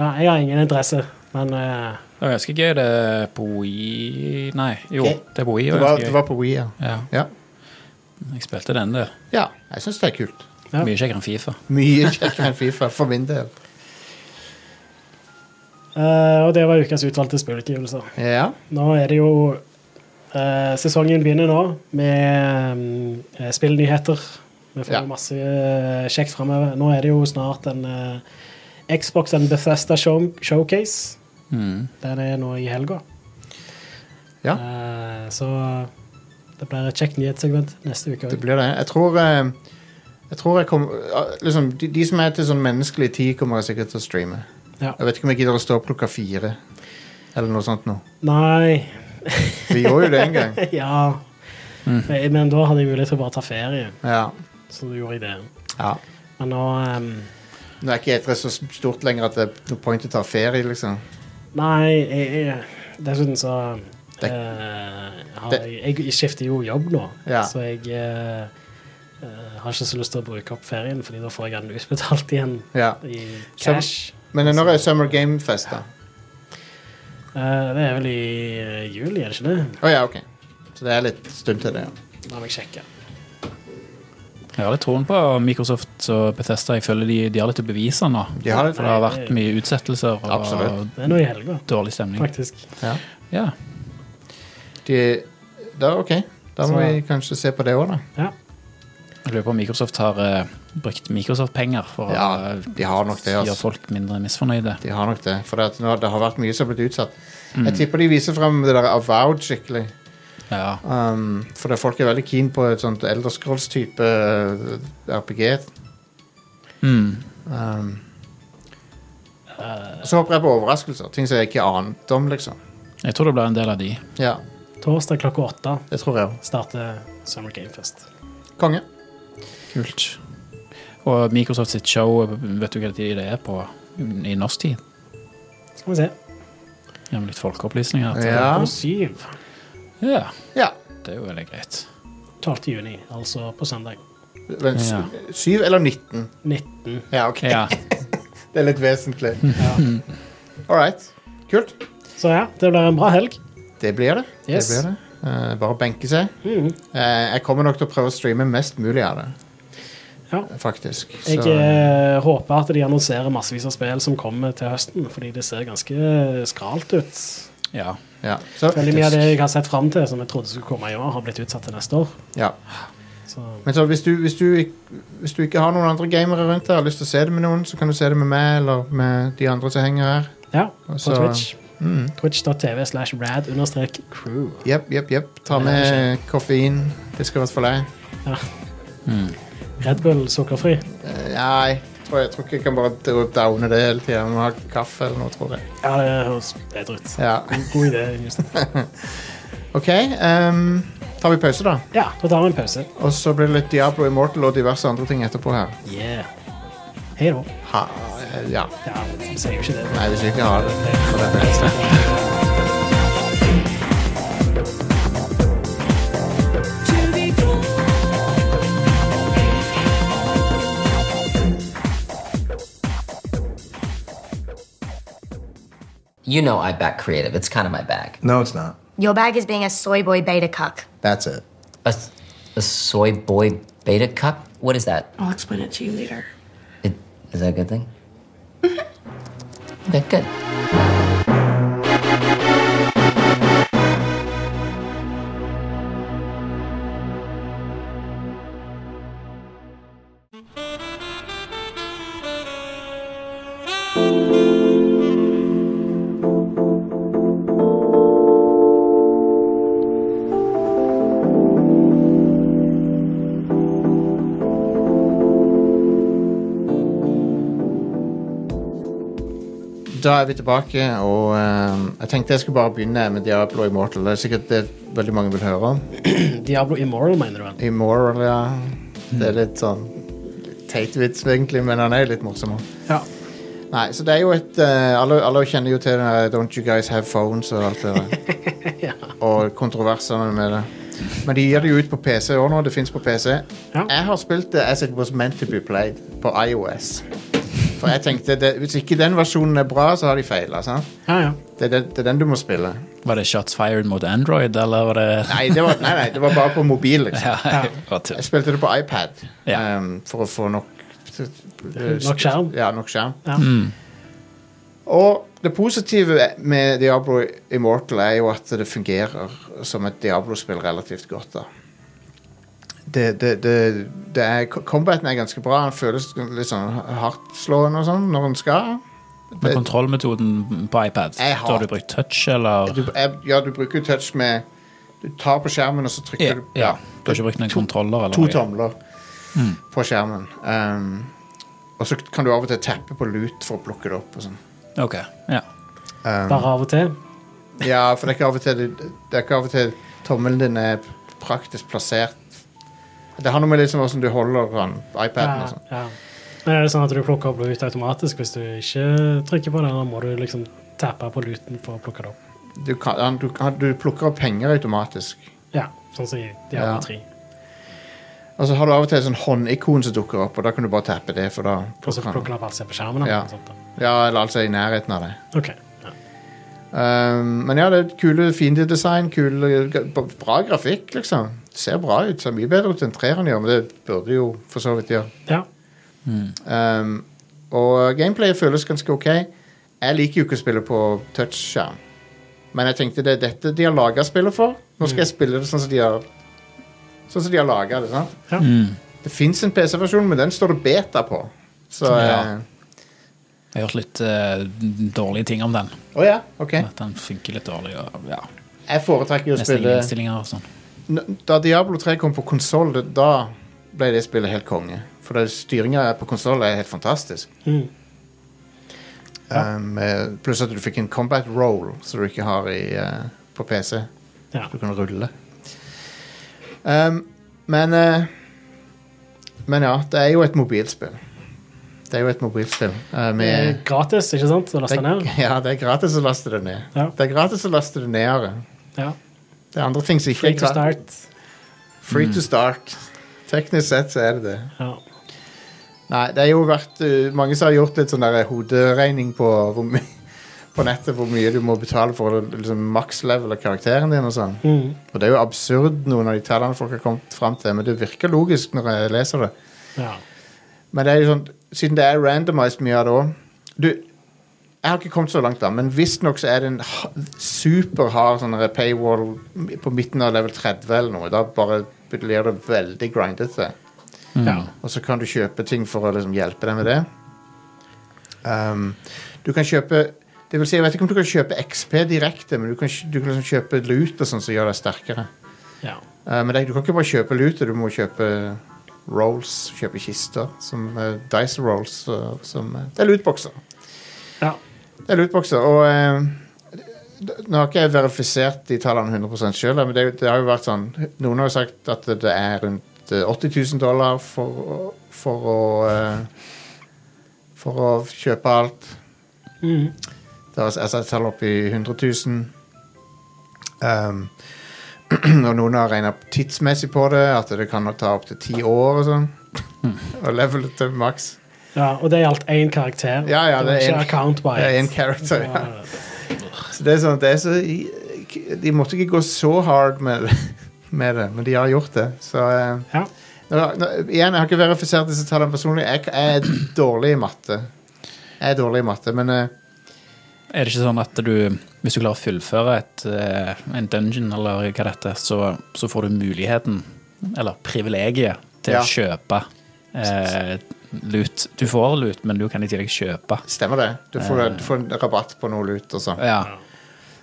Speaker 11: ja, jeg har ingen interesse, men eh,
Speaker 12: Det var ganske gøy, det på Wii Nei, jo,
Speaker 10: Ok.
Speaker 12: det på Wii
Speaker 10: Det,
Speaker 12: var
Speaker 10: var-
Speaker 12: ganske
Speaker 10: det
Speaker 12: gøy.
Speaker 10: var på Wii, ja.
Speaker 12: Ja,
Speaker 10: ja.
Speaker 12: jeg spilte den, det.
Speaker 10: Ja, jeg syns det er kult.
Speaker 11: Ja.
Speaker 12: Mye kjekkere enn Fifa.
Speaker 10: Mye kjekkere enn Fifa, for min del.
Speaker 11: eh, Og det var ukas utvalgte spillutgivelser.
Speaker 10: Ja.
Speaker 11: Nå er det jo eh, Sesongen begynner nå med mm, eh, spillnyheter. Vi får
Speaker 10: Ja.
Speaker 11: jo masse eh, kjekt framover. Nå er det jo snart en eh, Xbox and Bethesda show Showcase. Den er nå i helga.
Speaker 10: Mm. Ja.
Speaker 11: Eh, så det blir et kjekt nyhetssegment neste uke.
Speaker 10: Det blir det. Jeg tror eh, Jeg tror jeg kommer liksom, de, de som er til sånn menneskelig tid, kommer jeg sikkert til å streame.
Speaker 11: Ja.
Speaker 10: Jeg vet ikke om jeg gidder å stå opp klokka fire eller noe sånt nå.
Speaker 11: Nei
Speaker 10: Vi gjorde jo det en gang.
Speaker 11: Ja.
Speaker 10: Mm.
Speaker 11: Men, men da hadde jeg mulighet til å bare ta ferie,
Speaker 10: Ja.
Speaker 11: så da gjorde jeg det.
Speaker 10: ja.
Speaker 11: Men nå ehm,
Speaker 10: Nå er ikke E3 så stort lenger at det er noe point å ta ferie, liksom.
Speaker 11: Nei, jeg, jeg, dessuten så
Speaker 10: Det-
Speaker 11: eh, har
Speaker 10: det-
Speaker 11: jeg, jeg skifter jo jobb nå,
Speaker 10: Ja.
Speaker 11: så jeg eh, eh, har ikke så lyst til å bruke opp ferien, Fordi da får jeg den utbetalt igjen
Speaker 10: Ja.
Speaker 11: i
Speaker 10: Så-
Speaker 11: cash.
Speaker 10: Men når er Summer Game Fest, da?
Speaker 11: Eh, det er vel i eh, juli, er det ikke det?
Speaker 10: Å ja, OK. Så det er litt stund til det, ja.
Speaker 11: La meg sjekke.
Speaker 12: Jeg har litt troen på Microsoft og Bethesda. Jeg føler de, de har litt å bevise nå.
Speaker 10: De har det.
Speaker 12: For det har vært mye utsettelser og
Speaker 10: Absolutt.
Speaker 11: Det er nå i helga,
Speaker 12: dårlig stemning.
Speaker 11: faktisk.
Speaker 10: Ja.
Speaker 12: Ja.
Speaker 10: De, da, OK. Da må
Speaker 11: Så-
Speaker 10: vi kanskje se på det òg, da.
Speaker 11: Ja.
Speaker 12: Jeg lurer på om Microsoft har eh, brukt Microsoft-penger for
Speaker 10: Ja,
Speaker 12: å eh,
Speaker 10: de har nok det, altså.
Speaker 12: gjøre folk mindre misfornøyde.
Speaker 10: De har nok det. For det, at nå, det har vært mye som har blitt utsatt. Jeg tipper de viser frem det der avowed skikkelig.
Speaker 12: Ja.
Speaker 10: Um, for det, folk er veldig keen på et sånt elderscrolls-type eh, RPG.
Speaker 12: Mm.
Speaker 10: Um, så håper jeg på overraskelser. Ting som jeg ikke ante om, liksom.
Speaker 12: Jeg tror det blir en del av de.
Speaker 10: Ja,
Speaker 11: Torsdag klokka åtte
Speaker 10: det tror jeg òg.
Speaker 11: starter Summer Game Fest.
Speaker 10: Konge.
Speaker 12: Kult. Og Microsoft sitt show, vet du hva tid det er på i norsk tid?
Speaker 11: Skal vi se.
Speaker 12: Ja, med litt folkeopplysning her. til-
Speaker 10: Ja.
Speaker 11: På syv.
Speaker 12: ja.
Speaker 10: ja.
Speaker 12: Det er jo veldig greit.
Speaker 11: 12. juni, altså på søndag.
Speaker 10: Vent, sy- Syv eller 19?
Speaker 11: 19.
Speaker 10: Ja, ok.
Speaker 12: Ja.
Speaker 10: Det er litt vesentlig. Ja. All right. Kult.
Speaker 11: Så ja, det blir en bra helg.
Speaker 10: Det blir det.
Speaker 11: Yes.
Speaker 10: det, blir det. Eh, bare benke seg.
Speaker 11: Mhm.
Speaker 10: Eh, jeg kommer nok til å prøve å streame mest mulig av det. Eh,
Speaker 11: Ja.
Speaker 10: Faktisk.
Speaker 11: Jeg
Speaker 10: Så-
Speaker 11: eh, håper at de annonserer massevis av spill som kommer til høsten, fordi det ser ganske eh, skralt ut.
Speaker 12: ja.
Speaker 10: ja. Så,
Speaker 11: Veldig mye av det jeg har sett fram til, som jeg trodde skulle komme i år, har blitt utsatt til neste år.
Speaker 10: ja.
Speaker 11: Så
Speaker 10: Men så hvis du, hvis, du, ikk- hvis du ikke har noen andre gamere rundt deg og har lyst til å se det med noen, så kan du se det med meg eller med de andre som henger her.
Speaker 11: ja, på
Speaker 10: Så- Mm.
Speaker 11: Twitch. Twitch.tv slash rad understrek crew.
Speaker 10: Jepp, jepp, jepp. Ta med koffein. Det skal være for deg.
Speaker 11: Red Bull sukkerfri.
Speaker 10: Eh, Nei, tror jeg, tror ikke jeg kan bare dro- downe det hele tida. Må ha kaffe eller noe, tror jeg.
Speaker 11: Ja, det høres bedre ut.
Speaker 10: Ja.
Speaker 11: God idé. Just.
Speaker 10: OK. ehm, tar vi pause, da?
Speaker 11: Ja, da tar vi en pause.
Speaker 10: Og så blir det litt Diablo Immortal og diverse andre ting etterpå her.
Speaker 11: Yeah. Hei da.
Speaker 10: Ha, ja.
Speaker 11: Ja, vi sier jo ikke det.
Speaker 10: Nei, hvis vi ikke har det. Så det er det.
Speaker 7: You know I back creative. It's kind of my bag.
Speaker 6: No, it's not.
Speaker 4: Your bag is being a soy boy beta cuck.
Speaker 3: That's it.
Speaker 7: A, a soy boy beta cup? What is that?
Speaker 8: I'll explain it to you later.
Speaker 7: It, is that a good thing? okay, good.
Speaker 10: Da er vi tilbake, og eh, jeg tenkte jeg skulle bare begynne med Diablo Immortal. Det er sikkert det veldig mange vil høre om.
Speaker 11: Diablo Immoral, mener du vel?
Speaker 10: Immoral, ja. Det er litt sånn teit vits, egentlig, men han er jo litt morsom også.
Speaker 11: Ja.
Speaker 10: Nei, så det er jo et eh, alle, alle kjenner jo til den der 'Don't you guys have phones' og alt det der. Og kontroversene med det. Men de gir det jo ut på PC òg nå. Det fins på PC.
Speaker 11: Ja.
Speaker 10: Jeg har spilt det as it was meant to be played på IOS. For jeg tenkte det, hvis ikke den versjonen er bra, så har de feila.
Speaker 11: Ja, ja.
Speaker 10: Det, er den- det er den du må spille.
Speaker 12: Var det shots fired mot Android, eller var det
Speaker 10: Nei, det var, nei, nei, det var bare på mobil. liksom.
Speaker 12: Ja, hva til?
Speaker 10: Jeg spilte det på iPad
Speaker 12: Ja.
Speaker 10: ehm, for å få nok eh,
Speaker 11: Nok skjerm.
Speaker 10: Ja, nok skjerm.
Speaker 11: Ja.
Speaker 7: Hmm.
Speaker 10: Og det positive med Diablo Immortal er jo at det fungerer som et Diablo-spill relativt godt. da. Det, det, det, det er, combaten er ganske bra. Den føles litt sånn hardtslående og sånn når den skal.
Speaker 12: Men kontrollmetoden på iPad,
Speaker 10: Jeg har-
Speaker 12: da har du brukt touch, eller
Speaker 10: Du, jeg, ja, du bruker jo touch med Du tar på skjermen, og så trykker
Speaker 12: Ja,
Speaker 10: du
Speaker 12: ja. Du har ikke brukt noen kontroller? Eller
Speaker 10: To
Speaker 12: noe?
Speaker 10: tomler
Speaker 12: Mm.
Speaker 10: på skjermen. Um, og så kan du av og til tappe på lut for å plukke det opp. Og sånn.
Speaker 12: Ok, ja.
Speaker 10: um,
Speaker 11: Bare av og til.
Speaker 10: Ja, for det er ikke av og til, det er ikke av og til tommelen din er praktisk plassert. Det har noe med liksom hvordan du holder den, iPaden og
Speaker 11: Ja,
Speaker 10: sånn.
Speaker 11: ja. Men er det sånn at du plukker opp lut automatisk hvis du ikke trykker på det, eller må du liksom tappe på luten for å plukke det opp?
Speaker 10: sånn. Du, kan, han- du, kan- du plukker opp penger automatisk.
Speaker 11: Ja, sånn som i de
Speaker 10: Ja.
Speaker 11: andre tre.
Speaker 10: Og så har du av og til sånn håndikon som dukker opp, og da kan du bare tappe det. for da
Speaker 11: Og så
Speaker 10: han-
Speaker 11: plukker den opp alt som er på skjermen. eller
Speaker 10: ja.
Speaker 11: noe sånt da.
Speaker 10: ja, eller altså i nærheten av det.
Speaker 11: Ok. Ja.
Speaker 10: Um, men ja, det er kule fiendedesign, kule, bra grafikk, liksom. Det ser bra ut. Ser mye bedre ut enn treeren gjør, men det burde jo for så vidt gjøre.
Speaker 11: ja.
Speaker 10: Um, og gameplayet føles ganske ok. Jeg liker jo ikke å spille på touchskjerm. Men jeg tenkte det er dette de har laga spillet for. Nå skal jeg spille det sånn som de har Sånn som de har laga det. sant?
Speaker 11: Ja.
Speaker 12: Mm.
Speaker 10: Det fins en PC-versjon, men den står det beta på. Så
Speaker 12: Ja.
Speaker 10: eh,
Speaker 12: Jeg har hørt litt eh, dårlige ting om den.
Speaker 10: Å ja, ok.
Speaker 12: At den funker litt dårlig. Og, ja.
Speaker 10: Jeg foretrekker jo å
Speaker 12: Nesten ingen
Speaker 10: spille
Speaker 12: innstillinger og sånn.
Speaker 10: N- Da Diablo 3 kom på konsoll, da ble det spillet helt konge. For styringa på konsoll er helt fantastisk.
Speaker 11: Mm.
Speaker 10: Um, eh, pluss at du fikk en combat roll, som du ikke har i, eh, på PC.
Speaker 11: Ja.
Speaker 10: Du kan rulle. Um, men eh, Men ja, det er jo et mobilspill. Det er jo et mobilspill eh,
Speaker 11: Det er
Speaker 10: med
Speaker 11: gratis, ikke sant? Å laste ned?
Speaker 10: det, ja, det er gratis å laste det ned.
Speaker 11: Ja.
Speaker 10: Det er gratis å laste det ned. Are.
Speaker 11: Ja.
Speaker 10: Det er andre ting som ikke
Speaker 11: Free
Speaker 10: er
Speaker 11: to
Speaker 10: gratis.
Speaker 11: start.
Speaker 10: Free to start. Teknisk sett så er det det.
Speaker 11: Ja.
Speaker 10: Nei, det har jo vært uh, mange som har gjort litt sånn der hoderegning på hvor my på nettet hvor mye du må betale for det, liksom maks level av karakteren din og sånn.
Speaker 11: Mm.
Speaker 10: Og det er jo absurd noen av de tallene folk har kommet fram til, men det virker logisk når jeg leser det.
Speaker 11: ja.
Speaker 10: Men det er jo sånn, siden det er randomized mye av det òg Du, jeg har ikke kommet så langt, da, men visstnok så er det en ha- superhard sånn der paywall på midten av level 30 eller noe. Da bare blir det veldig grindete.
Speaker 11: ja.
Speaker 10: Og så kan du kjøpe ting for å liksom hjelpe deg med det. Um, du kan kjøpe det vil si, Jeg vet ikke om du kan kjøpe XP direkte, men du kan, kj- du kan liksom kjøpe lut og sånn som gjør deg sterkere.
Speaker 11: ja.
Speaker 10: Uh, men det, du kan ikke bare kjøpe lut, du må kjøpe rolls, kjøpe kister. Som uh, Dice Rolls. Uh, som, uh, det er lootboxer.
Speaker 11: ja.
Speaker 10: Det er lootboxer, og eh, d- Nå har ikke jeg verifisert de tallene 100 sjøl, men det, er jo- det har jo vært sånn Noen har jo sagt at det er rundt eh, 80 000 dollar for, å- for å eh, For å kjøpe alt.
Speaker 11: Mm.
Speaker 10: Det har jeg satt tall opp i 100 000. Um, og noen har regna tidsmessig på det, at det kan ta opptil ti år og sånn.
Speaker 11: Mm.
Speaker 10: Og levelet til maks.
Speaker 11: ja. Og det gjaldt én karakter.
Speaker 10: Ja, ja,
Speaker 11: det
Speaker 10: det
Speaker 11: var
Speaker 10: er
Speaker 11: ikke
Speaker 10: en-
Speaker 11: account by
Speaker 10: det er en
Speaker 11: it.
Speaker 10: character,
Speaker 11: Så,
Speaker 10: ja. Så det er sånn, det er så De måtte ikke gå så hard med, med det, men de har gjort det. Så eh,
Speaker 11: ja.
Speaker 10: nå, nå, Igjen, jeg har ikke verifisert disse tallene personlig. Jeg, jeg er dårlig i matte. Jeg er dårlig i matte, men eh,
Speaker 12: Er det ikke sånn at du, hvis du klarer å fullføre et, eh, en dungeon, eller hva det heter, så, så får du muligheten, eller privilegiet, til
Speaker 10: Ja.
Speaker 12: å kjøpe eh, lut. Du får lut, men du kan i tillegg kjøpe.
Speaker 10: stemmer det. Du får,
Speaker 12: Eh.
Speaker 10: du får en rabatt på noe lut og sånn.
Speaker 12: Ja.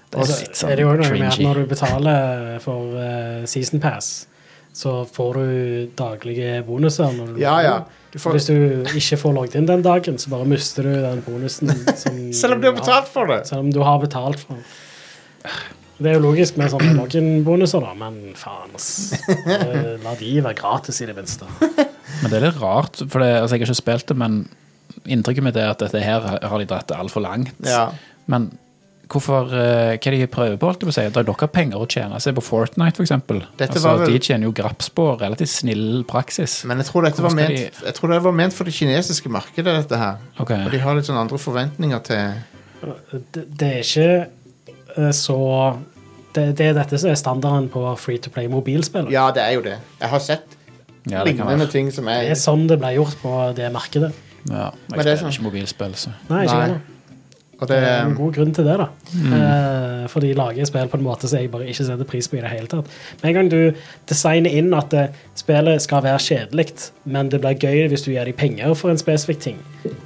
Speaker 12: Det
Speaker 11: Og
Speaker 12: er
Speaker 11: så
Speaker 12: litt
Speaker 11: er det jo
Speaker 12: sånn
Speaker 11: noe med at
Speaker 12: cringy.
Speaker 11: når du betaler for eh, season pass, så får du daglige bonuser. Når du
Speaker 10: Ja, ja. Du får-
Speaker 11: Hvis du ikke får logget inn den dagen, så bare mister du den bonusen. Som,
Speaker 10: Selv om du har betalt for det!
Speaker 11: Selv om du har betalt for den. Det er jo logisk med sånne login-bonuser, da, men faen, ass. Eh, La de være gratis, i det minste.
Speaker 12: Men det er litt rart, for det, altså, jeg har ikke spilt det, men inntrykket mitt er at dette her har de dratt det altfor langt.
Speaker 10: Ja.
Speaker 12: Men hvorfor, eh, hva er det de prøver på, holdt jeg på å si? Det er dere penger å tjene. Se på Fortnite, for eksempel.
Speaker 10: Dette
Speaker 12: Altså,
Speaker 10: var vel-
Speaker 12: De tjener jo graps på relativt snill praksis.
Speaker 10: Men jeg tror dette var
Speaker 12: Hvorfor skal
Speaker 10: ment, jeg tror det var ment for det kinesiske markedet, dette her.
Speaker 12: Ok.
Speaker 10: Og de har litt sånn andre forventninger til
Speaker 11: Det, det er ikke eh, så det, det er dette som er standarden på free to play mobilspill.
Speaker 10: Ja, det er jo det. Jeg har sett
Speaker 12: Ja, det kan
Speaker 10: lignende
Speaker 12: være.
Speaker 10: ting som
Speaker 11: Det
Speaker 10: er
Speaker 11: er sånn det ble gjort på det markedet.
Speaker 12: Ja,
Speaker 10: Men
Speaker 12: jeg
Speaker 10: det er
Speaker 12: spiller
Speaker 10: sånn-
Speaker 12: ikke mobilspill, så.
Speaker 11: Nei, ikke
Speaker 10: Nei.
Speaker 11: heller.
Speaker 10: Og
Speaker 11: Det er en
Speaker 10: det,
Speaker 11: god grunn til det, da.
Speaker 10: Mm.
Speaker 11: Eh, for de lager spill på en måte som jeg bare ikke setter pris på i det hele tatt. Med en gang du designer inn at eh, spillet skal være kjedelig, men det blir gøy hvis du gir dem penger for en spesifikk ting,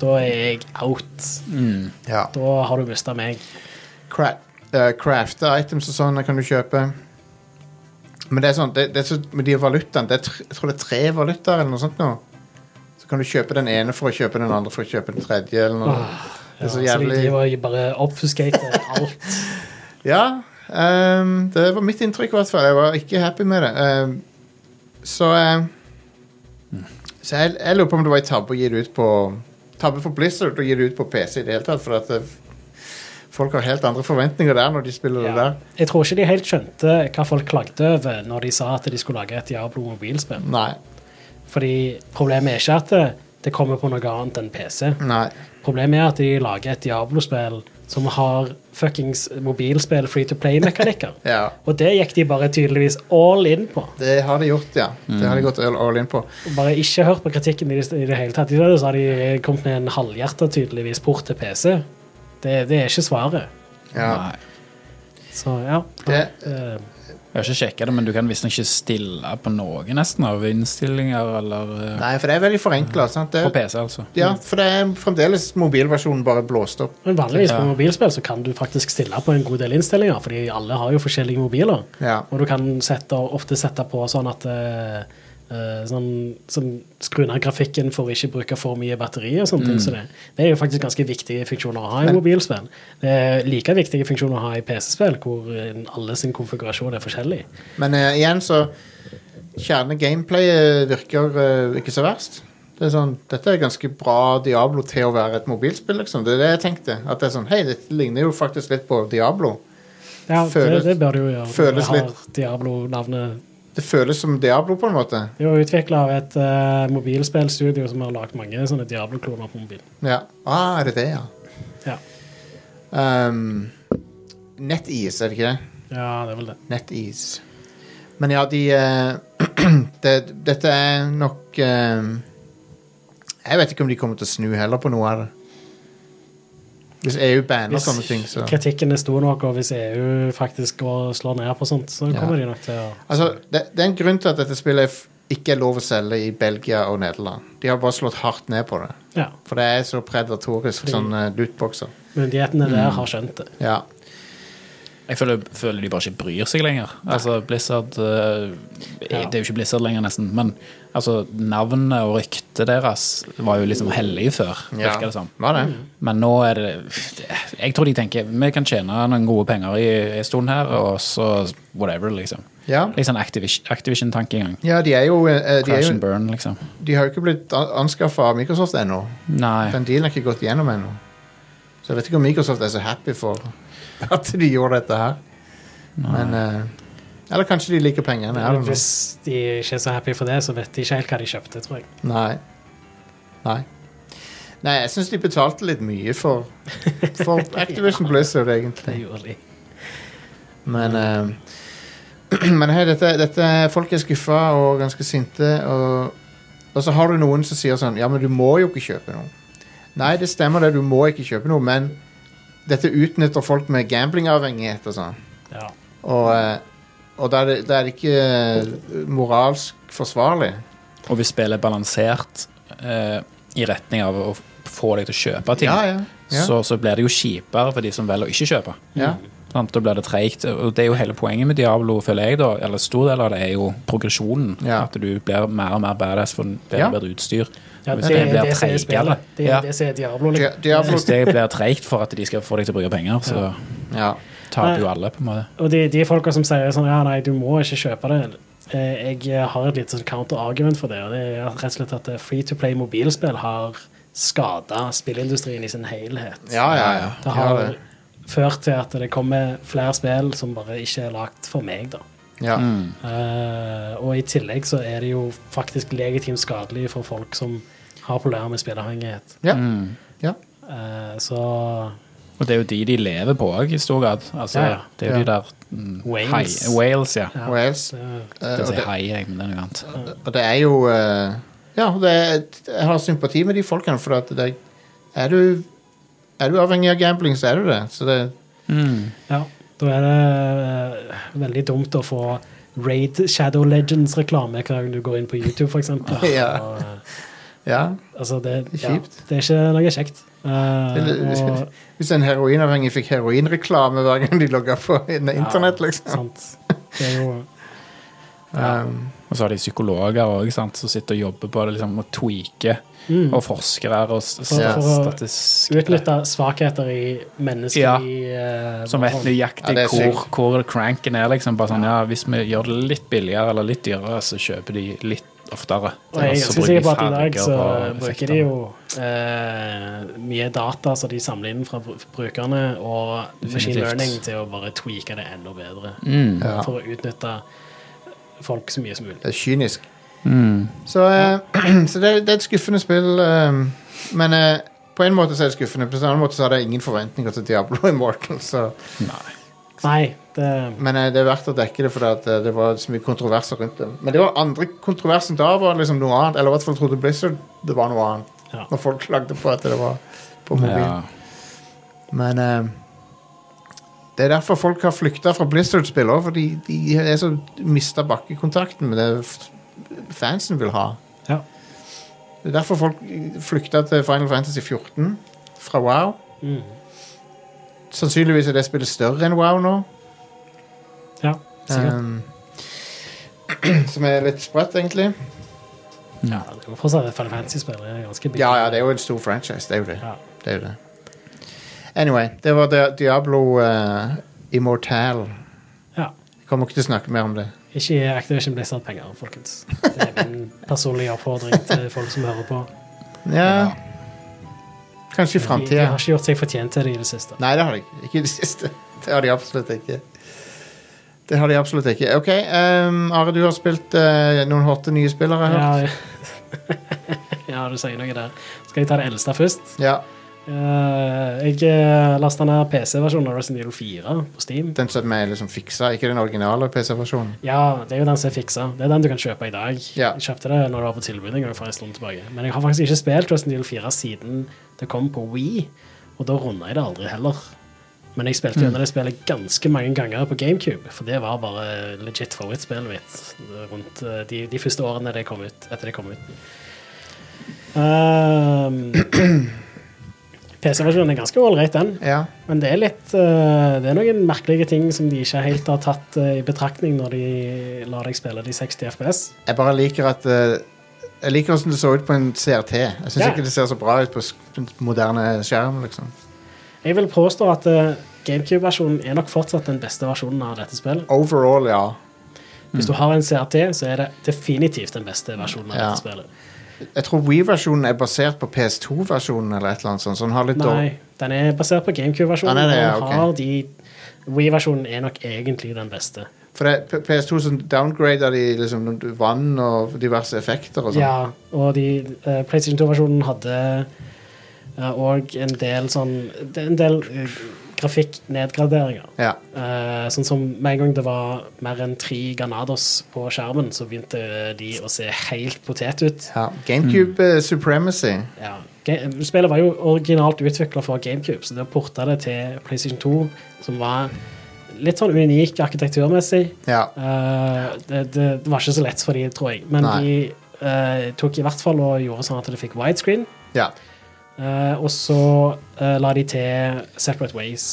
Speaker 11: da er jeg out.
Speaker 10: ja.
Speaker 11: Da har du mista meg.
Speaker 10: Cra eh, crafte items og sånn kan du kjøpe. Men det er sånn, det, det er så, med de valutaene det er tre, Jeg tror det er tre valutaer eller noe sånt nå. Så kan du kjøpe den ene for å kjøpe den andre for å kjøpe den tredje eller noe. det
Speaker 11: Ah, Ja,
Speaker 10: er
Speaker 11: så
Speaker 10: så
Speaker 11: de
Speaker 10: jævlig
Speaker 11: driver og bare obfuscater alt.
Speaker 10: Ja. ehm, det var mitt inntrykk, i hvert fall. Jeg var ikke happy med det. Ehm, så eh, Så jeg, jeg lurer på om det var en tabbe å gi det ut på Tabbe for Blizzard å gi det ut på PC i det hele tatt, for at det, folk har helt andre forventninger der når de spiller det der.
Speaker 11: Jeg tror ikke de helt skjønte hva folk klagde over når de sa at de skulle lage et Diablo mobilspill.
Speaker 10: Nei.
Speaker 11: Fordi problemet er ikke at det, det kommer på noe annet enn PC.
Speaker 10: Nei.
Speaker 11: Problemet er at de lager et Diablo-spill som har fuckings mobilspill free to play-mekanikker.
Speaker 10: Ja.
Speaker 11: Og det gikk de bare tydeligvis all in på.
Speaker 10: Det har de gjort, ja. Det har de gått all, all in på.
Speaker 11: Og Bare ikke hørt på kritikken i det, i det hele tatt. I stedet så har de kommet med en halvhjerta tydeligvis port til PC. Det, det er ikke svaret.
Speaker 10: Ja.
Speaker 12: Nei.
Speaker 11: Så ja.
Speaker 10: Det-
Speaker 11: Eh,
Speaker 12: Jeg har ikke sjekka det, men du kan visstnok ikke stille på noe nesten av innstillinger eller eh,
Speaker 10: Nei, for det er veldig forenkla.
Speaker 12: På PC, altså.
Speaker 10: Ja, for det er fremdeles mobilversjonen bare blåst opp.
Speaker 11: Men vanligvis på
Speaker 12: Ja.
Speaker 11: mobilspill så kan du faktisk stille på en god del innstillinger, fordi alle har jo forskjellige mobiler.
Speaker 10: Ja.
Speaker 11: Og du kan sette, ofte sette på sånn at eh, eh, sånn, sånn, Skru ned grafikken for å ikke bruke for mye batteri og sånne
Speaker 10: Mm.
Speaker 11: ting. Så det, det er jo faktisk ganske viktige funksjoner å ha i mobilspill. Det er like viktige funksjoner å ha i PC-spill, hvor eh, alle sin konfigurasjon er forskjellig.
Speaker 10: Men eh, igjen, så Kjerne-gameplayet virker eh, ikke så verst. Det er sånn, Dette er ganske bra Diablo til å være et mobilspill, liksom. Det er det jeg tenkte. At det er sånn, Hei, dette ligner jo faktisk litt på Diablo.
Speaker 11: Ja,
Speaker 10: Føles-
Speaker 11: det, det bør du jo gjøre.
Speaker 10: føles
Speaker 11: Det har
Speaker 10: litt-
Speaker 11: Diablo-navnet
Speaker 10: Det føles som Diablo, på en måte.
Speaker 11: Det er jo utvikla av et eh, mobilspillstudio som har lagd mange sånne Diablo-kloner på mobilen.
Speaker 10: Ja. Ah, er det det, ja.
Speaker 11: Ja.
Speaker 10: Um, NetEase, er det ikke det?
Speaker 11: Ja, det er vel det.
Speaker 10: NetEase. Men ja, de eh, det, Dette er nok eh, Jeg vet ikke om de kommer til å snu heller på noe av det. Hvis EU banner
Speaker 11: Hvis
Speaker 10: sånne ting, så
Speaker 11: kritikken er stor nok, og hvis EU faktisk går og slår ned på sånt, så
Speaker 10: Ja.
Speaker 11: kommer de nok til å
Speaker 10: Altså, det, det er en grunn til at dette spillet er f- ikke er lov å selge i Belgia og Nederland. De har bare slått hardt ned på det.
Speaker 11: Ja.
Speaker 10: For det er så predatorisk,
Speaker 11: Fordi-
Speaker 10: sånn eh, lootboxer.
Speaker 11: Myndighetene der har skjønt det.
Speaker 10: Ja.
Speaker 12: Jeg føler, føler de bare ikke bryr seg lenger. Altså, Blizzard eh, Det
Speaker 11: Ja.
Speaker 12: er jo ikke Blizzard lenger, nesten, men altså, navnet og ryktet deres var jo liksom hellig før,
Speaker 10: ja.
Speaker 12: virker det som.
Speaker 10: Var det?
Speaker 12: Men nå er det Jeg tror de tenker vi kan tjene noen gode penger i en stund her, og så whatever, liksom.
Speaker 10: Ja.
Speaker 12: Litt sånn Activision- Activision-tankegang.
Speaker 10: ja, de er jo, eh, de, er
Speaker 12: Crash and
Speaker 10: jo
Speaker 12: burn, liksom.
Speaker 10: de har jo ikke blitt anskaffa av Microsoft ennå.
Speaker 12: Nei.
Speaker 10: Den dealen er ikke gått gjennom ennå. Så jeg vet ikke om Microsoft er så happy for at de gjorde dette her. Men eh, Eller kanskje de liker pengene. I
Speaker 11: Men
Speaker 10: don't know.
Speaker 11: hvis de ikke er så happy for det, så vet de ikke helt hva de kjøpte, tror jeg.
Speaker 10: Nei. Nei. Nei, jeg syns de betalte litt mye for, for Activision Blizzard,
Speaker 11: Det
Speaker 10: egentlig.
Speaker 11: gjorde de.
Speaker 10: Men eh, Men hei, dette, dette Folk er skuffa og ganske sinte, og, og så har du noen som sier sånn Ja, men du må jo ikke kjøpe noe. Nei, det stemmer det, du må ikke kjøpe noe, men dette utnytter folk med gamblingavhengighet og sånn.
Speaker 11: Ja.
Speaker 10: Og, eh, og da er det, da er det ikke eh, moralsk forsvarlig.
Speaker 12: Og hvis spillet er balansert eh, i retning av å få deg til å kjøpe ting,
Speaker 10: Ja, ja, ja.
Speaker 12: Så, så blir det jo kjipere for de som velger å ikke kjøpe.
Speaker 10: Ja.
Speaker 12: Sant? Da blir det treigt. Og det er jo hele poenget med Diablo, føler jeg, da, eller stor del av det, er jo progresjonen.
Speaker 10: Ja.
Speaker 12: At du blir mer og mer badass for bedre
Speaker 10: Ja.
Speaker 12: og bedre utstyr.
Speaker 11: Ja,
Speaker 12: Hvis
Speaker 11: det,
Speaker 12: det
Speaker 11: er
Speaker 12: blir
Speaker 11: det som er
Speaker 12: treigere.
Speaker 11: spillet. Det er
Speaker 12: Ja.
Speaker 11: det som er Diablo.
Speaker 10: Di-
Speaker 11: Liksom.
Speaker 10: Diablo,
Speaker 12: Hvis det blir treigt for at de skal få deg til å bruke penger, så
Speaker 10: ja.
Speaker 12: taper jo alle, på en måte.
Speaker 11: Og de, de folka som sier sånn Ja, nei, du må ikke kjøpe det. Eh, Jeg har et lite sånn counter-argument for det, og det er rett og slett at eh, free to play mobilspill har skada spillindustrien i sin helhet.
Speaker 10: Ja, ja, ja.
Speaker 11: Det
Speaker 10: Ja,
Speaker 11: har
Speaker 10: det.
Speaker 11: ført til at det kommer flere spill som bare ikke er lagd for meg, da.
Speaker 10: Ja.
Speaker 11: Eh, og i tillegg så er det jo faktisk legitimt skadelig for folk som har problemer med spilleavhengighet.
Speaker 10: Ja. ja.
Speaker 11: Eh, så
Speaker 12: Og det er jo de de lever på òg, i stor grad. Altså,
Speaker 11: Ja, ja.
Speaker 12: Det er jo
Speaker 10: Ja.
Speaker 12: de der mm,
Speaker 11: Whales.
Speaker 12: hai- Whales, ja.
Speaker 11: Ja.
Speaker 10: Wales.
Speaker 11: eh,
Speaker 10: Eh,
Speaker 12: Jeg
Speaker 10: og,
Speaker 12: sier
Speaker 10: det,
Speaker 12: hai, jeg, men det er noe annet.
Speaker 10: og det er jo eh, Ja, det er, jeg har sympati med de folkene, for at det, er du Er du avhengig av gambling, så er du det. Så det
Speaker 11: Ja, da er det eh, veldig dumt å få Raid Shadow Legends-reklame hver gang du går inn på YouTube, f.eks.
Speaker 10: Ja. ja.
Speaker 11: eh, Altså, det,
Speaker 10: Det er
Speaker 11: ja,
Speaker 10: kjipt.
Speaker 11: det er ikke noe kjekt. Eh, og,
Speaker 10: Hvis en heroinavhengig fikk heroinreklame hver gang de logga på inn- internett,
Speaker 11: Ja,
Speaker 10: liksom.
Speaker 11: Sant. Det er jo
Speaker 10: Um,
Speaker 12: Og så har de psykologer også, sant, som sitter og jobber på det liksom, og tweaker.
Speaker 11: Mm.
Speaker 12: Og forskere og s-
Speaker 11: for,
Speaker 12: stat-
Speaker 11: for å
Speaker 12: statistikk.
Speaker 11: utnytte svakheter i menneskelig
Speaker 12: Ja.
Speaker 11: eh,
Speaker 12: Som vet
Speaker 11: forhold.
Speaker 10: Ja,
Speaker 12: nøyaktig
Speaker 10: det er
Speaker 12: hvor,
Speaker 10: sykt.
Speaker 12: hvor cranken er. Liksom, bare sånn, ja, hvis vi gjør det litt billigere eller litt dyrere, så kjøper de litt oftere.
Speaker 11: Og jeg er
Speaker 12: Og så
Speaker 11: ganske
Speaker 12: bruker de
Speaker 11: sikker på at i dag
Speaker 12: farger
Speaker 11: så
Speaker 12: og
Speaker 11: bruker
Speaker 12: effekter.
Speaker 11: de jo eh, mye data som de samler inn fra br- brukerne, og machine
Speaker 12: Definitivt.
Speaker 11: learning til å bare tweake det enda bedre.
Speaker 12: mm.
Speaker 10: ja.
Speaker 11: For å utnytte folk så mye som mulig.
Speaker 10: Det er kynisk.
Speaker 12: Mm.
Speaker 10: Så, eh, så det, det er et skuffende spill. eh, men eh, på en måte så er det skuffende, på en annen måte så har det ingen forventninger til Diablo Immortal. Så.
Speaker 11: Nei, det
Speaker 10: Men eh, det er verdt å dekke det, for det, at, eh, det var så mye kontroverser rundt det. Men det var andre kontroversen da var liksom noe annet. Eller i hvert fall trodde Blizzard det var noe annet.
Speaker 11: Ja.
Speaker 10: Når folk klagde på at det var på mobil.
Speaker 12: Ja.
Speaker 10: Men eh, det er derfor folk har flykta fra Blizzard-spill òg, fordi de er så mista bakkekontakten med det f- fansen vil ha.
Speaker 11: Ja.
Speaker 10: Det er derfor folk flykta til Final Fantasy 14 fra WoW.
Speaker 11: Mm.
Speaker 10: Sannsynligvis er det spillet større enn WoW nå.
Speaker 11: Ja, sikkert.
Speaker 10: Um, ehm, som er litt sprøtt, egentlig.
Speaker 12: Ja.
Speaker 11: Ja, det er jo fortsatt et Final Fantasy-spill. Det er ganske big.
Speaker 10: Ja, ja, det er jo en stor franchise. Det er jo det.
Speaker 11: Ja.
Speaker 10: det, er jo det. Anyway, det var Di- Diablo eh, Immortal.
Speaker 11: Ja.
Speaker 10: Jeg kommer ikke til å snakke mer om det.
Speaker 11: Ikke gi Activision Blizzard-penger, folkens. Det er min personlige oppfordring til folk som hører på.
Speaker 10: Ja. Kanskje i
Speaker 11: De, de
Speaker 10: framtida.
Speaker 11: har ikke gjort seg fortjent til det i det siste.
Speaker 10: Nei, det har de ikke. Ikke i det siste. Det har de absolutt ikke. Det har de absolutt ikke. Ok, ehm, Are, du har spilt eh, noen hotte nye spillere her.
Speaker 11: Ja, ja, du sier noe der. Skal jeg ta det eldste først?
Speaker 10: Ja.
Speaker 11: Eh, jeg lasta ned PC-versjonen av Resident Evil 4 på Steam.
Speaker 10: Den som er liksom fiksa, ikke den originale PC-versjonen.
Speaker 11: Ja, det er jo den som er fiksa. Det er den du kan kjøpe i dag.
Speaker 10: Ja.
Speaker 11: Jeg kjøpte det når det var på tilbud en gang for en stund tilbake. Men jeg har faktisk ikke spilt Resident Evil 4 siden det kom på Wii, og da runda jeg det aldri heller. Men jeg spilte
Speaker 10: Mm.
Speaker 11: gjennom det spillet ganske mange ganger på GameCube, for det var bare legit favorittspillet mitt rundt eh, de, de første årene det kom ut, etter det kom ut. Ehm, PC-versjonen er ganske ålreit, den.
Speaker 10: Ja.
Speaker 11: Men det er litt eh, Det er noen merkelige ting som de ikke helt har tatt eh, i betraktning når de lar deg spille de 60 FPS.
Speaker 10: Jeg bare liker at eh, Jeg liker hvordan det så ut på en CRT. Jeg syns
Speaker 11: Ja.
Speaker 10: ikke det ser så bra ut på sk- på en moderne skjerm, liksom.
Speaker 11: Jeg vil påstå at eh, GameCube-versjonen er nok fortsatt den beste versjonen av dette spillet.
Speaker 10: Overall, ja. Mm.
Speaker 11: Hvis du har en CRT, så er det definitivt den beste versjonen av
Speaker 10: Ja.
Speaker 11: dette spillet.
Speaker 10: Jeg tror Wii-versjonen er basert på PS2-versjonen eller et eller annet sånt. Så den har litt
Speaker 11: Nei,
Speaker 10: dårlig
Speaker 11: den er basert på GameCube-versjonen.
Speaker 10: Ja, den er det, ja,
Speaker 11: og den har de Wii-versjonen er nok egentlig den beste.
Speaker 10: For det, P- PS2 som downgrader sånn de liksom vann og diverse effekter og sånn.
Speaker 11: Ja, og de, eh, PlayStation 2-versjonen hadde eh, og en del sånn det er En del eh, grafikknedgraderinger.
Speaker 10: Ja.
Speaker 11: Eh, sånn som med en gang det var mer enn tre Ganados på skjermen, så begynte de å se helt potet ut.
Speaker 10: ja. GameCube eh, Supremacy.
Speaker 11: Ja. Ga- Spillet var jo originalt utvikla for GameCube, så det å porte det til PlayStation 2, som var litt sånn unik arkitekturmessig,
Speaker 10: Ja.
Speaker 11: Eh, det, det det var ikke så lett for de, tror jeg. Men
Speaker 10: Nei.
Speaker 11: de eh, tok i hvert fall og gjorde sånn at det fikk widescreen.
Speaker 10: ja.
Speaker 11: Eh, og så eh, la de til Separate Ways,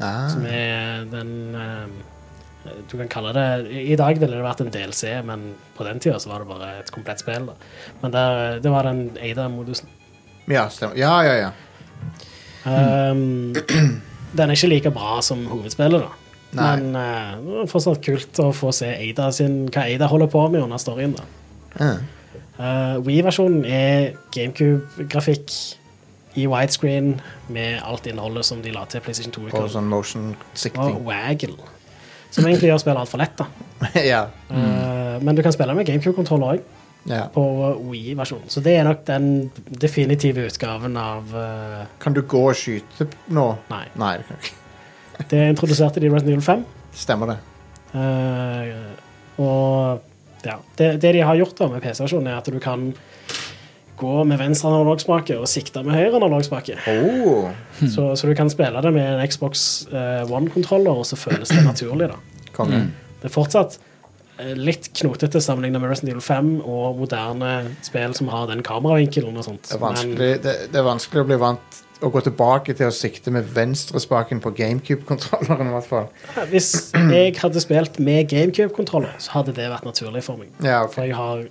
Speaker 10: Ah.
Speaker 11: som er den eh, Du kan kalle det I i dag ville det vært en DLC, men på den tida så var det bare et komplett spill. Da. Men der, eh, det var den Ada-modusen.
Speaker 10: Ja, stemmer. Ja, ja, ja. Hmm.
Speaker 11: Um, den er ikke like bra som hovedspillet, da.
Speaker 10: Nei.
Speaker 11: Men eh, det er fortsatt kult å få se Ada sin, hva Ada holder på med under storyen. da.
Speaker 10: Ja.
Speaker 11: Eh, Wii-versjonen er GameCube-grafikk i widescreen med alt innholdet som de la til PlayStation 2
Speaker 10: Og
Speaker 11: -utgaven.
Speaker 10: sånn motion
Speaker 11: og
Speaker 10: sikting.
Speaker 11: Waggle. Som egentlig gjør spillet altfor lett, da.
Speaker 10: ja.
Speaker 11: Eh, men du kan spille med GameCube-kontroller òg,
Speaker 10: ja.
Speaker 11: på Wii-versjonen. Så det er nok den definitive utgaven av eh,
Speaker 10: Kan du gå og skyte p- nå?
Speaker 11: Nei.
Speaker 10: Nei, det kan du ikke.
Speaker 11: Det introduserte de i Resident Evil 5.
Speaker 10: Stemmer det.
Speaker 11: Eh, og ja, det, det de har gjort da med PC-versjonen, er at du kan gå med venstre analogspake og sikte med høyre analogspake.
Speaker 3: Oh.
Speaker 11: Så, så du kan spille det med en Xbox eh, One-kontroller, og så føles det naturlig. da.
Speaker 3: Konge.
Speaker 11: Det er fortsatt eh, litt knotete sammenlignet med Resident Evil 5 og moderne spill som har den kameravinkelen og sånt.
Speaker 10: Det er, vanskelig, det, det er vanskelig å bli vant å gå tilbake til å sikte med venstrespaken på GameCube-kontrolleren. i hvert fall.
Speaker 11: Men eh, hvis jeg hadde spilt med GameCube-kontroller, så hadde det vært naturlig for meg.
Speaker 10: Ja, ok.
Speaker 11: For jeg har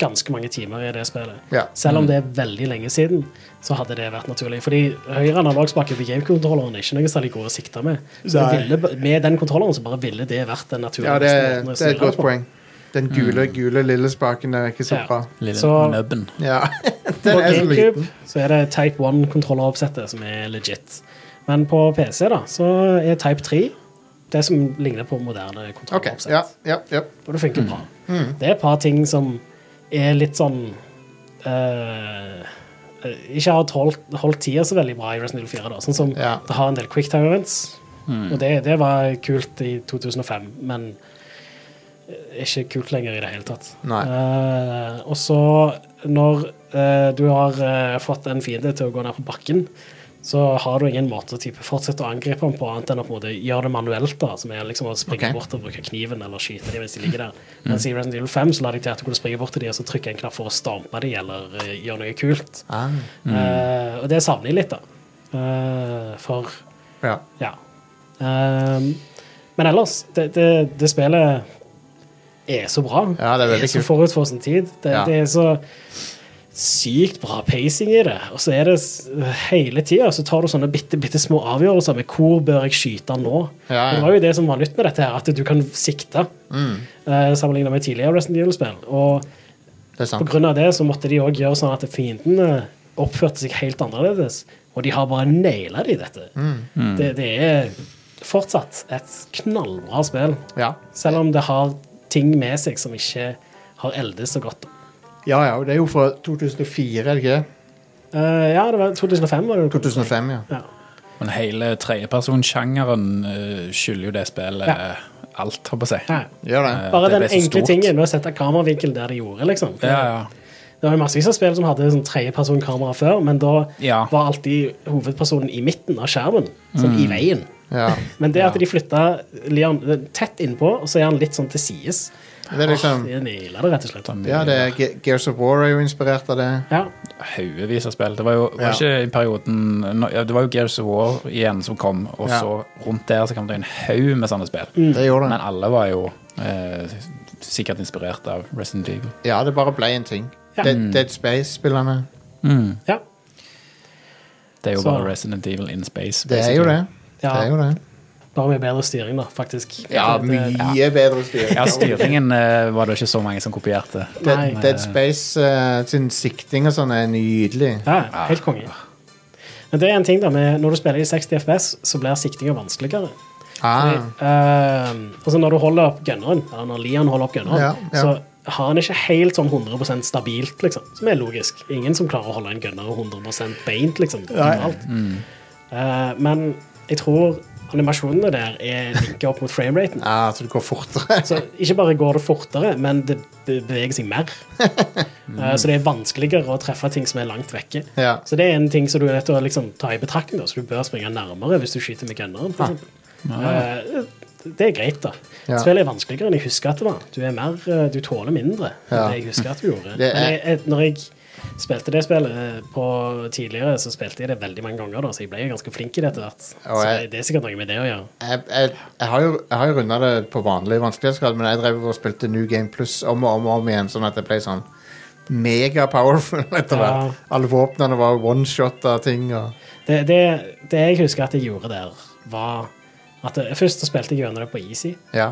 Speaker 11: ganske mange timer i det spillet.
Speaker 10: Ja. Mm.
Speaker 11: Selv om det er veldig lenge siden, så hadde det vært naturlig. Fordi høyre analogspake på GameCube-kontrolleren er ikke noe særlig god å sikte med. Så det
Speaker 10: Nei.
Speaker 11: ville, ba- med den kontrolleren så bare ville det vært den naturlige
Speaker 10: Ja, det,
Speaker 11: måten å
Speaker 10: det er
Speaker 11: styre
Speaker 10: et godt
Speaker 11: på.
Speaker 10: poeng. Den gule, gule lille spaken er ikke så
Speaker 11: Ja.
Speaker 10: bra.
Speaker 12: Lille
Speaker 11: Så-
Speaker 12: nubben.
Speaker 10: Ja.
Speaker 11: På
Speaker 10: Den er så liten.
Speaker 11: GameCube så er det Type 1-kontrolleroppsettet som er legit. Men på PC da, så er Type 3 det som ligner på moderne
Speaker 10: OK. Ja,
Speaker 11: kontrolleroppsett.
Speaker 10: ja, ja.
Speaker 11: Og det funker bra. Det er et par ting som er litt sånn eh, eh, Ikke har holdt, holdt tida så veldig bra i Resident Evil 4. Da. Sånn som
Speaker 10: Ja. Mm.
Speaker 11: det har en del quick time events. Og det, det var kult i 2005, men eh, ikke kult lenger i det hele tatt.
Speaker 10: Nei.
Speaker 11: Eh, og så, når eh, du har eh, fått en fiende til å gå ned på bakken, så har du ingen måte å type fortsette å angripe dem på, annet enn å på en måte gjøre det manuelt, da, som er liksom å springe
Speaker 10: Ok.
Speaker 11: bort og bruke kniven eller skyte dem mens de ligger der. Mens i Resident Evil 5 så la de til at du kunne springe bort til dem og så trykke en knapp for å stampe dem eller eh, gjøre noe kult.
Speaker 10: Ah.
Speaker 11: Eh, og det savner jeg litt, da. Eh, for
Speaker 10: ja.
Speaker 11: ja. Ehm, men ellers, det, det, det spillet er så bra.
Speaker 10: Ja, det er veldig
Speaker 11: så
Speaker 10: kult.
Speaker 11: forut for sin tid. Det,
Speaker 10: Ja.
Speaker 11: det er så sykt bra pacing i det. Og så er det s- hele tida så tar du sånne bitte, bitte små avgjørelser med hvor bør jeg skyte nå.
Speaker 10: Ja, Mm. ja.
Speaker 11: Og Det var jo det som var nytt med dette, her, at du kan sikte, eh, sammenlignet med tidligere Resident Evil-spill. Og
Speaker 10: Det er
Speaker 11: på
Speaker 10: sant.
Speaker 11: grunn av det så måtte de også gjøre sånn at fiendene oppførte seg helt annerledes. Og de har bare naila det i dette.
Speaker 12: Mm.
Speaker 11: Det, det er fortsatt et knallbra spill.
Speaker 10: Ja.
Speaker 11: Selv om det har ting med seg som ikke har eldes så godt.
Speaker 10: ja, ja. og Det er jo fra 2004, er det ikke det?
Speaker 11: Eh, ja, det var 2005 var det.
Speaker 10: 2005, ja.
Speaker 11: Ja.
Speaker 12: Men hele tredjepersonsjangeren uh, skylder jo det spillet
Speaker 11: Ja.
Speaker 12: alt, holdt på å si.
Speaker 11: Ja.
Speaker 10: Gjør det.
Speaker 12: Eh,
Speaker 11: Bare
Speaker 12: det
Speaker 11: den
Speaker 12: ble så
Speaker 11: enkle
Speaker 12: stort.
Speaker 11: tingen med å sette kameravinkel der de gjorde, liksom.
Speaker 12: Ja, ja.
Speaker 11: Det var jo massevis av spill som hadde sånn tredjepersonkamera før, men da
Speaker 12: Ja.
Speaker 11: var alltid hovedpersonen i midten av skjermen, sånn
Speaker 12: Mm.
Speaker 11: i veien.
Speaker 10: Ja.
Speaker 11: Men det at de flytta Lian tett innpå, og så er han litt sånn til sides
Speaker 10: Det er liksom
Speaker 11: Det nailer det, rett og slett.
Speaker 10: Ja, det er Ge- Gears of War er jo inspirert av det.
Speaker 11: Ja.
Speaker 12: Haugevis av spill. Det var jo var
Speaker 10: Ja.
Speaker 12: ikke i perioden nå- ja, Det var jo Gears of War igjen som kom, og
Speaker 10: Ja.
Speaker 12: så rundt der så kom det en haug med sånne spill.
Speaker 11: Mm.
Speaker 10: Det gjorde
Speaker 12: Men
Speaker 10: det.
Speaker 12: alle var jo eh, sikkert inspirert av Resident Evil.
Speaker 10: Ja, det bare ble en ting.
Speaker 11: Ja.
Speaker 10: Dead, Dead Space-spillerne.
Speaker 11: ja.
Speaker 12: Det er jo
Speaker 11: Så-
Speaker 12: bare Resident Evil in space.
Speaker 10: Det er jo det. Det
Speaker 11: Ja.
Speaker 10: er jo det.
Speaker 11: Bare med bedre styring, da, faktisk.
Speaker 10: Ja,
Speaker 11: Det- det-
Speaker 10: mye bedre styring.
Speaker 12: Ja, styringen eh, var det ikke så mange som kopierte.
Speaker 10: Dead,
Speaker 11: Nei.
Speaker 10: Dead Space eh, sin sikting og sånn er nydelig.
Speaker 11: Ja, helt konge. Men det er en ting da med Når du spiller i 60 FPS, så blir siktinga vanskeligere. Fordi,
Speaker 10: Ah,
Speaker 11: eh, altså når du holder opp gunneren, eller når Lian holder opp gunneren,
Speaker 10: Ja, ja.
Speaker 11: så har han ikke helt sånn 100 stabilt, liksom. Som er logisk. Ingen som klarer å holde en gunner 100 beint, liksom. optimalt. Eh, men jeg tror animasjonene der er linka opp mot frameraten.
Speaker 10: ah, så det går fortere.
Speaker 11: Så ikke bare går det fortere, men det be- beveger seg mer. Eh, Så det er vanskeligere å treffe ting som er langt vekke.
Speaker 10: Ja.
Speaker 11: Så det er en ting som du er nødt til å liksom, ta i betraktning, da, så du bør springe nærmere hvis du skyter med gunneren. for eksempel. Eh, Det er greit, da.
Speaker 10: Ah. Ja.
Speaker 11: Spillet er vanskeligere enn jeg husker at det var. Du, er mer, eh, du tåler mindre enn
Speaker 10: Ja.
Speaker 11: det jeg husker at du gjorde.
Speaker 10: Det er-
Speaker 11: Men jeg, jeg, når jeg spilte det spillet eh, på tidligere, så spilte jeg det veldig mange ganger, da, så jeg ble ganske flink i det etter hvert. Så
Speaker 10: Og jeg-
Speaker 11: det er sikkert noe med det å gjøre.
Speaker 10: Jeg, jeg, jeg har jo, jeg har jo runda det på vanlig vanskelighetsgrad, men jeg drev og spilte New Game Plus om og om, og om igjen, sånn at jeg ble sånn mega powerful etter
Speaker 11: Ja.
Speaker 10: hvert. Alle våpnene var one-shot av ting. og
Speaker 11: Det, det, det jeg husker at jeg gjorde der, var at jeg, Først så spilte jeg gjennom det på Easy,
Speaker 10: Ja.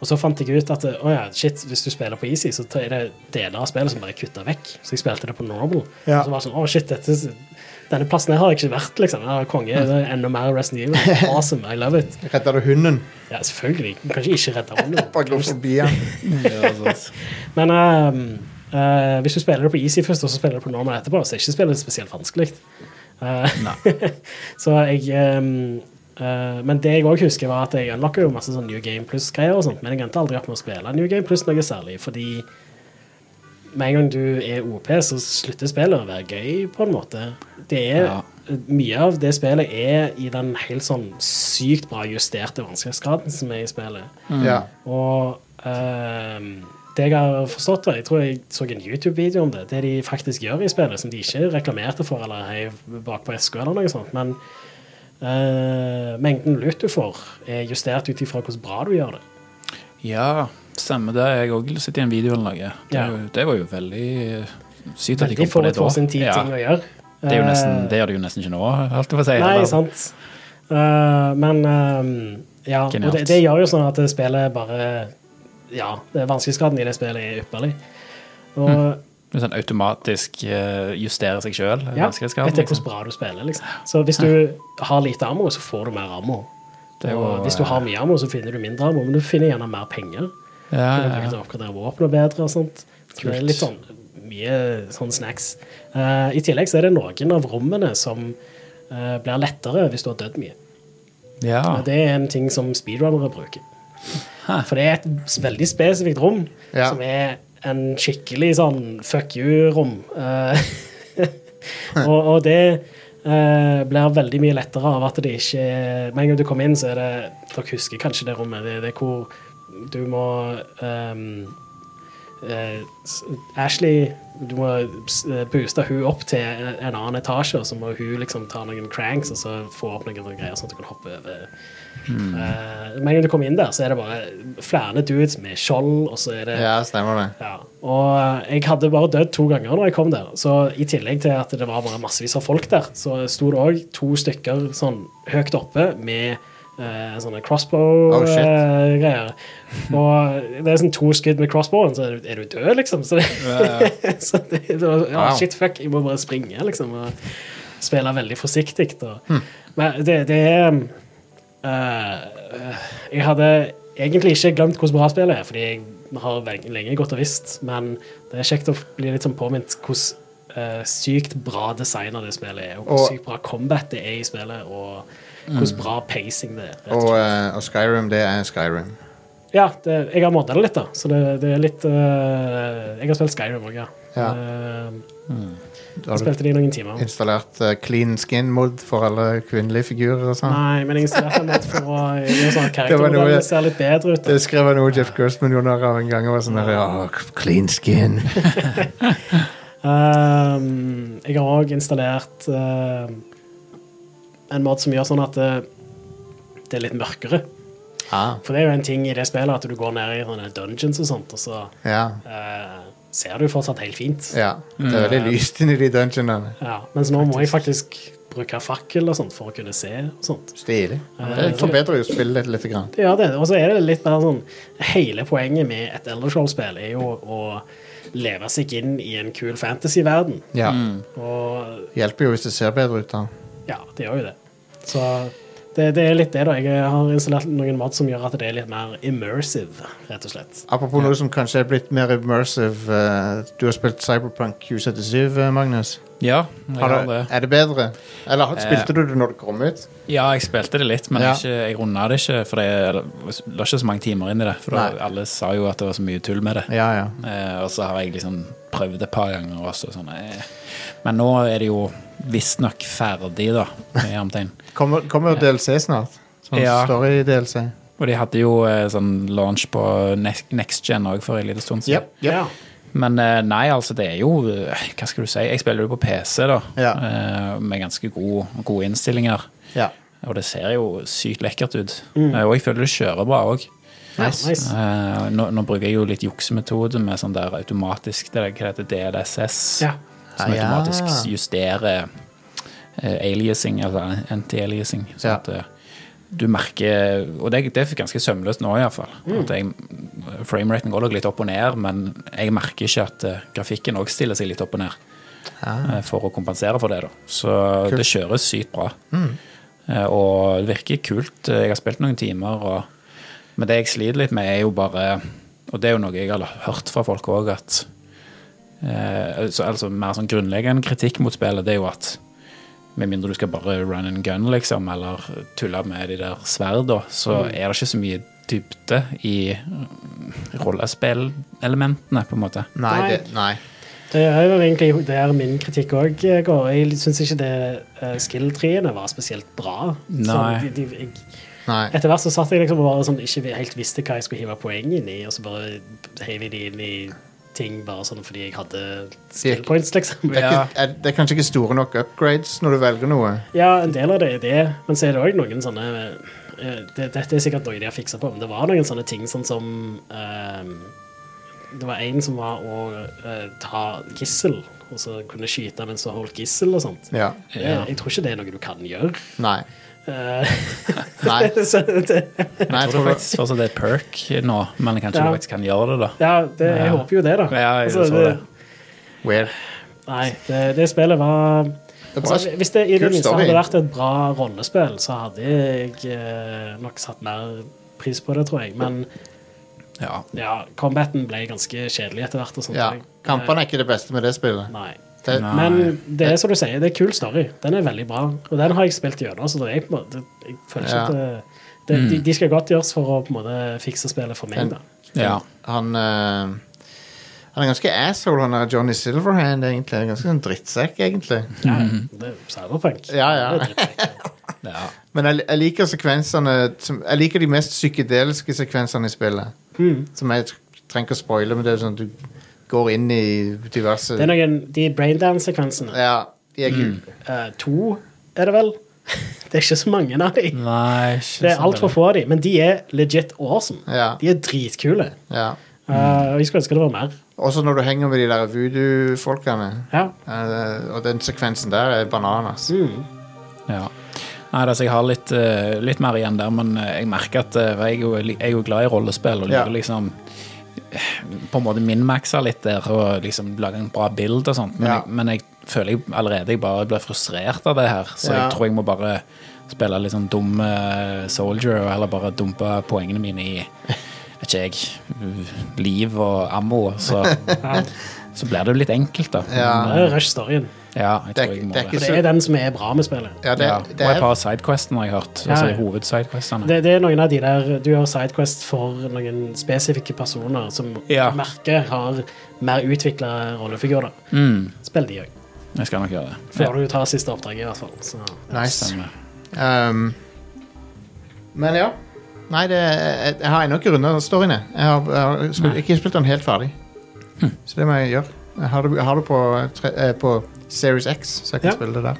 Speaker 11: og så fant jeg ut at å ja, shit, hvis du spiller på Easy, så er det deler av spillet som bare er kutta vekk. Så jeg spilte det på normal.
Speaker 10: Ja.
Speaker 11: Og så var det sånn, å shit, dette, denne plassen her har jeg ikke vært, liksom. Jeg er konge, det er enda mer Resident Evil. Awesome, I love it.
Speaker 10: Redda du hunden?
Speaker 11: Ja, selvfølgelig. Du kan ikke ikke redde hånden.
Speaker 10: Bare gå forbi han.
Speaker 11: Men ehm, eh, hvis du spiller det på easy først, og så spiller du på normal etterpå, så er ikke spillet spesielt vanskelig. Eh, så jeg ehm, eh, Men det jeg òg husker, var at jeg unlocka jo masse sånn New Game Plus-greier, og sånt, men jeg endte aldri opp med å spille New Game Plus noe særlig, fordi med en gang du er OP, så slutter spillet å være gøy, på en måte. Det er, Mye av det spillet er i den helt sånn sykt bra justerte vanskelighetsgraden som er i spillet.
Speaker 10: Mm. Ja.
Speaker 11: Og ehm, det jeg har forstått, da, jeg tror jeg så en YouTube-video om det, det de faktisk gjør i spillet, som de ikke reklamerte for eller heiv bakpå eska eller noe sånt, men eh, mengden loot du får, er justert ut ifra hvordan bra du gjør det.
Speaker 12: Ja, stemmer det. Jeg òg sett i en video eller noe. Det,
Speaker 11: Ja.
Speaker 12: er jo- det var jo veldig eh, sykt at de
Speaker 11: Veldig
Speaker 12: kom på det
Speaker 11: forut
Speaker 12: da.
Speaker 11: for sin tid
Speaker 12: Ja.
Speaker 11: ting å gjøre.
Speaker 12: Det er jo
Speaker 11: Eh,
Speaker 12: nesten, det gjør det jo nesten ikke nå, holdt jeg på å si.
Speaker 11: Nei,
Speaker 12: eller?
Speaker 11: sant. Eh, men ehm, ja, og
Speaker 12: Genialt.
Speaker 11: det, det gjør jo sånn at det spillet bare Ja, det- vanskelighetsgraden i det spillet er ypperlig. Og
Speaker 12: Det er Sånn automatisk eh, justere seg sjøl.
Speaker 11: ja, etter hvordan bra du spiller, liksom. Så hvis du har lite ammo, så får du mer ammo.
Speaker 12: Det er jo,
Speaker 11: og hvis du har mye ammo, så finner du mindre ammo, men du finner gjerne mer penger.
Speaker 12: Ja,
Speaker 11: Du
Speaker 12: ja,
Speaker 11: kan bruke
Speaker 12: ja.
Speaker 11: til å oppgradere våpenet bedre og sånt. Så det
Speaker 12: Kult.
Speaker 11: er litt sånn mye sånn snacks. Eh, I tillegg så er det noen av rommene som eh, blir lettere hvis du har dødd mye.
Speaker 12: Ja.
Speaker 11: Og Det er en ting som speedrunnere bruker. For det er et s- veldig spesifikt rom,
Speaker 12: Ja.
Speaker 11: som er en skikkelig sånn fuck you-rom. Eh, og, og det eh, blir veldig mye lettere av at det ikke er Med en gang du kommer inn, så er det Dere husker kanskje det rommet. Det, det er hvor du må ehm, eh, s- Ashley Du må s- eh, booste hun opp til en en annen etasje, og så må hun liksom ta noen cranks og så få opp noen sånne greier, sånn at du kan hoppe over.
Speaker 10: Hmm.
Speaker 11: Eh, Med en gang du kommer inn der, så er det bare flere dudes med skjold, og så er det
Speaker 10: Ja, stemmer det.
Speaker 11: ja. Og eh, jeg hadde bare dødd to ganger når jeg kom der. Så i tillegg til at det var bare massevis av folk der, så sto det òg to stykker sånn høyt oppe med eh,
Speaker 10: Oh,
Speaker 11: sånne
Speaker 10: shit.
Speaker 11: crossbow-greier. og det er sånn to skudd med crossbowen, så er du- er du død, liksom. Så det,
Speaker 12: Ja,
Speaker 11: så det, det var, ja,
Speaker 12: Wow.
Speaker 11: shit, fuck, jeg må bare springe, liksom. Og spille veldig forsiktig. Og,
Speaker 12: Hm.
Speaker 11: Men det, det er eh, Jeg hadde egentlig ikke glemt hvordan bra spillet er, fordi jeg har vel- lenge gått og visst, men det er kjekt å bli litt sånn påminnet hvordan eh, sykt bra designer det spillet er, og hvor
Speaker 10: Og-
Speaker 11: sykt bra combat det er i spillet, og
Speaker 10: Mm.
Speaker 11: hvordan bra pacing det er.
Speaker 10: Og, eh, og Skyrim, det er Skyrim.
Speaker 11: Ja, det, jeg har modda det litt, da, så det, det er litt eh, Jeg har spilt Skyrim òg, ja.
Speaker 10: Ja.
Speaker 11: Eh,
Speaker 10: Da har
Speaker 11: jeg spilte det i noen timer.
Speaker 10: Installert eh, clean skin-mod for alle kvinnelige figurer og sånn.
Speaker 11: Nei, men jeg installerte den litt for å gjøre sånn at
Speaker 10: Det var noe-
Speaker 11: karaktermodellen ser litt bedre ut.
Speaker 10: Det skrev jeg noe Jeff Gerstmann gjorde narr av en gang. Og var sånn der, ja, clean skin.
Speaker 11: Um, jeg har òg installert um, en mod som gjør sånn at det, det er litt mørkere.
Speaker 10: Ah.
Speaker 11: For det er jo en ting i det spillet at du går ned i sånne dungeons og sånt, og så
Speaker 10: Ja.
Speaker 11: eh, ser du fortsatt helt fint.
Speaker 10: ja. Det er veldig lyst inni de dungeonene.
Speaker 11: Ja, mens nå må jeg faktisk bruke fakkel og sånt for å kunne se og sånt.
Speaker 10: Stilig.
Speaker 11: Eh,
Speaker 10: Det forbedrer jo spillet litt. lite grann.
Speaker 11: Det gjør det. Og så er det litt mer sånn Hele poenget med et Eldershow-spill er jo å leve seg inn i en kul fantasy-verden.
Speaker 10: Ja.
Speaker 11: Og
Speaker 10: Hjelper jo hvis det ser bedre ut. da.
Speaker 11: ja, det gjør jo det. Så det, det er litt det, da. Jeg har installert noen mat som gjør at det er litt mer immersive, rett og slett.
Speaker 10: Apropos noe som kanskje er blitt mer immersive. eh, du har spilt Cyberpunk 2077, eh, Magnus.
Speaker 12: Ja, jeg
Speaker 10: Har
Speaker 12: har
Speaker 10: du,
Speaker 12: det.
Speaker 10: er det bedre? Eller har-
Speaker 12: Eh,
Speaker 10: spilte du det når det kom ut?
Speaker 12: Ja, jeg spilte det litt, men
Speaker 10: Ja.
Speaker 12: ikke, jeg runda det ikke. For det eller, det var ikke så mange timer inn i det. For da, alle sa jo at det var så mye tull med det.
Speaker 10: Ja, ja.
Speaker 12: Eh, og så har jeg liksom prøvd et par ganger også. Sånn, eh. Men nå er det jo visstnok ferdig, da. Med hermetegn.
Speaker 10: Kommer, kommer jo DLC snart? Sånn
Speaker 12: Ja.
Speaker 10: story-DLC.
Speaker 12: Og de hadde jo eh, sånn launch på Next, Next Gen òg for en liten stund siden.
Speaker 11: Ja.
Speaker 12: Men eh, nei, altså, det er jo eh, Hva skal du si? Jeg spiller jo på PC, da.
Speaker 10: Ja.
Speaker 12: eh, Med ganske gode, gode innstillinger.
Speaker 10: Ja.
Speaker 12: Og det ser jo sykt lekkert ut.
Speaker 10: Mm.
Speaker 12: Eh, Og jeg føler det kjører bra òg.
Speaker 10: Ja, Nice. nice.
Speaker 12: nå, nå bruker jeg jo litt juksemetode med sånn der automatisk det, er- Hva heter det, DLSS?
Speaker 11: Ja.
Speaker 12: Som
Speaker 10: Ah, ja.
Speaker 12: automatisk justerer eh, aliasing, altså anti-aliasing. Sånn at eh, du merker Og det, det er ganske sømløst nå, iallfall.
Speaker 11: Mm.
Speaker 12: Mm. Frameraten går nok litt opp og ned, men jeg merker ikke at eh, grafikken òg stiller seg litt opp og ned. eh, For å kompensere for det, da. Så
Speaker 10: Ah. Kult.
Speaker 12: det kjøres sykt bra.
Speaker 10: Mm.
Speaker 12: Eh, Og det virker kult. Eh, Jeg har spilt noen timer, og, men det jeg sliter litt med, er jo bare Og det er jo noe jeg har hørt fra folk òg, at eh, altså, altså mer sånn grunnleggende kritikk mot spillet, det er jo at med mindre du skal bare run and gun, liksom, eller tulle med de der sverda, så
Speaker 11: Mm.
Speaker 12: er det ikke så mye dybde i rollespillelementene, på en måte.
Speaker 10: Nei, det, nei.
Speaker 11: Det er jo egentlig der min kritikk òg går. Jeg syns ikke det eh, skill-treene var spesielt bra. Sånn,
Speaker 12: Nei.
Speaker 11: de, de, jeg,
Speaker 10: Nei.
Speaker 11: etter hvert så satt jeg liksom og bare sånn, ikke helt visste hva jeg skulle hive poeng inn i, og så bare heiv jeg de inn i ting bare sånn fordi jeg hadde skill points, liksom.
Speaker 10: Det er, ikke, er, det er kanskje ikke store nok upgrades når du velger noe.
Speaker 11: Ja, en del av det er det, men så er det òg noen sånne eh, det, Dette er sikkert noe de har fiksa på, men det var noen sånne ting sånn som ehm, Det var en som var å eh, ta gissel, og så kunne skyte mens du holdt gissel og sånt.
Speaker 10: Ja.
Speaker 11: Det- Jeg tror ikke det er noe du kan gjøre.
Speaker 10: Nei.
Speaker 11: Eh,
Speaker 10: Nei.
Speaker 11: så det,
Speaker 10: Nei,
Speaker 12: Jeg tror det faktisk fortsatt er et perk nå, men kanskje
Speaker 11: Ja.
Speaker 12: du faktisk kan gjøre det, da.
Speaker 11: ja, det, jeg
Speaker 12: Ja.
Speaker 11: håper jo det, da.
Speaker 12: Ja, jeg så det.
Speaker 10: Weird.
Speaker 11: Nei, det, det spillet var
Speaker 10: Det er bra.
Speaker 11: Altså, hvis det i det
Speaker 10: Kult
Speaker 11: minste
Speaker 10: story.
Speaker 11: hadde vært et bra rollespill, så hadde jeg eh, nok satt mer pris på det, tror jeg. Men
Speaker 12: Ja.
Speaker 11: ja, combaten ble ganske kjedelig etter hvert. og sånt.
Speaker 10: Ja.
Speaker 11: Jeg- Eh,
Speaker 10: Kampene er ikke det beste med det spillet.
Speaker 11: Nei.
Speaker 10: Det,
Speaker 12: Nei.
Speaker 11: Men det er som du sier, det er kul story. Den er veldig bra. Og den har jeg spilt gjennom, så det er, jeg, på en måte- jeg føler ikke
Speaker 10: Ja.
Speaker 11: at det, det, de, de skal godt gjøres for å på en måte fikse spillet for
Speaker 10: Den-
Speaker 11: meg, da.
Speaker 12: ja.
Speaker 10: Han eh, Han er ganske asshole, han er Johnny Silverhand, egentlig. Ganske sånn drittsekk, egentlig.
Speaker 11: Ja, det er Cyberpunk.
Speaker 10: Ja, ja.
Speaker 11: Det er drittsekk.
Speaker 12: ja.
Speaker 10: Men jeg, jeg liker sekvensene som, Jeg liker de mest psykedeliske sekvensene i spillet.
Speaker 11: Hmm.
Speaker 10: Som jeg tr- trenger ikke å spoile, men det er sånn at du går inn i diverse
Speaker 11: Det er noen, De braindance-sekvensene
Speaker 10: Ja, de er kule.
Speaker 11: Eh, To er det vel? Det er ikke så mange av
Speaker 12: Mm.
Speaker 11: dem.
Speaker 12: Nei, ikke
Speaker 11: Det er altfor få av dem, men de er legit awesome.
Speaker 10: Ja.
Speaker 11: De er dritkule.
Speaker 10: Ja.
Speaker 11: Eh, og jeg skulle ønske det var mer.
Speaker 10: Også når du henger med de der voodoo-folkene.
Speaker 11: Ja.
Speaker 10: Eh, og den sekvensen der er bananas.
Speaker 11: Mm.
Speaker 12: Ja. Nei, altså, jeg har litt, eh, litt mer igjen der, men eh, jeg merker at eh, jeg, er jo, jeg er jo glad i rollespill og
Speaker 10: Ja.
Speaker 12: liker liksom eh, på en måte min-maxa litt der og liksom lage en bra bild og sånt, men,
Speaker 10: Ja.
Speaker 12: jeg, men jeg føler jeg allerede jeg bare blir frustrert av det her, så
Speaker 10: Ja.
Speaker 12: jeg tror jeg må bare spille litt sånn dum eh, soldier og heller bare dumpe poengene mine i vet ikke jeg, liv og ammo, så, så blir det jo litt enkelt, da. eh,
Speaker 10: Ja.
Speaker 11: Det er Rush-storyen.
Speaker 12: ja jeg
Speaker 10: Det er
Speaker 12: tror
Speaker 10: ikke-
Speaker 12: jeg må
Speaker 10: det er
Speaker 12: det.
Speaker 10: ikke
Speaker 11: For det er den som er bra med spillet.
Speaker 10: Ja, det,
Speaker 12: ja.
Speaker 10: det
Speaker 12: og et
Speaker 10: er,
Speaker 12: par sidequestene har jeg hørt.
Speaker 11: Ja, ja.
Speaker 12: Altså hovedsidequestene.
Speaker 11: Det, det er noen av de der Du har Sidequest for noen spesifikke personer som
Speaker 12: Ja.
Speaker 11: du merker har mer utvikla rollefigurer.
Speaker 12: Mm,
Speaker 11: Spill de òg,
Speaker 12: jeg skal nok gjøre det. eh,
Speaker 11: før du tar siste oppdraget, i hvert fall. Så.
Speaker 10: nice.
Speaker 12: Stemmer.
Speaker 10: Um, men ja. Nei, det, jeg, jeg har ennå ikke runda storyene. Jeg har, jeg har spilt, ikke spilt den helt ferdig. Så det må jeg gjøre. Jeg har det, jeg har det på, tre, eh, på Series X, så jeg kan
Speaker 11: Ja.
Speaker 10: spille det der.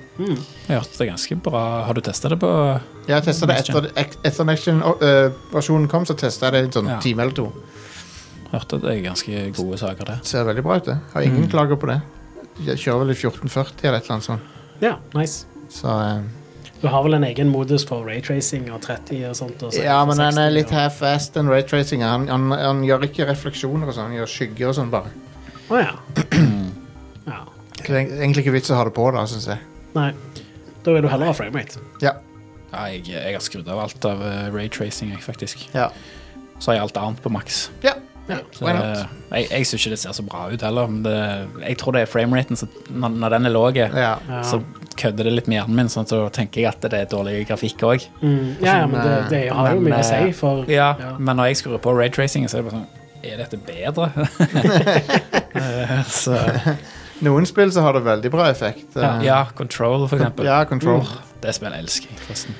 Speaker 12: Jeg hørte det er ganske bra. Har du testa det på
Speaker 10: Jeg testa det etter, ek- etter Next Gen-versjonen kom, så testa jeg det i en sånn
Speaker 12: Ja.
Speaker 10: time eller to.
Speaker 12: Hørte at det er ganske gode saker, det.
Speaker 10: Ser veldig bra ut, det. Har ingen klager på det. Jeg kjører vel i 1440 eller et eller annet sånt.
Speaker 11: Ja, nice.
Speaker 10: Så eh,
Speaker 11: Du har vel en egen modus for raytracing og 30 og sånt? Og så-
Speaker 10: Ja, men han er
Speaker 11: 60
Speaker 10: litt
Speaker 11: og-
Speaker 10: half-assed, den raytracinga. Han, han, han gjør ikke refleksjoner og sånn, han gjør skygger og sånn bare.
Speaker 11: Å ja. ja.
Speaker 10: Så det er egentlig ikke vits å ha det på, da, syns jeg.
Speaker 11: Nei. Da vil du heller ha framerate.
Speaker 10: Ja.
Speaker 12: Ja, jeg, eh, jeg har skrudd av alt av eh, raytracing, jeg, faktisk.
Speaker 10: Ja.
Speaker 12: Så har jeg alt annet på maks.
Speaker 10: ja. eh,
Speaker 12: Så
Speaker 10: Why
Speaker 12: det-
Speaker 10: not?
Speaker 12: Jeg, jeg syns ikke det ser så bra ut heller. Men det, jeg tror det er frameraten som når, når den er lav,
Speaker 10: Ja.
Speaker 12: så kødder det litt med hjernen min, sånn at da tenker jeg at det er dårlig grafikk òg.
Speaker 11: Mm. Ja, ja, men det, det har jo
Speaker 12: Men,
Speaker 11: mye å si
Speaker 12: eh,
Speaker 11: for
Speaker 12: Ja, men når jeg skrur på raytracing, så er det bare sånn Er dette bedre? Eh, så,
Speaker 10: Noen spill så har det veldig bra effekt. eh,
Speaker 12: ja, Control, for eksempel. Mm.
Speaker 10: ja, Control.
Speaker 12: Det spillet elsker jeg, forresten.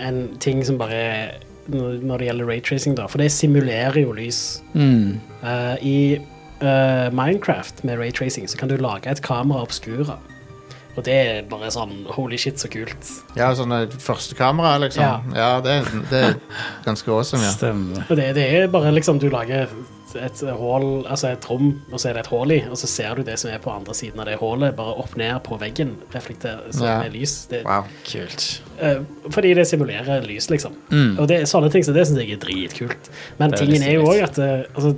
Speaker 11: en ting som bare er når når det gjelder raytracing, da. For det simulerer jo lys.
Speaker 10: Mm.
Speaker 11: Eh, I eh, Minecraft med raytracing så kan du lage et kamera obskura. Og det er bare sånn holy shit, så kult.
Speaker 10: Ja, sånn eh, første kamera, liksom. Ja, det, er- det er ganske awesome, ja.
Speaker 12: Stemmer.
Speaker 11: Og det, det er bare liksom du lager et hål, altså et rom, og så er det et hull i, og så ser du det som er på andre siden av det hullet, bare opp ned på veggen, reflekterer som
Speaker 10: Ja.
Speaker 11: med lys. Det,
Speaker 10: Wow.
Speaker 12: Kult.
Speaker 11: eh, fordi det simulerer lys, liksom. Og det, er sånne ting, så det syns jeg er dritkult.
Speaker 12: Mm.
Speaker 11: Men
Speaker 12: Det er
Speaker 11: tingen er jo
Speaker 12: stilig.
Speaker 11: òg at eh, altså,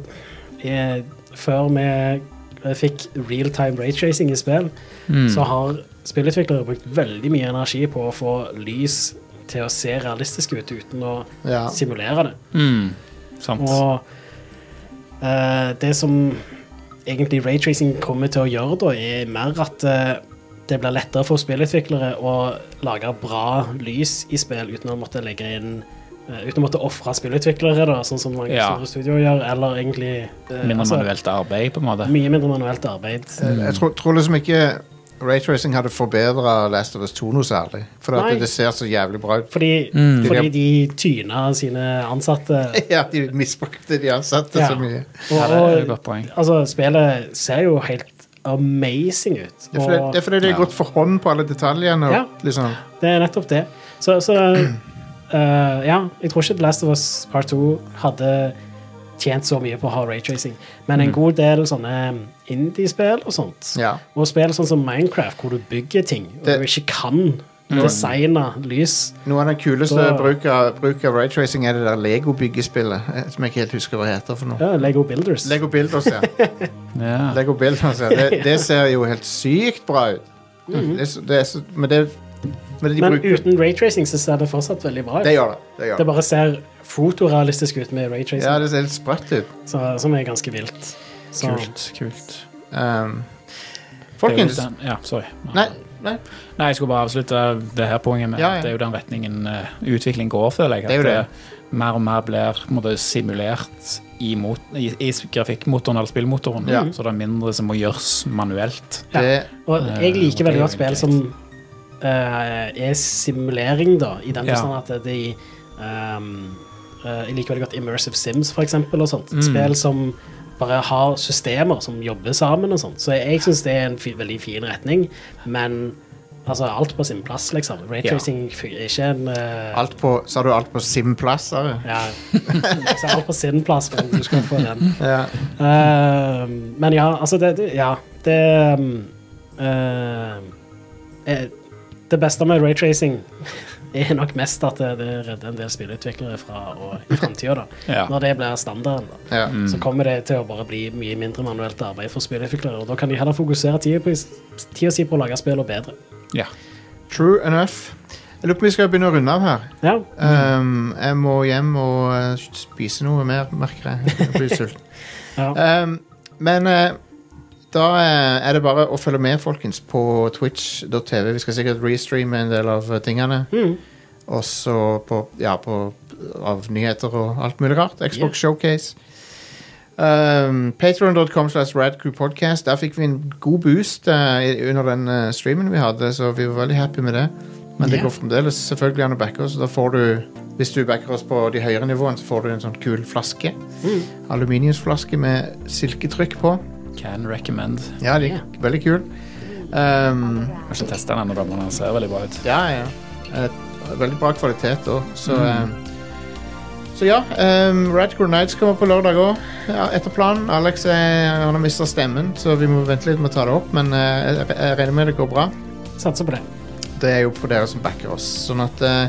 Speaker 11: eh, Før vi eh, fikk real-time raytracing i spill,
Speaker 12: Mm.
Speaker 11: så har spillutviklere brukt veldig mye energi på å få lys til å se realistisk ut uten å
Speaker 10: Ja.
Speaker 11: simulere det.
Speaker 12: Mm. Sant.
Speaker 11: Og eh, det som egentlig raytracing kommer til å gjøre, da, er mer at eh, det blir lettere for spillutviklere å lage bra lys i spill uten å måtte legge inn eh, uten å måtte ofre spillutviklere, da, sånn som mange
Speaker 12: Ja.
Speaker 11: store studioer gjør, eller egentlig eh,
Speaker 12: Mindre
Speaker 11: altså,
Speaker 12: manuelt arbeid, på en måte.
Speaker 11: Mye mindre manuelt arbeid.
Speaker 10: Jeg tror, tror liksom ikke Raytracing hadde forbedra Last of Us 2 noe særlig. For
Speaker 11: Nei.
Speaker 10: at det ser så jævlig bra ut.
Speaker 11: Fordi,
Speaker 10: Mm.
Speaker 11: fordi de tyna sine ansatte
Speaker 10: Ja, de misbrukte de ansatte
Speaker 11: Ja.
Speaker 10: så mye.
Speaker 11: Og,
Speaker 12: Ja, det er et godt
Speaker 11: og,
Speaker 12: poeng.
Speaker 11: altså, spillet ser jo helt amazing ut.
Speaker 10: Det er fordi det er, fordi det er
Speaker 12: Ja.
Speaker 10: gått for hånd på alle detaljene. og
Speaker 11: Ja.
Speaker 10: Liksom.
Speaker 11: Og det er nettopp det. Så, så eh, ja, jeg tror ikke The Last of Us Part 2 hadde tjent så mye på å ha raytracing, men en god del sånne mm, indie-spill og sånt,
Speaker 10: Mm. Ja.
Speaker 11: og spill sånn som Minecraft, hvor du bygger ting, og
Speaker 10: Det- Mm.
Speaker 11: du ikke kan designe lys
Speaker 10: Noe av den kuleste
Speaker 11: Da-
Speaker 10: bruk av, bruk av raytracing er det der Lego-byggespillet. eh, Som jeg ikke helt husker hva det heter for noe.
Speaker 11: ja, Lego Builders.
Speaker 10: Lego Builders, ja.
Speaker 12: Ja.
Speaker 10: Lego Builders, ja. Det, det ser jo helt sykt bra ut. det, er så- det er så, men det, men de
Speaker 11: Mhm. men
Speaker 10: bruker,
Speaker 11: uten raytracing så ser det fortsatt veldig bra ut.
Speaker 10: det gjør det. det, gjør
Speaker 11: Det
Speaker 10: det.
Speaker 11: bare ser fotorealistisk ut med raytracing.
Speaker 10: Ja, det ser helt sprøtt ut.
Speaker 11: Så, som er ganske vilt. Så,
Speaker 12: Kult. kult.
Speaker 10: Um,
Speaker 12: Det er jo
Speaker 10: folkens
Speaker 12: den- Ja, sorry.
Speaker 10: Nei, nei.
Speaker 12: Nei, jeg skulle bare avslutte det her poenget med
Speaker 10: Ja, ja.
Speaker 12: at det er jo den retningen eh, utvikling går, føler jeg. At
Speaker 10: Det er jo det.
Speaker 12: eh, mer og mer blir på en måte, simulert i, mot, i, i grafikkmotoren eller spillmotoren.
Speaker 10: Ja.
Speaker 12: Så det er mindre som må gjøres manuelt.
Speaker 11: Ja.
Speaker 10: Det,
Speaker 11: og jeg
Speaker 12: Eh, det er
Speaker 11: liker veldig
Speaker 12: jo
Speaker 11: godt spill
Speaker 12: greit.
Speaker 11: som eh, er simulering, da, i den
Speaker 12: Ja.
Speaker 11: forstand at de ehm, eh, Jeg liker veldig godt Immersive Sims, for eksempel, og
Speaker 12: Mm.
Speaker 11: sånt. Spill som bare har systemer som jobber sammen og sånt. Så jeg syns det er en fi, veldig fin retning, men altså, alt på sin plass, liksom. Raytracing er ikke en eh,
Speaker 10: alt på, sa du alt på Simplass? sa du?
Speaker 11: Ja, jeg sa alt på sin plass, men du skal få den.
Speaker 10: Ja.
Speaker 11: Eh, men ja, altså det, det Ja, det um, eh, eh, Det beste med raytracing er nok mest at det, det redder en del spillutviklere fra å- i framtida, da.
Speaker 12: Ja.
Speaker 11: Når det blir standarden, da.
Speaker 10: Ja. Mm.
Speaker 12: Mm.
Speaker 11: Så kommer det til å bare bli mye mindre manuelt arbeid for spillutviklere, og da kan de heller fokusere tida på- tida si på å lage spillene bedre.
Speaker 12: Ja.
Speaker 10: True enough. Jeg lurer på om vi skal begynne å runde av her.
Speaker 11: Ja.
Speaker 10: Um, jeg må hjem og eh, spise noe mer, merker jeg. Jeg blir sulten.
Speaker 11: ja.
Speaker 10: Um, men eh, da eh, er det bare å følge med, folkens, på twitch.tv. Vi skal sikkert restreame en del av eh, tingene. Og så på, ja, på av nyheter og alt mulig rart. Xbox
Speaker 11: Yeah.
Speaker 10: Showcase. Um, Patron.com slash radcrewpodcast. Der fikk vi en god boost eh, i- under den eh, streamen vi hadde, så vi var veldig happy med det. Men det
Speaker 11: Yeah.
Speaker 10: går fremdeles selvfølgelig an å backe oss. og Da får du, hvis du backer oss på de høyere nivåene, så får du en sånn kul flaske. Aluminiumsflaske med silketrykk på.
Speaker 12: Can recommend.
Speaker 10: Ja, de,
Speaker 11: Yeah.
Speaker 10: veldig kul. Um,
Speaker 12: Jeg har ikke testet den ennå, da, men den ser veldig bra ut.
Speaker 10: ja, ja. Eh, veldig bra kvalitet òg, så eh, Så ja. Um, Radcore Nights kommer på lørdag òg, ja, etter planen. Alex er, han har mista stemmen, så vi må vente litt med å ta det opp, men eh, jeg, jeg regner med det går bra.
Speaker 11: Satser på det.
Speaker 10: Det er jo for dere som backer oss. Sånn at eh,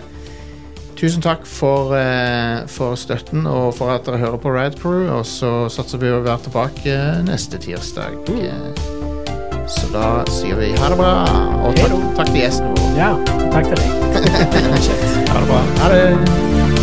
Speaker 10: Tusen takk for, eh, for støtten og for at dere hører på Radcrew. Og så satser vi å være tilbake neste tirsdag. Eh, Så da sier vi ha det bra, og takk, takk til gjesten vår.
Speaker 11: Ja. Takk til deg.
Speaker 10: Ha det.